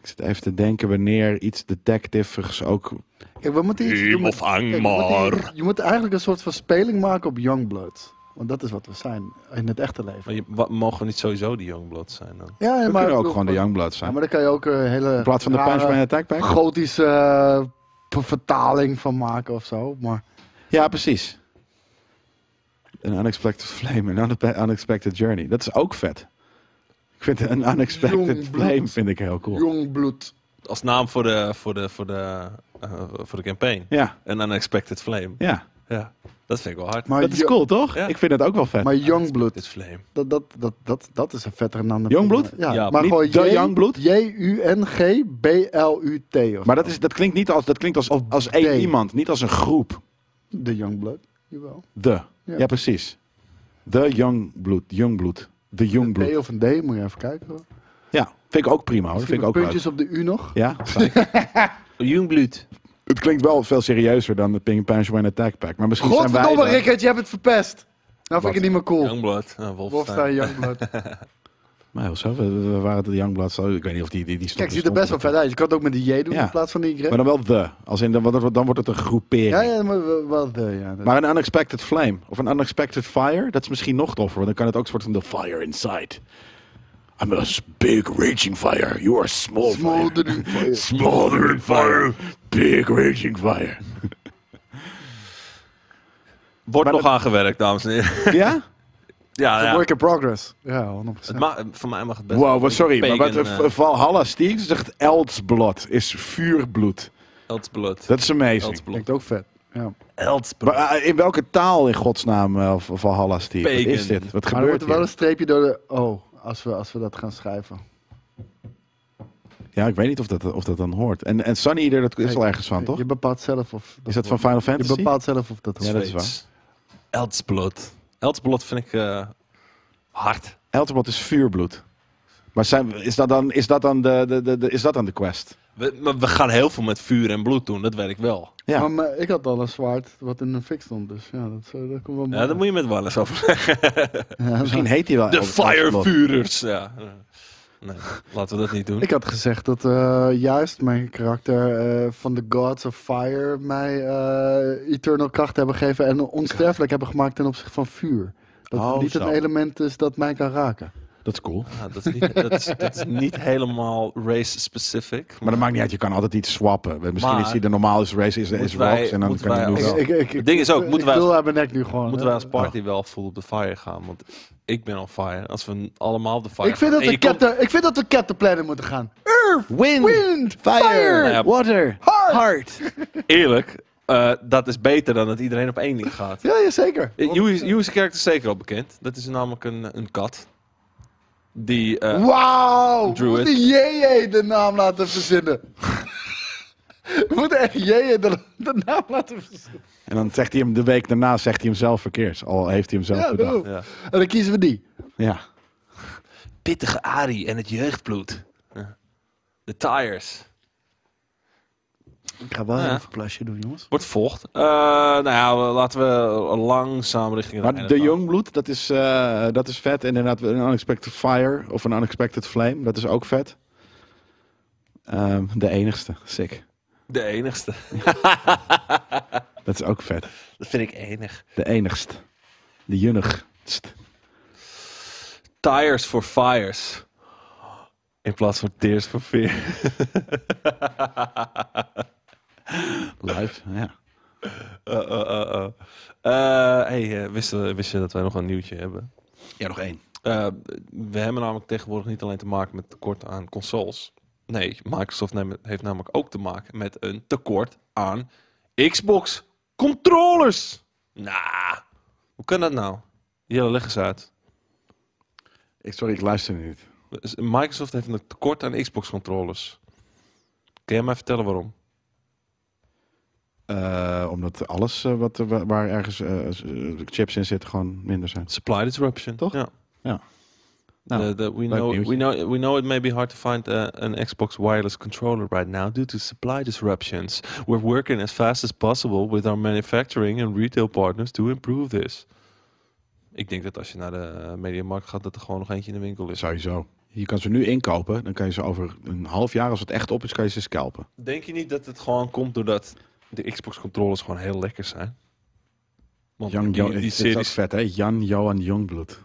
D: Ik zit even te denken wanneer iets detectives ook.
B: Kijk, we moeten iets doen. met-
A: Ang
B: kijk, we moeten hier- je moet eigenlijk een soort van speling maken op Youngblood. Want dat is wat we zijn in het echte leven.
A: Maar je, wat, mogen we niet sowieso die Youngblood zijn dan?
B: Ja,
D: We
B: maar
D: kunnen ook
B: bedoel,
D: gewoon de Youngblood
B: Ja,
D: zijn.
B: maar dan kan je ook een hele.
D: In plaats van de Punchman Attack Pack.
B: gotische eh, p- vertaling van maken of zo. Maar
D: Ja, precies. Een unexpected flame, een unpe- unexpected journey. Dat is ook vet. Ik vind een unexpected
B: Jong
D: flame
B: bloed.
D: vind ik heel cool.
B: jong bloed.
A: Als naam voor de, voor de, voor de, eh, voor de campaign.
D: Ja,
A: Een Unexpected Flame.
D: ja.
A: Ja, dat vind ik wel hard.
B: Maar,
D: Dat is
B: jo-
D: cool, toch?
A: Ja.
D: Ik vind het ook wel vet.
B: maar jong bloed,
A: Dit Flame.
B: dat, dat, dat, dat, dat is een vettere naam. dan-
D: Jong bloed?
B: Ja,
A: Ja,
B: maar
D: niet
B: gewoon
D: de
B: J-
D: jong bloed?
B: J-U-N-G-B-L-U-T. of
D: Maar dat, is, dat klinkt niet als, dat klinkt als, als één
B: they.
D: iemand, niet als een groep.
B: De jong blood. Jawel.
D: De. Ja, precies. De young blood, young blood. De young
B: Een
D: blood.
B: B of een D, moet je even kijken. Hoor.
D: Ja, vind ik ook prima hoor.
B: Misschien
D: Vind ik
B: met
D: ook leuk.
B: puntjes op de U nog.
D: Ja, zeker.
A: Youngblood.
D: het klinkt wel veel serieuzer dan de Ping Punch Wine Attack Pack. Maar misschien zijn wij...
B: Godverdomme
D: dan-
B: Rickert, je hebt het verpest. Nou vind ik het niet meer cool.
A: Youngblood. eh, Wolfenstein.
B: Wolfenstein Youngblood.
D: Maar heel zo, we, we waren de Youngblood. zo, Ik weet niet of die... die, die
B: Kijk,
D: stond-
B: het ziet er best wel
D: stond-
B: vet uit. Je kan het ook met de J doen
D: Ja.
B: in plaats van de Y.
D: Maar dan wel de. Als in, dan, wordt- dan wordt het een groepering.
B: Ja, ja, maar wel- wel de, ja.
D: Maar een unexpected flame of een unexpected fire, dat is misschien nog toffer. Want dan kan het ook een soort van de fire inside. I'm a big raging fire. You are small fire.
B: Smoldering fire.
D: Smoldering fire. Big raging fire.
A: Wordt
D: Maar
A: nog aangewerkt, dames en heren.
D: ja?
A: ja, ja.
B: Work in progress. Ja, 100%.
A: Het ma- voor mij mag het best.
D: Wow, wat, sorry. Maar wat,
A: Pagan, eh,
D: eh, Valhalla Steve zegt eldsblad is vuurbloed.
A: Eldsblood.
D: Dat is amazing.
A: Eldsblood.
B: Klinkt ook vet. Ja.
A: Eldsblood.
D: Maar, eh, in welke taal in godsnaam eh, v- Valhalla Steve? Wat
A: Pagan.
D: is dit?
B: Maar
D: Wat
B: er
D: gebeurt
B: wordt
D: er?
B: er wel een streepje door de O als we, als we dat gaan schrijven.
D: Ja, ik weet niet of dat, of dat dan hoort. En, en Sunny, Eater, dat is
B: Hey,
D: al ergens van, toch?
B: Je bepaalt zelf of...
D: Is dat van
B: wordt.
D: Final
B: Je
D: Fantasy?
B: bepaalt zelf of dat
D: Ja,
B: hoort.
D: dat is
A: Zweeds. Eldsblood. Eldsblood vind ik eh, hard.
D: Elterbot is vuurbloed. Maar zijn, is, dat dan, is, dat dan de, de, de, de- is dat dan de quest?
A: We, maar we gaan heel veel met vuur en bloed doen, dat weet ik wel.
D: Ja.
B: Maar, maar ik had al een zwaard wat in een fik stond, dus ja, dat, zo, dat komt wel
A: Ja, daar moet je met Wallace over zeggen.
D: Misschien heet hij wel
A: De
D: Elder- Elterbot.
A: Firevurers. Ja. Nee, laten we dat niet doen.
B: Ik had gezegd dat eh, juist mijn karakter eh, van de Gods of Fire mij eh, eternal kracht hebben gegeven en onsterfelijk hebben gemaakt ten opzichte van vuur. Dat
D: Oh,
B: het niet
D: zo.
B: een element is dat mij kan raken.
D: Dat is cool.
A: Ja, dat, is niet, dat, is, dat is niet helemaal race-specific.
D: Maar dat maakt niet uit, je kan altijd iets swappen. Misschien
A: Maar-
D: is hij de normaal is race, is, is
A: Moeten wij-
D: rocks en dan
A: moeten
D: kan hij
A: wij
D: doen
A: als-
D: wel.
A: Ik- Het ding is ook, moeten wij
B: ik
A: als-
B: wil aan mijn nek nu gewoon.
A: Moeten
B: hè.
A: wij als party wel full op de fire gaan? Want ik ben on fire. Als we allemaal op de fire
B: Ik vind,
A: gaan.
B: dat
A: En
B: we
A: je komt-
B: captain, ik vind dat we Captain Planet moeten gaan. Earth,
D: Wind,
B: wind,
D: fire,
B: fire,
A: Ja.
D: water,
B: heart.
D: heart.
A: Eerlijk, eh, dat is beter dan dat iedereen op één ding gaat.
B: Ja, ja, zeker.
A: Eh, Joe is- Joe is karakter is zeker al bekend. Dat is namelijk een, een kat. Die... eh,
B: Wauw! We
A: Druid.
B: moeten JJ de naam laten verzinnen. We moeten echt JJ de, de naam laten verzinnen.
D: En dan zegt hij hem de week daarna zegt hij hem zelf verkeerd. Al heeft hij hem zelf
B: Ja,
D: bedacht.
B: daarom.
A: ja.
B: En dan kiezen we die.
D: Ja.
A: Pittige Ari en het jeugdbloed. Ja. De tires.
B: Ik ga wel
A: Ja.
B: even
A: even
B: een plasje doen, jongens.
A: Wordt vocht. Eh, nou ja, we- laten we langzaam richting het
D: Maar
A: einde
D: de
A: gaan.
D: Youngbloed, dat is, eh, dat is vet. En inderdaad, een Unexpected Fire of een Unexpected Flame, dat is ook vet. Ehm, de enigste, sick.
A: De enigste.
D: Dat is ook vet.
A: Dat vind ik enig.
D: De enigst. De junnigst.
A: Tires for fires. In plaats van tears for fear.
D: Live, ja.
A: Eh, eh, eh, eh. Eh, hey, eh, wist, je- wist je dat wij nog een nieuwtje hebben?
D: Ja, nog één.
A: Eh, we hebben namelijk tegenwoordig niet alleen te maken met tekort aan consoles. Nee, Microsoft neemt- heeft namelijk ook te maken met een tekort aan Xbox controllers. Nou, hoe kan dat nou? Jelle, leg eens uit.
D: Ik, sorry, ik luister nu niet.
A: Microsoft heeft een tekort aan Xbox controllers. Kun jij mij vertellen waarom?
D: Eh, omdat alles eh, wat, er wa- waar ergens eh, s- eh, chips in zitten gewoon minder zijn.
A: Supply disruption,
D: Toch?
A: Ja.
D: Ja. Nou,
A: The- the- we,
D: leuk
A: know,
D: nieuwtje.
A: we, know, we know it may be hard to find uh, an Xbox wireless controller right now due to supply disruptions. We're working as fast as possible with our manufacturing and retail partners to improve this. Ik denk dat als je naar de eh, mediamarkt gaat, dat er gewoon nog eentje in de winkel is.
D: Sowieso. Je kan ze nu inkopen, dan kan je ze over een half jaar, als het echt op is, kan je ze scalpen.
A: Denk je niet dat het gewoon komt doordat de Xbox controllers gewoon heel lekker zijn? Want
D: Jan,
A: die,
D: jo
A: die
D: dit is ook
A: series,
D: vet, hè? Jan, Johan, Jongbloed.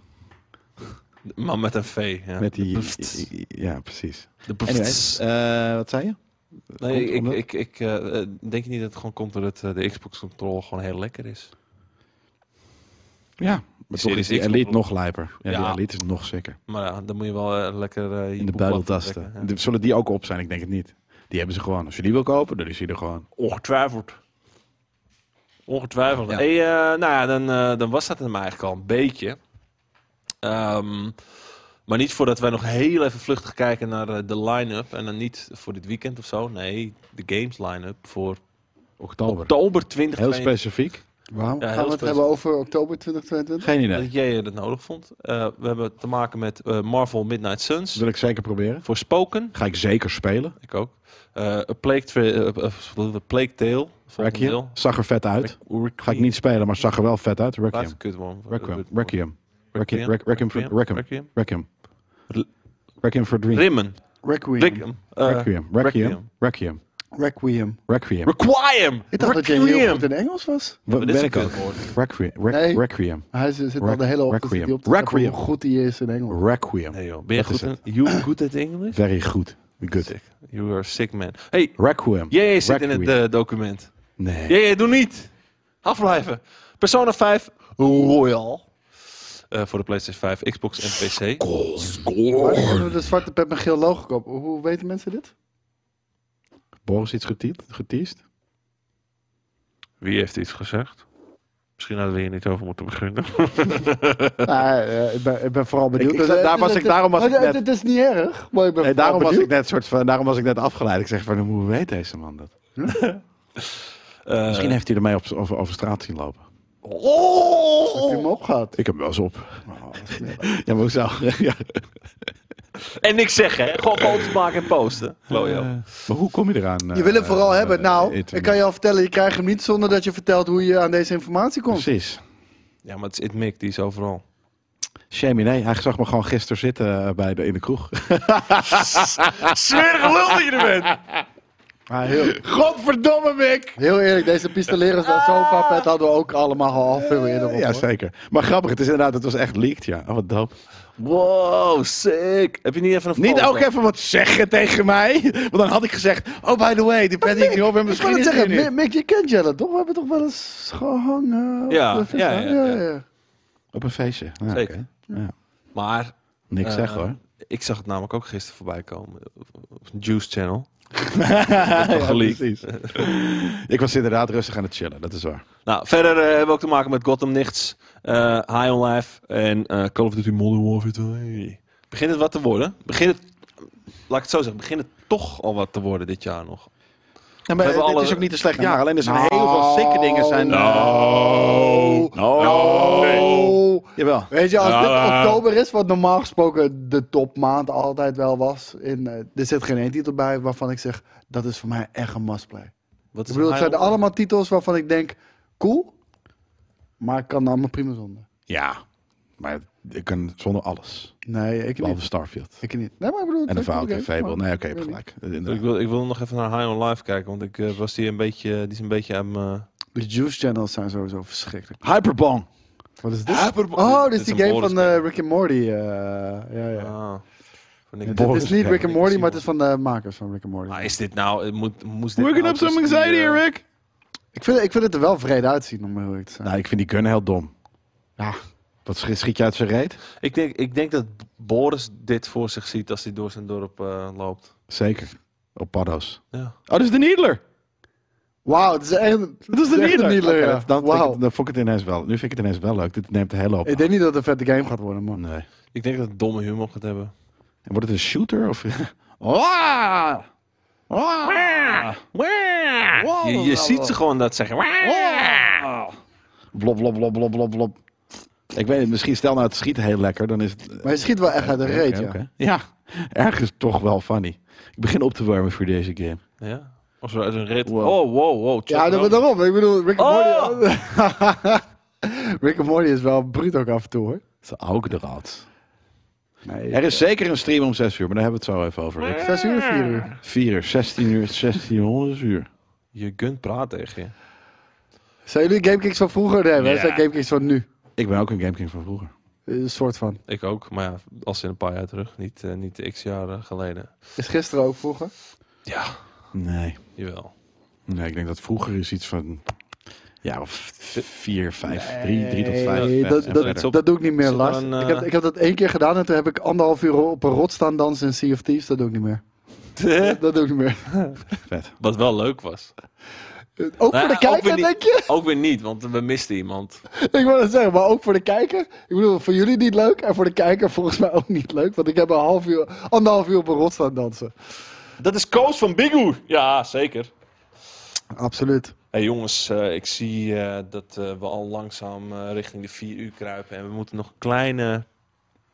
A: maar met een V. Ja.
D: Met die,
A: De bfts.
D: ja, precies.
A: De bfts.
D: Anyways, eh, wat zei je?
A: Nee,
D: Komt
A: ik,
D: omdat-
A: ik, ik eh, eh, denk je niet dat het gewoon komt doordat eh, de Xbox controller gewoon heel lekker is?
D: Ja, maar toch
A: Series
D: is die
A: X
D: Elite
A: controller.
D: nog lijper. Ja, die
A: Ja.
D: Elite is nog sicker.
A: Maar ja, dan moet je wel eh, lekker eh, je
D: In de
A: boek laten
D: buidel tasten.
A: trekken, ja.
D: De- Zullen die ook op zijn? Ik denk het niet. Die hebben ze gewoon. Als je die wil kopen, dan is die er gewoon.
A: Ongetwijfeld. Ongetwijfeld.
D: Ja.
A: Hey, eh, nou ja, dan, eh, dan was dat hem eigenlijk al een beetje. Ehm, maar niet voordat wij nog heel even vluchtig kijken naar eh, de line-up. En dan niet voor dit weekend of zo. Nee, de games line-up voor
D: Oktober.
A: oktober 2022.
D: Heel specifiek.
B: Waarom
A: Ja,
B: gaan
A: heel
B: we het
A: specifiek.
B: hebben over oktober 2022?
D: Geen idee.
A: Dat jij dat nodig vond. Eh, we hebben te maken met eh, Marvel Midnight Suns.
D: wil ik zeker proberen.
A: Voor Spoken.
D: Ga ik zeker spelen.
A: Ik ook. Eh A Plague, Tra- eh, eh, eh, Plague Tale.
D: Zag
A: Volgende
D: je?
A: deel.
D: Zag er vet uit.
A: Requiem.
D: Ga ik niet spelen, maar zag er wel vet uit.
A: Blijft een
D: Requiem.
A: kut, man.
D: Requiem. Requiem. Requiem.
A: Requiem.
D: Requiem. for- Requiem.
A: Requiem.
D: Requiem.
A: Re-
D: Requiem for Dream.
A: Rimmen.
B: Requiem.
A: Requiem. Eh,
D: Requiem. Requiem. Requiem.
B: Requiem.
D: Requiem.
A: Requiem.
B: Ik dacht dat jij heel goed in Engels was.
D: Wat
A: dit is
D: ben
A: een
D: ik ook?
A: kutwoord.
D: Requiem. Re-
B: Nee.
D: Requiem.
B: Hij zit zit al
D: Rec-
B: de hele ochtend
D: Requiem.
B: zit hij op te zeggen
D: Requiem.
B: hoe goed hij is in Engels.
D: Requiem.
A: Nee joh, ben je
D: Dat is
A: goed in... You good at English?
D: Very good. Good.
A: Sick. You are a sick man. Hey,
D: Requiem.
A: jij zit in het
D: Requiem.
A: eh, document.
D: Nee.
A: Jij, doe niet! Afblijven. Persona 5 Royal. Eh, voor de PlayStation 5, Xbox en PC.
B: Waar hebben we de zwarte pet met geel logo op? Hoe weten mensen dit?
D: Boris iets geteet- geteased?
A: Wie heeft iets gezegd? Misschien hadden we hier niet over moeten beginnen.
B: Nou, eh, ik, ben, ik ben vooral benieuwd.
D: ik- Dus, eh, daar was ik- daarom was
B: Maar
D: ik net-
B: dit is niet erg, maar ik ben vooral
D: Nee, daarom was ik
B: benieuwd.
D: net soort van, daarom was ik net afgeleid. Ik zeg van, hoe weet deze man dat?
A: Eh,
D: Misschien heeft hij ermee op, over, over straat zien lopen.
A: oh,
B: Heb je hem opgehaald?
D: Ik heb hem wel eens op.
B: Oh, wat smerig.
D: Ja, maar hoe zou? ja.
A: En niks zeggen, hè? Gewoon foto's maken en posten. Klojo.
D: Maar hoe kom je eraan? eh,
B: je wil hem vooral hebben. Nou,
D: ik
B: ik kan je al vertellen, je krijgt hem niet zonder dat je vertelt hoe je aan deze informatie komt.
D: Precies.
A: Ja, maar het is Itmic, die is overal.
D: Shame, nee. Hij zag me gewoon gisteren zitten eh, bij de, in de kroeg.
A: Smerige lul die je er bent!
B: Maar heel,
D: Godverdomme, Mick!
B: heel eerlijk, deze pistoleros van sofa pet hadden we ook allemaal al veel eerder op.
D: Eh, Ja,
B: hoor.
D: zeker. Maar grappig, het is inderdaad, het was echt leaked, ja. Oh, wat dope.
A: Wow, sick! Heb je niet even een
D: Niet
A: foto?
D: ook even wat zeggen tegen mij. Want dan had ik gezegd, oh, by the way, die pet die ik nu op
B: Ik
D: heb,
B: wou
D: misschien
B: het
D: is die er
B: zeggen,
D: niet.
B: Mick, Mick, je kent Jelle toch? We hebben toch wel eens gehangen? op
A: Ja,
B: de visser?
A: ja, ja, ja.
D: eh, Op een feestje. Ja,
A: Zeker.
D: oké.
A: Maar
D: Niks
A: Eh,
D: zeggen, hoor.
A: Ik zag het namelijk ook gisteren voorbij komen op- op een Juice Channel.
D: ja,
A: geleakt.
D: precies. ik was inderdaad rustig aan het chillen, dat is waar.
A: Nou, verder eh, hebben we ook te maken met Gotham Nichts, eh, High on Life en eh, Call of Duty Modern Warfare 2. Begint het wat te worden? Begint het, laat ik het zo zeggen, begint het toch al wat te worden dit jaar nog?
D: Ja, maar
A: We hebben
D: dit
A: alle-
D: is ook niet een slecht jaar. Alleen er zijn
B: Nou.
D: heel veel sikke dingen. Zijn,
B: Nou.
D: No.
B: Oh.
D: Jawel.
B: Weet je, als dit
A: Ah.
B: oktober is, wat normaal gesproken de topmaand altijd wel was. In, eh, er zit geen één titel bij waarvan ik zeg, dat is voor mij echt een must-play.
A: Wat
B: Ik bedoel, het
A: High
B: zijn
A: on Life?
B: allemaal titels waarvan ik denk, cool, maar ik kan er allemaal prima zonder.
D: Ja, maar ik kan zonder alles.
B: Nee, ik niet.
D: Behalve Starfield.
B: Ik niet. Nee, maar ik bedoel... het
D: En de
B: zijn
D: Fout
B: coole
D: en
B: games,
D: Fable.
B: maar-
D: Nee, oké, je hebt
B: weet
D: gelijk. Eh, Inderdaad.
A: Ik wil, ik wil nog even naar High on Life kijken, want ik eh, was die een beetje, die is een beetje aan mijn...
B: De Juice Channels zijn sowieso verschrikkelijk.
D: Hyperbong.
B: Wat is
D: Ah,
B: dit? Oh, dit is die game van eh, Rick and Morty. eh, ja, ja.
A: Ah, van Nick
B: Het
A: Boris.
B: is niet Rick and Morty,
A: Simon.
B: maar het is van de makers van Rick and Morty.
A: Ah, is dit nou, het moet, moest dit nou
D: some
A: precies,
D: anxiety,
A: eh,
D: Rick.
B: Ik vind, ik vind het er wel vreed uitzien, om heel eerlijk te zijn.
D: Nou, ik vind die gun heel dom.
B: Ja.
D: Wat schi- schiet je uit zijn reet?
A: Ik denk, ik denk dat Boris dit voor zich ziet als hij door zijn dorp eh, loopt.
D: Zeker. Op paddo's.
A: Ja.
D: Oh, dat is de Needler.
B: Wauw, het is echt een,
D: Dat is de
B: echt
D: Needler.
B: een Needler,
D: Oké,
B: ja.
D: dat- dat-
B: Wauw.
D: Dan vond ik het ineens wel. Nu vind ik het ineens wel leuk. Dit neemt de hele hoop
B: Ik denk niet dat het een vette game gaat worden,
D: af.
B: man.
D: Nee.
A: Ik denk dat het domme humor gaat hebben.
D: En wordt het een shooter? Of... Ah! Wah! Wah! Wah!
A: Je, je ziet ze gewoon dat zeggen.
D: Wah! Blob, blob, blob, blob, blob, blob. Ah. Ik weet het, misschien stel nou het schiet heel lekker, dan is het...
B: Maar je schiet wel echt uit de reet,
D: Oké,
B: ja.
D: oké. Ja, ergens toch wel funny. Ik begin op te warmen voor deze game.
A: Ja. Of zo uit een rit.
D: Wow.
A: Oh, wow, wow. Chuck
B: Ja,
A: Norris.
B: dat wordt daarom. Ik bedoel, Rick and
A: Oh!
B: Morty... Rick and Morty is wel bruut ook af en toe, hoor.
D: Het is ook de raad.
B: Nee,
D: Er is zeker een stream om 6 uur, maar daar hebben we het zo even over. Rick.
B: 6 uur, 4 uur.
D: 4 uur, 16 uur, 1600 uur.
A: Je kunt praten tegen je.
B: Zijn jullie GameKings van vroeger? Nee, wij
D: Ja.
B: zijn GameKings van nu.
D: Ik ben ook een GameKing van vroeger.
B: Een soort van.
A: Ik ook, maar ja, als in een paar jaar terug. Niet, eh, niet x jaren geleden.
B: Is gisteren ook vroeger.
A: Ja,
D: Nee.
A: jawel.
D: Nee, ik denk dat vroeger is iets van... Ja, of 4, 5, 3, 3 tot
B: Nee,
D: 5.
B: dat, dat,
A: verder. Zit
B: dat doe ik niet meer,
A: er
B: Lars.
A: een, eh,
B: ik, heb, ik heb dat één keer gedaan en toen heb ik anderhalf uur op een rot staan dansen in Sea of Thieves. Dat doe ik niet meer. dat doe ik niet meer.
D: Vet.
A: Wat wel leuk was. Nou,
B: Ook voor de
A: ook weer
B: kijker,
A: niet.
B: denk je?
A: Ook weer niet, want we misten iemand.
B: Ik wil het zeggen, maar ook voor de kijker. Ik bedoel, voor jullie niet leuk en voor de kijker volgens mij ook niet leuk. Want ik heb een half uur, anderhalf uur op een rot staan dansen.
A: Dat is Koos van Big Ja, zeker.
B: Absoluut.
A: Hey jongens, eh, ik zie eh, dat eh, we al langzaam eh, richting de 4 uur kruipen. En we moeten nog een kleine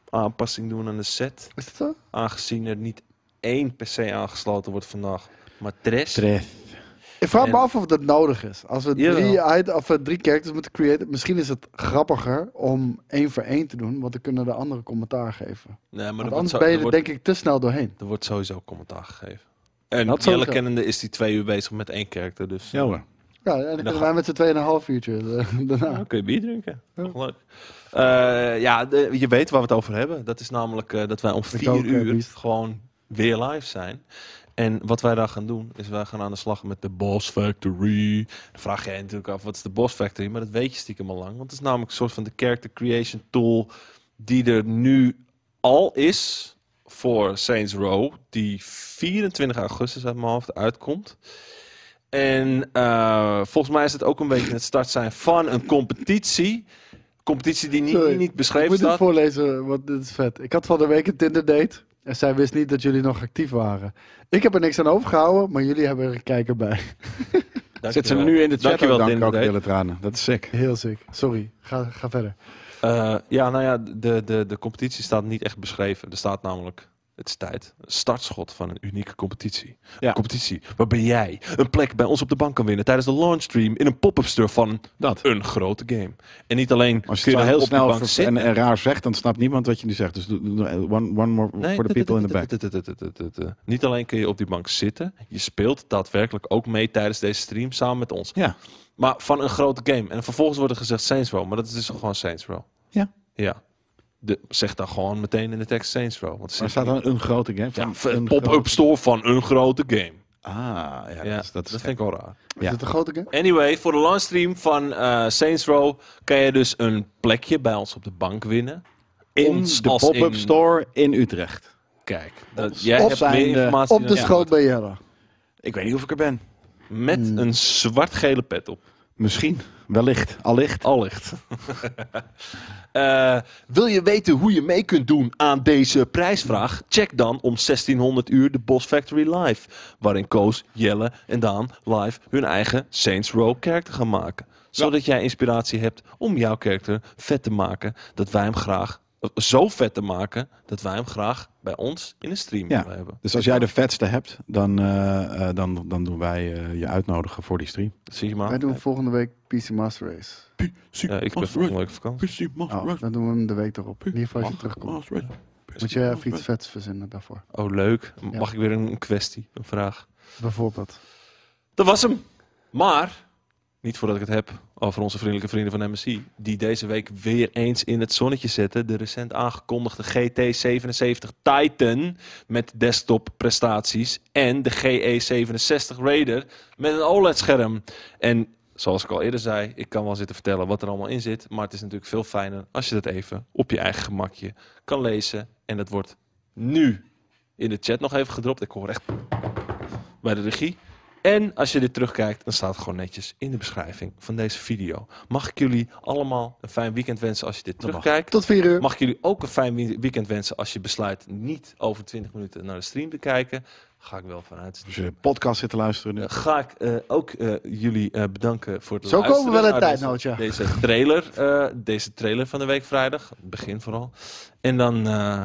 A: aanpassing doen aan de set.
B: Is dat zo?
A: Aangezien er niet één per se aangesloten wordt vandaag. Maar tres.
B: Ik vraag me
A: En-
B: af of dat nodig is. Als we
A: Jawel.
B: drie, uit, of eh, drie characters moeten creëren, misschien is het grappiger om één voor één te doen, want dan kunnen de anderen commentaar geven.
A: nee, maar
B: Want
A: er
B: anders
A: wordt, zo-
B: ben je
A: er,
B: er
A: wordt,
B: denk ik te snel doorheen.
A: er wordt sowieso commentaar gegeven. En
B: Dat
A: Jelle
B: sowieso.
A: kennende is die twee uur bezig met één karakter. Dus
D: Ja hoor.
B: Ja, en dan kunnen
A: ga-
B: wij met z'n tweeënhalf uurtje eh, daarna.
A: Ja, Nou, kun je bier drinken. Nog leuk. Eh, ja, de- je weet waar we het over hebben. Dat is namelijk eh, dat wij om vier
B: ook, eh,
A: uur
B: Beast.
A: gewoon weer live zijn. En wat wij daar gaan doen, is wij gaan aan de slag met de Boss Factory. Dan vraag jij je natuurlijk af, wat is de Boss Factory? Maar dat weet je stiekem al lang. Want het is namelijk een soort van de character creation tool die er nu al is voor Saints Row. Die 24 augustus uit mijn hoofd uitkomt. En eh, volgens mij is het ook een beetje het start zijn van een competitie. Competitie die
B: Sorry,
A: niet, niet
B: Ik
A: beschreven
B: moet het
A: staat.
B: voorlezen, want dit is vet. Ik had van de week een Tinder date en zij wist niet dat jullie nog actief waren. Ik heb er niks aan overgehouden, maar jullie hebben er een kijker bij.
A: Dankjewel.
D: Zit ze er nu in de chat
A: Dankjewel,
D: ook, dank
A: Tinder
D: ook
A: Date.
D: willen tranen. Dat is sick.
B: Heel sick. Sorry, ga, ga verder.
A: Eh, ja, nou ja, de, de, de competitie staat niet echt beschreven. Er staat namelijk, het is tijd, een startschot van een unieke competitie.
D: Ja.
A: Een competitie waarbij jij een plek bij ons op de bank kan winnen tijdens de launchstream in een pop-up store van
D: Dat.
A: een grote game. En niet alleen
D: Als je
A: kun je
D: het
A: dan
D: nou heel
A: op de
D: snel
A: bank
D: ver-
A: zitten.
D: en, en raar zegt, dan snapt niemand wat je nu zegt. Dus doe- doe- doe- one, one more for the people in the back.
A: back. Niet alleen kun je op die bank zitten, je speelt daadwerkelijk ook mee tijdens deze stream samen met ons.
D: Ja.
A: Maar van een grote game. En vervolgens wordt er gezegd Saints Row. Maar dat is dus gewoon Saints Row.
D: Ja.
A: Ja. De, zeg dan gewoon meteen in de tekst Saints Row. Want
D: Maar
A: het
D: er
A: is
D: staat dan een grote game.
A: ja,
D: Van
A: een
D: een
A: pop-up
D: grote-
A: store van een grote game.
D: Ah, ja.
A: Ja,
D: dat is, dat is
A: vind ik wel raar.
B: Is
D: Ja.
B: het een grote game?
A: Anyway, voor de livestream van eh Saints Row kan je dus een plekje bij ons op de bank winnen.
D: in
A: Ons
D: de
A: als
D: pop-up
A: in-
D: store in Utrecht.
A: Kijk, dat, jij
D: op
A: hebt
D: zijn,
A: meer
D: eh,
A: informatie
B: Op de
A: dan-
B: schoot bij Jelle.
D: Ik weet niet of ik er ben.
A: Met
D: Hmm.
A: een zwart-gele pet op.
D: Misschien, wellicht, allicht.
A: Allicht. Eh, wil je weten hoe je mee kunt doen aan deze prijsvraag? Check dan om 1600 uur de Boss Factory Live. Waarin Koos, Jelle en Daan live hun eigen Saints Row karakter gaan maken. Zodat jij inspiratie hebt om jouw karakter vet te maken. Dat wij hem graag, eh, zo vet te maken, dat wij hem graag bij ons in een stream
D: Ja.
A: willen hebben.
D: Dus als jij de vetste hebt, dan, eh, eh, dan, dan doen wij eh, je uitnodigen voor die stream.
A: Zie je maar.
B: Wij doen volgende week PC Master Race.
A: Ja, Eh, ik ben volgende week op vakantie.
B: Oh, dan doen we hem de week erop. In ieder geval als je terugkomt. Moet je even iets vets verzinnen daarvoor.
A: Oh, leuk. Mag
B: Ja.
A: ik weer een kwestie, een vraag?
B: Bijvoorbeeld.
A: Dat was hem. Maar, niet voordat ik het heb over onze vriendelijke vrienden van MSI. Die deze week weer eens in het zonnetje zetten. De recent aangekondigde GT77 Titan met desktop prestaties. En de GE67 Raider met een OLED-scherm. En zoals ik al eerder zei, ik kan wel zitten vertellen wat er allemaal in zit. Maar het is natuurlijk veel fijner als je dat even op je eigen gemakje kan lezen. En dat wordt nu in de chat nog even gedropt. Ik hoor echt bij de regie. En als je dit terugkijkt, dan staat het gewoon netjes in de beschrijving van deze video. Mag ik jullie allemaal een fijn weekend wensen als je dit
D: mag.
A: terugkijkt?
B: Tot vier uur.
A: Mag ik jullie ook een fijn wie- weekend wensen als je besluit niet over 20 minuten naar de stream te kijken? Ga ik wel vanuit.
D: Als je de podcast zit te luisteren nu.
A: Eh, ga ik eh, ook eh, jullie eh, bedanken voor het
B: Zo
A: luisteren.
B: komen we wel een
A: naar deze-
B: tijdnootje.
A: Deze, trailer, eh, deze trailer van de week vrijdag. Het begin vooral. En dan eh,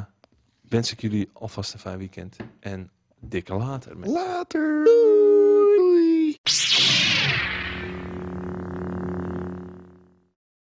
A: wens ik jullie alvast een fijn weekend. En dikke later. mensen.
B: Later.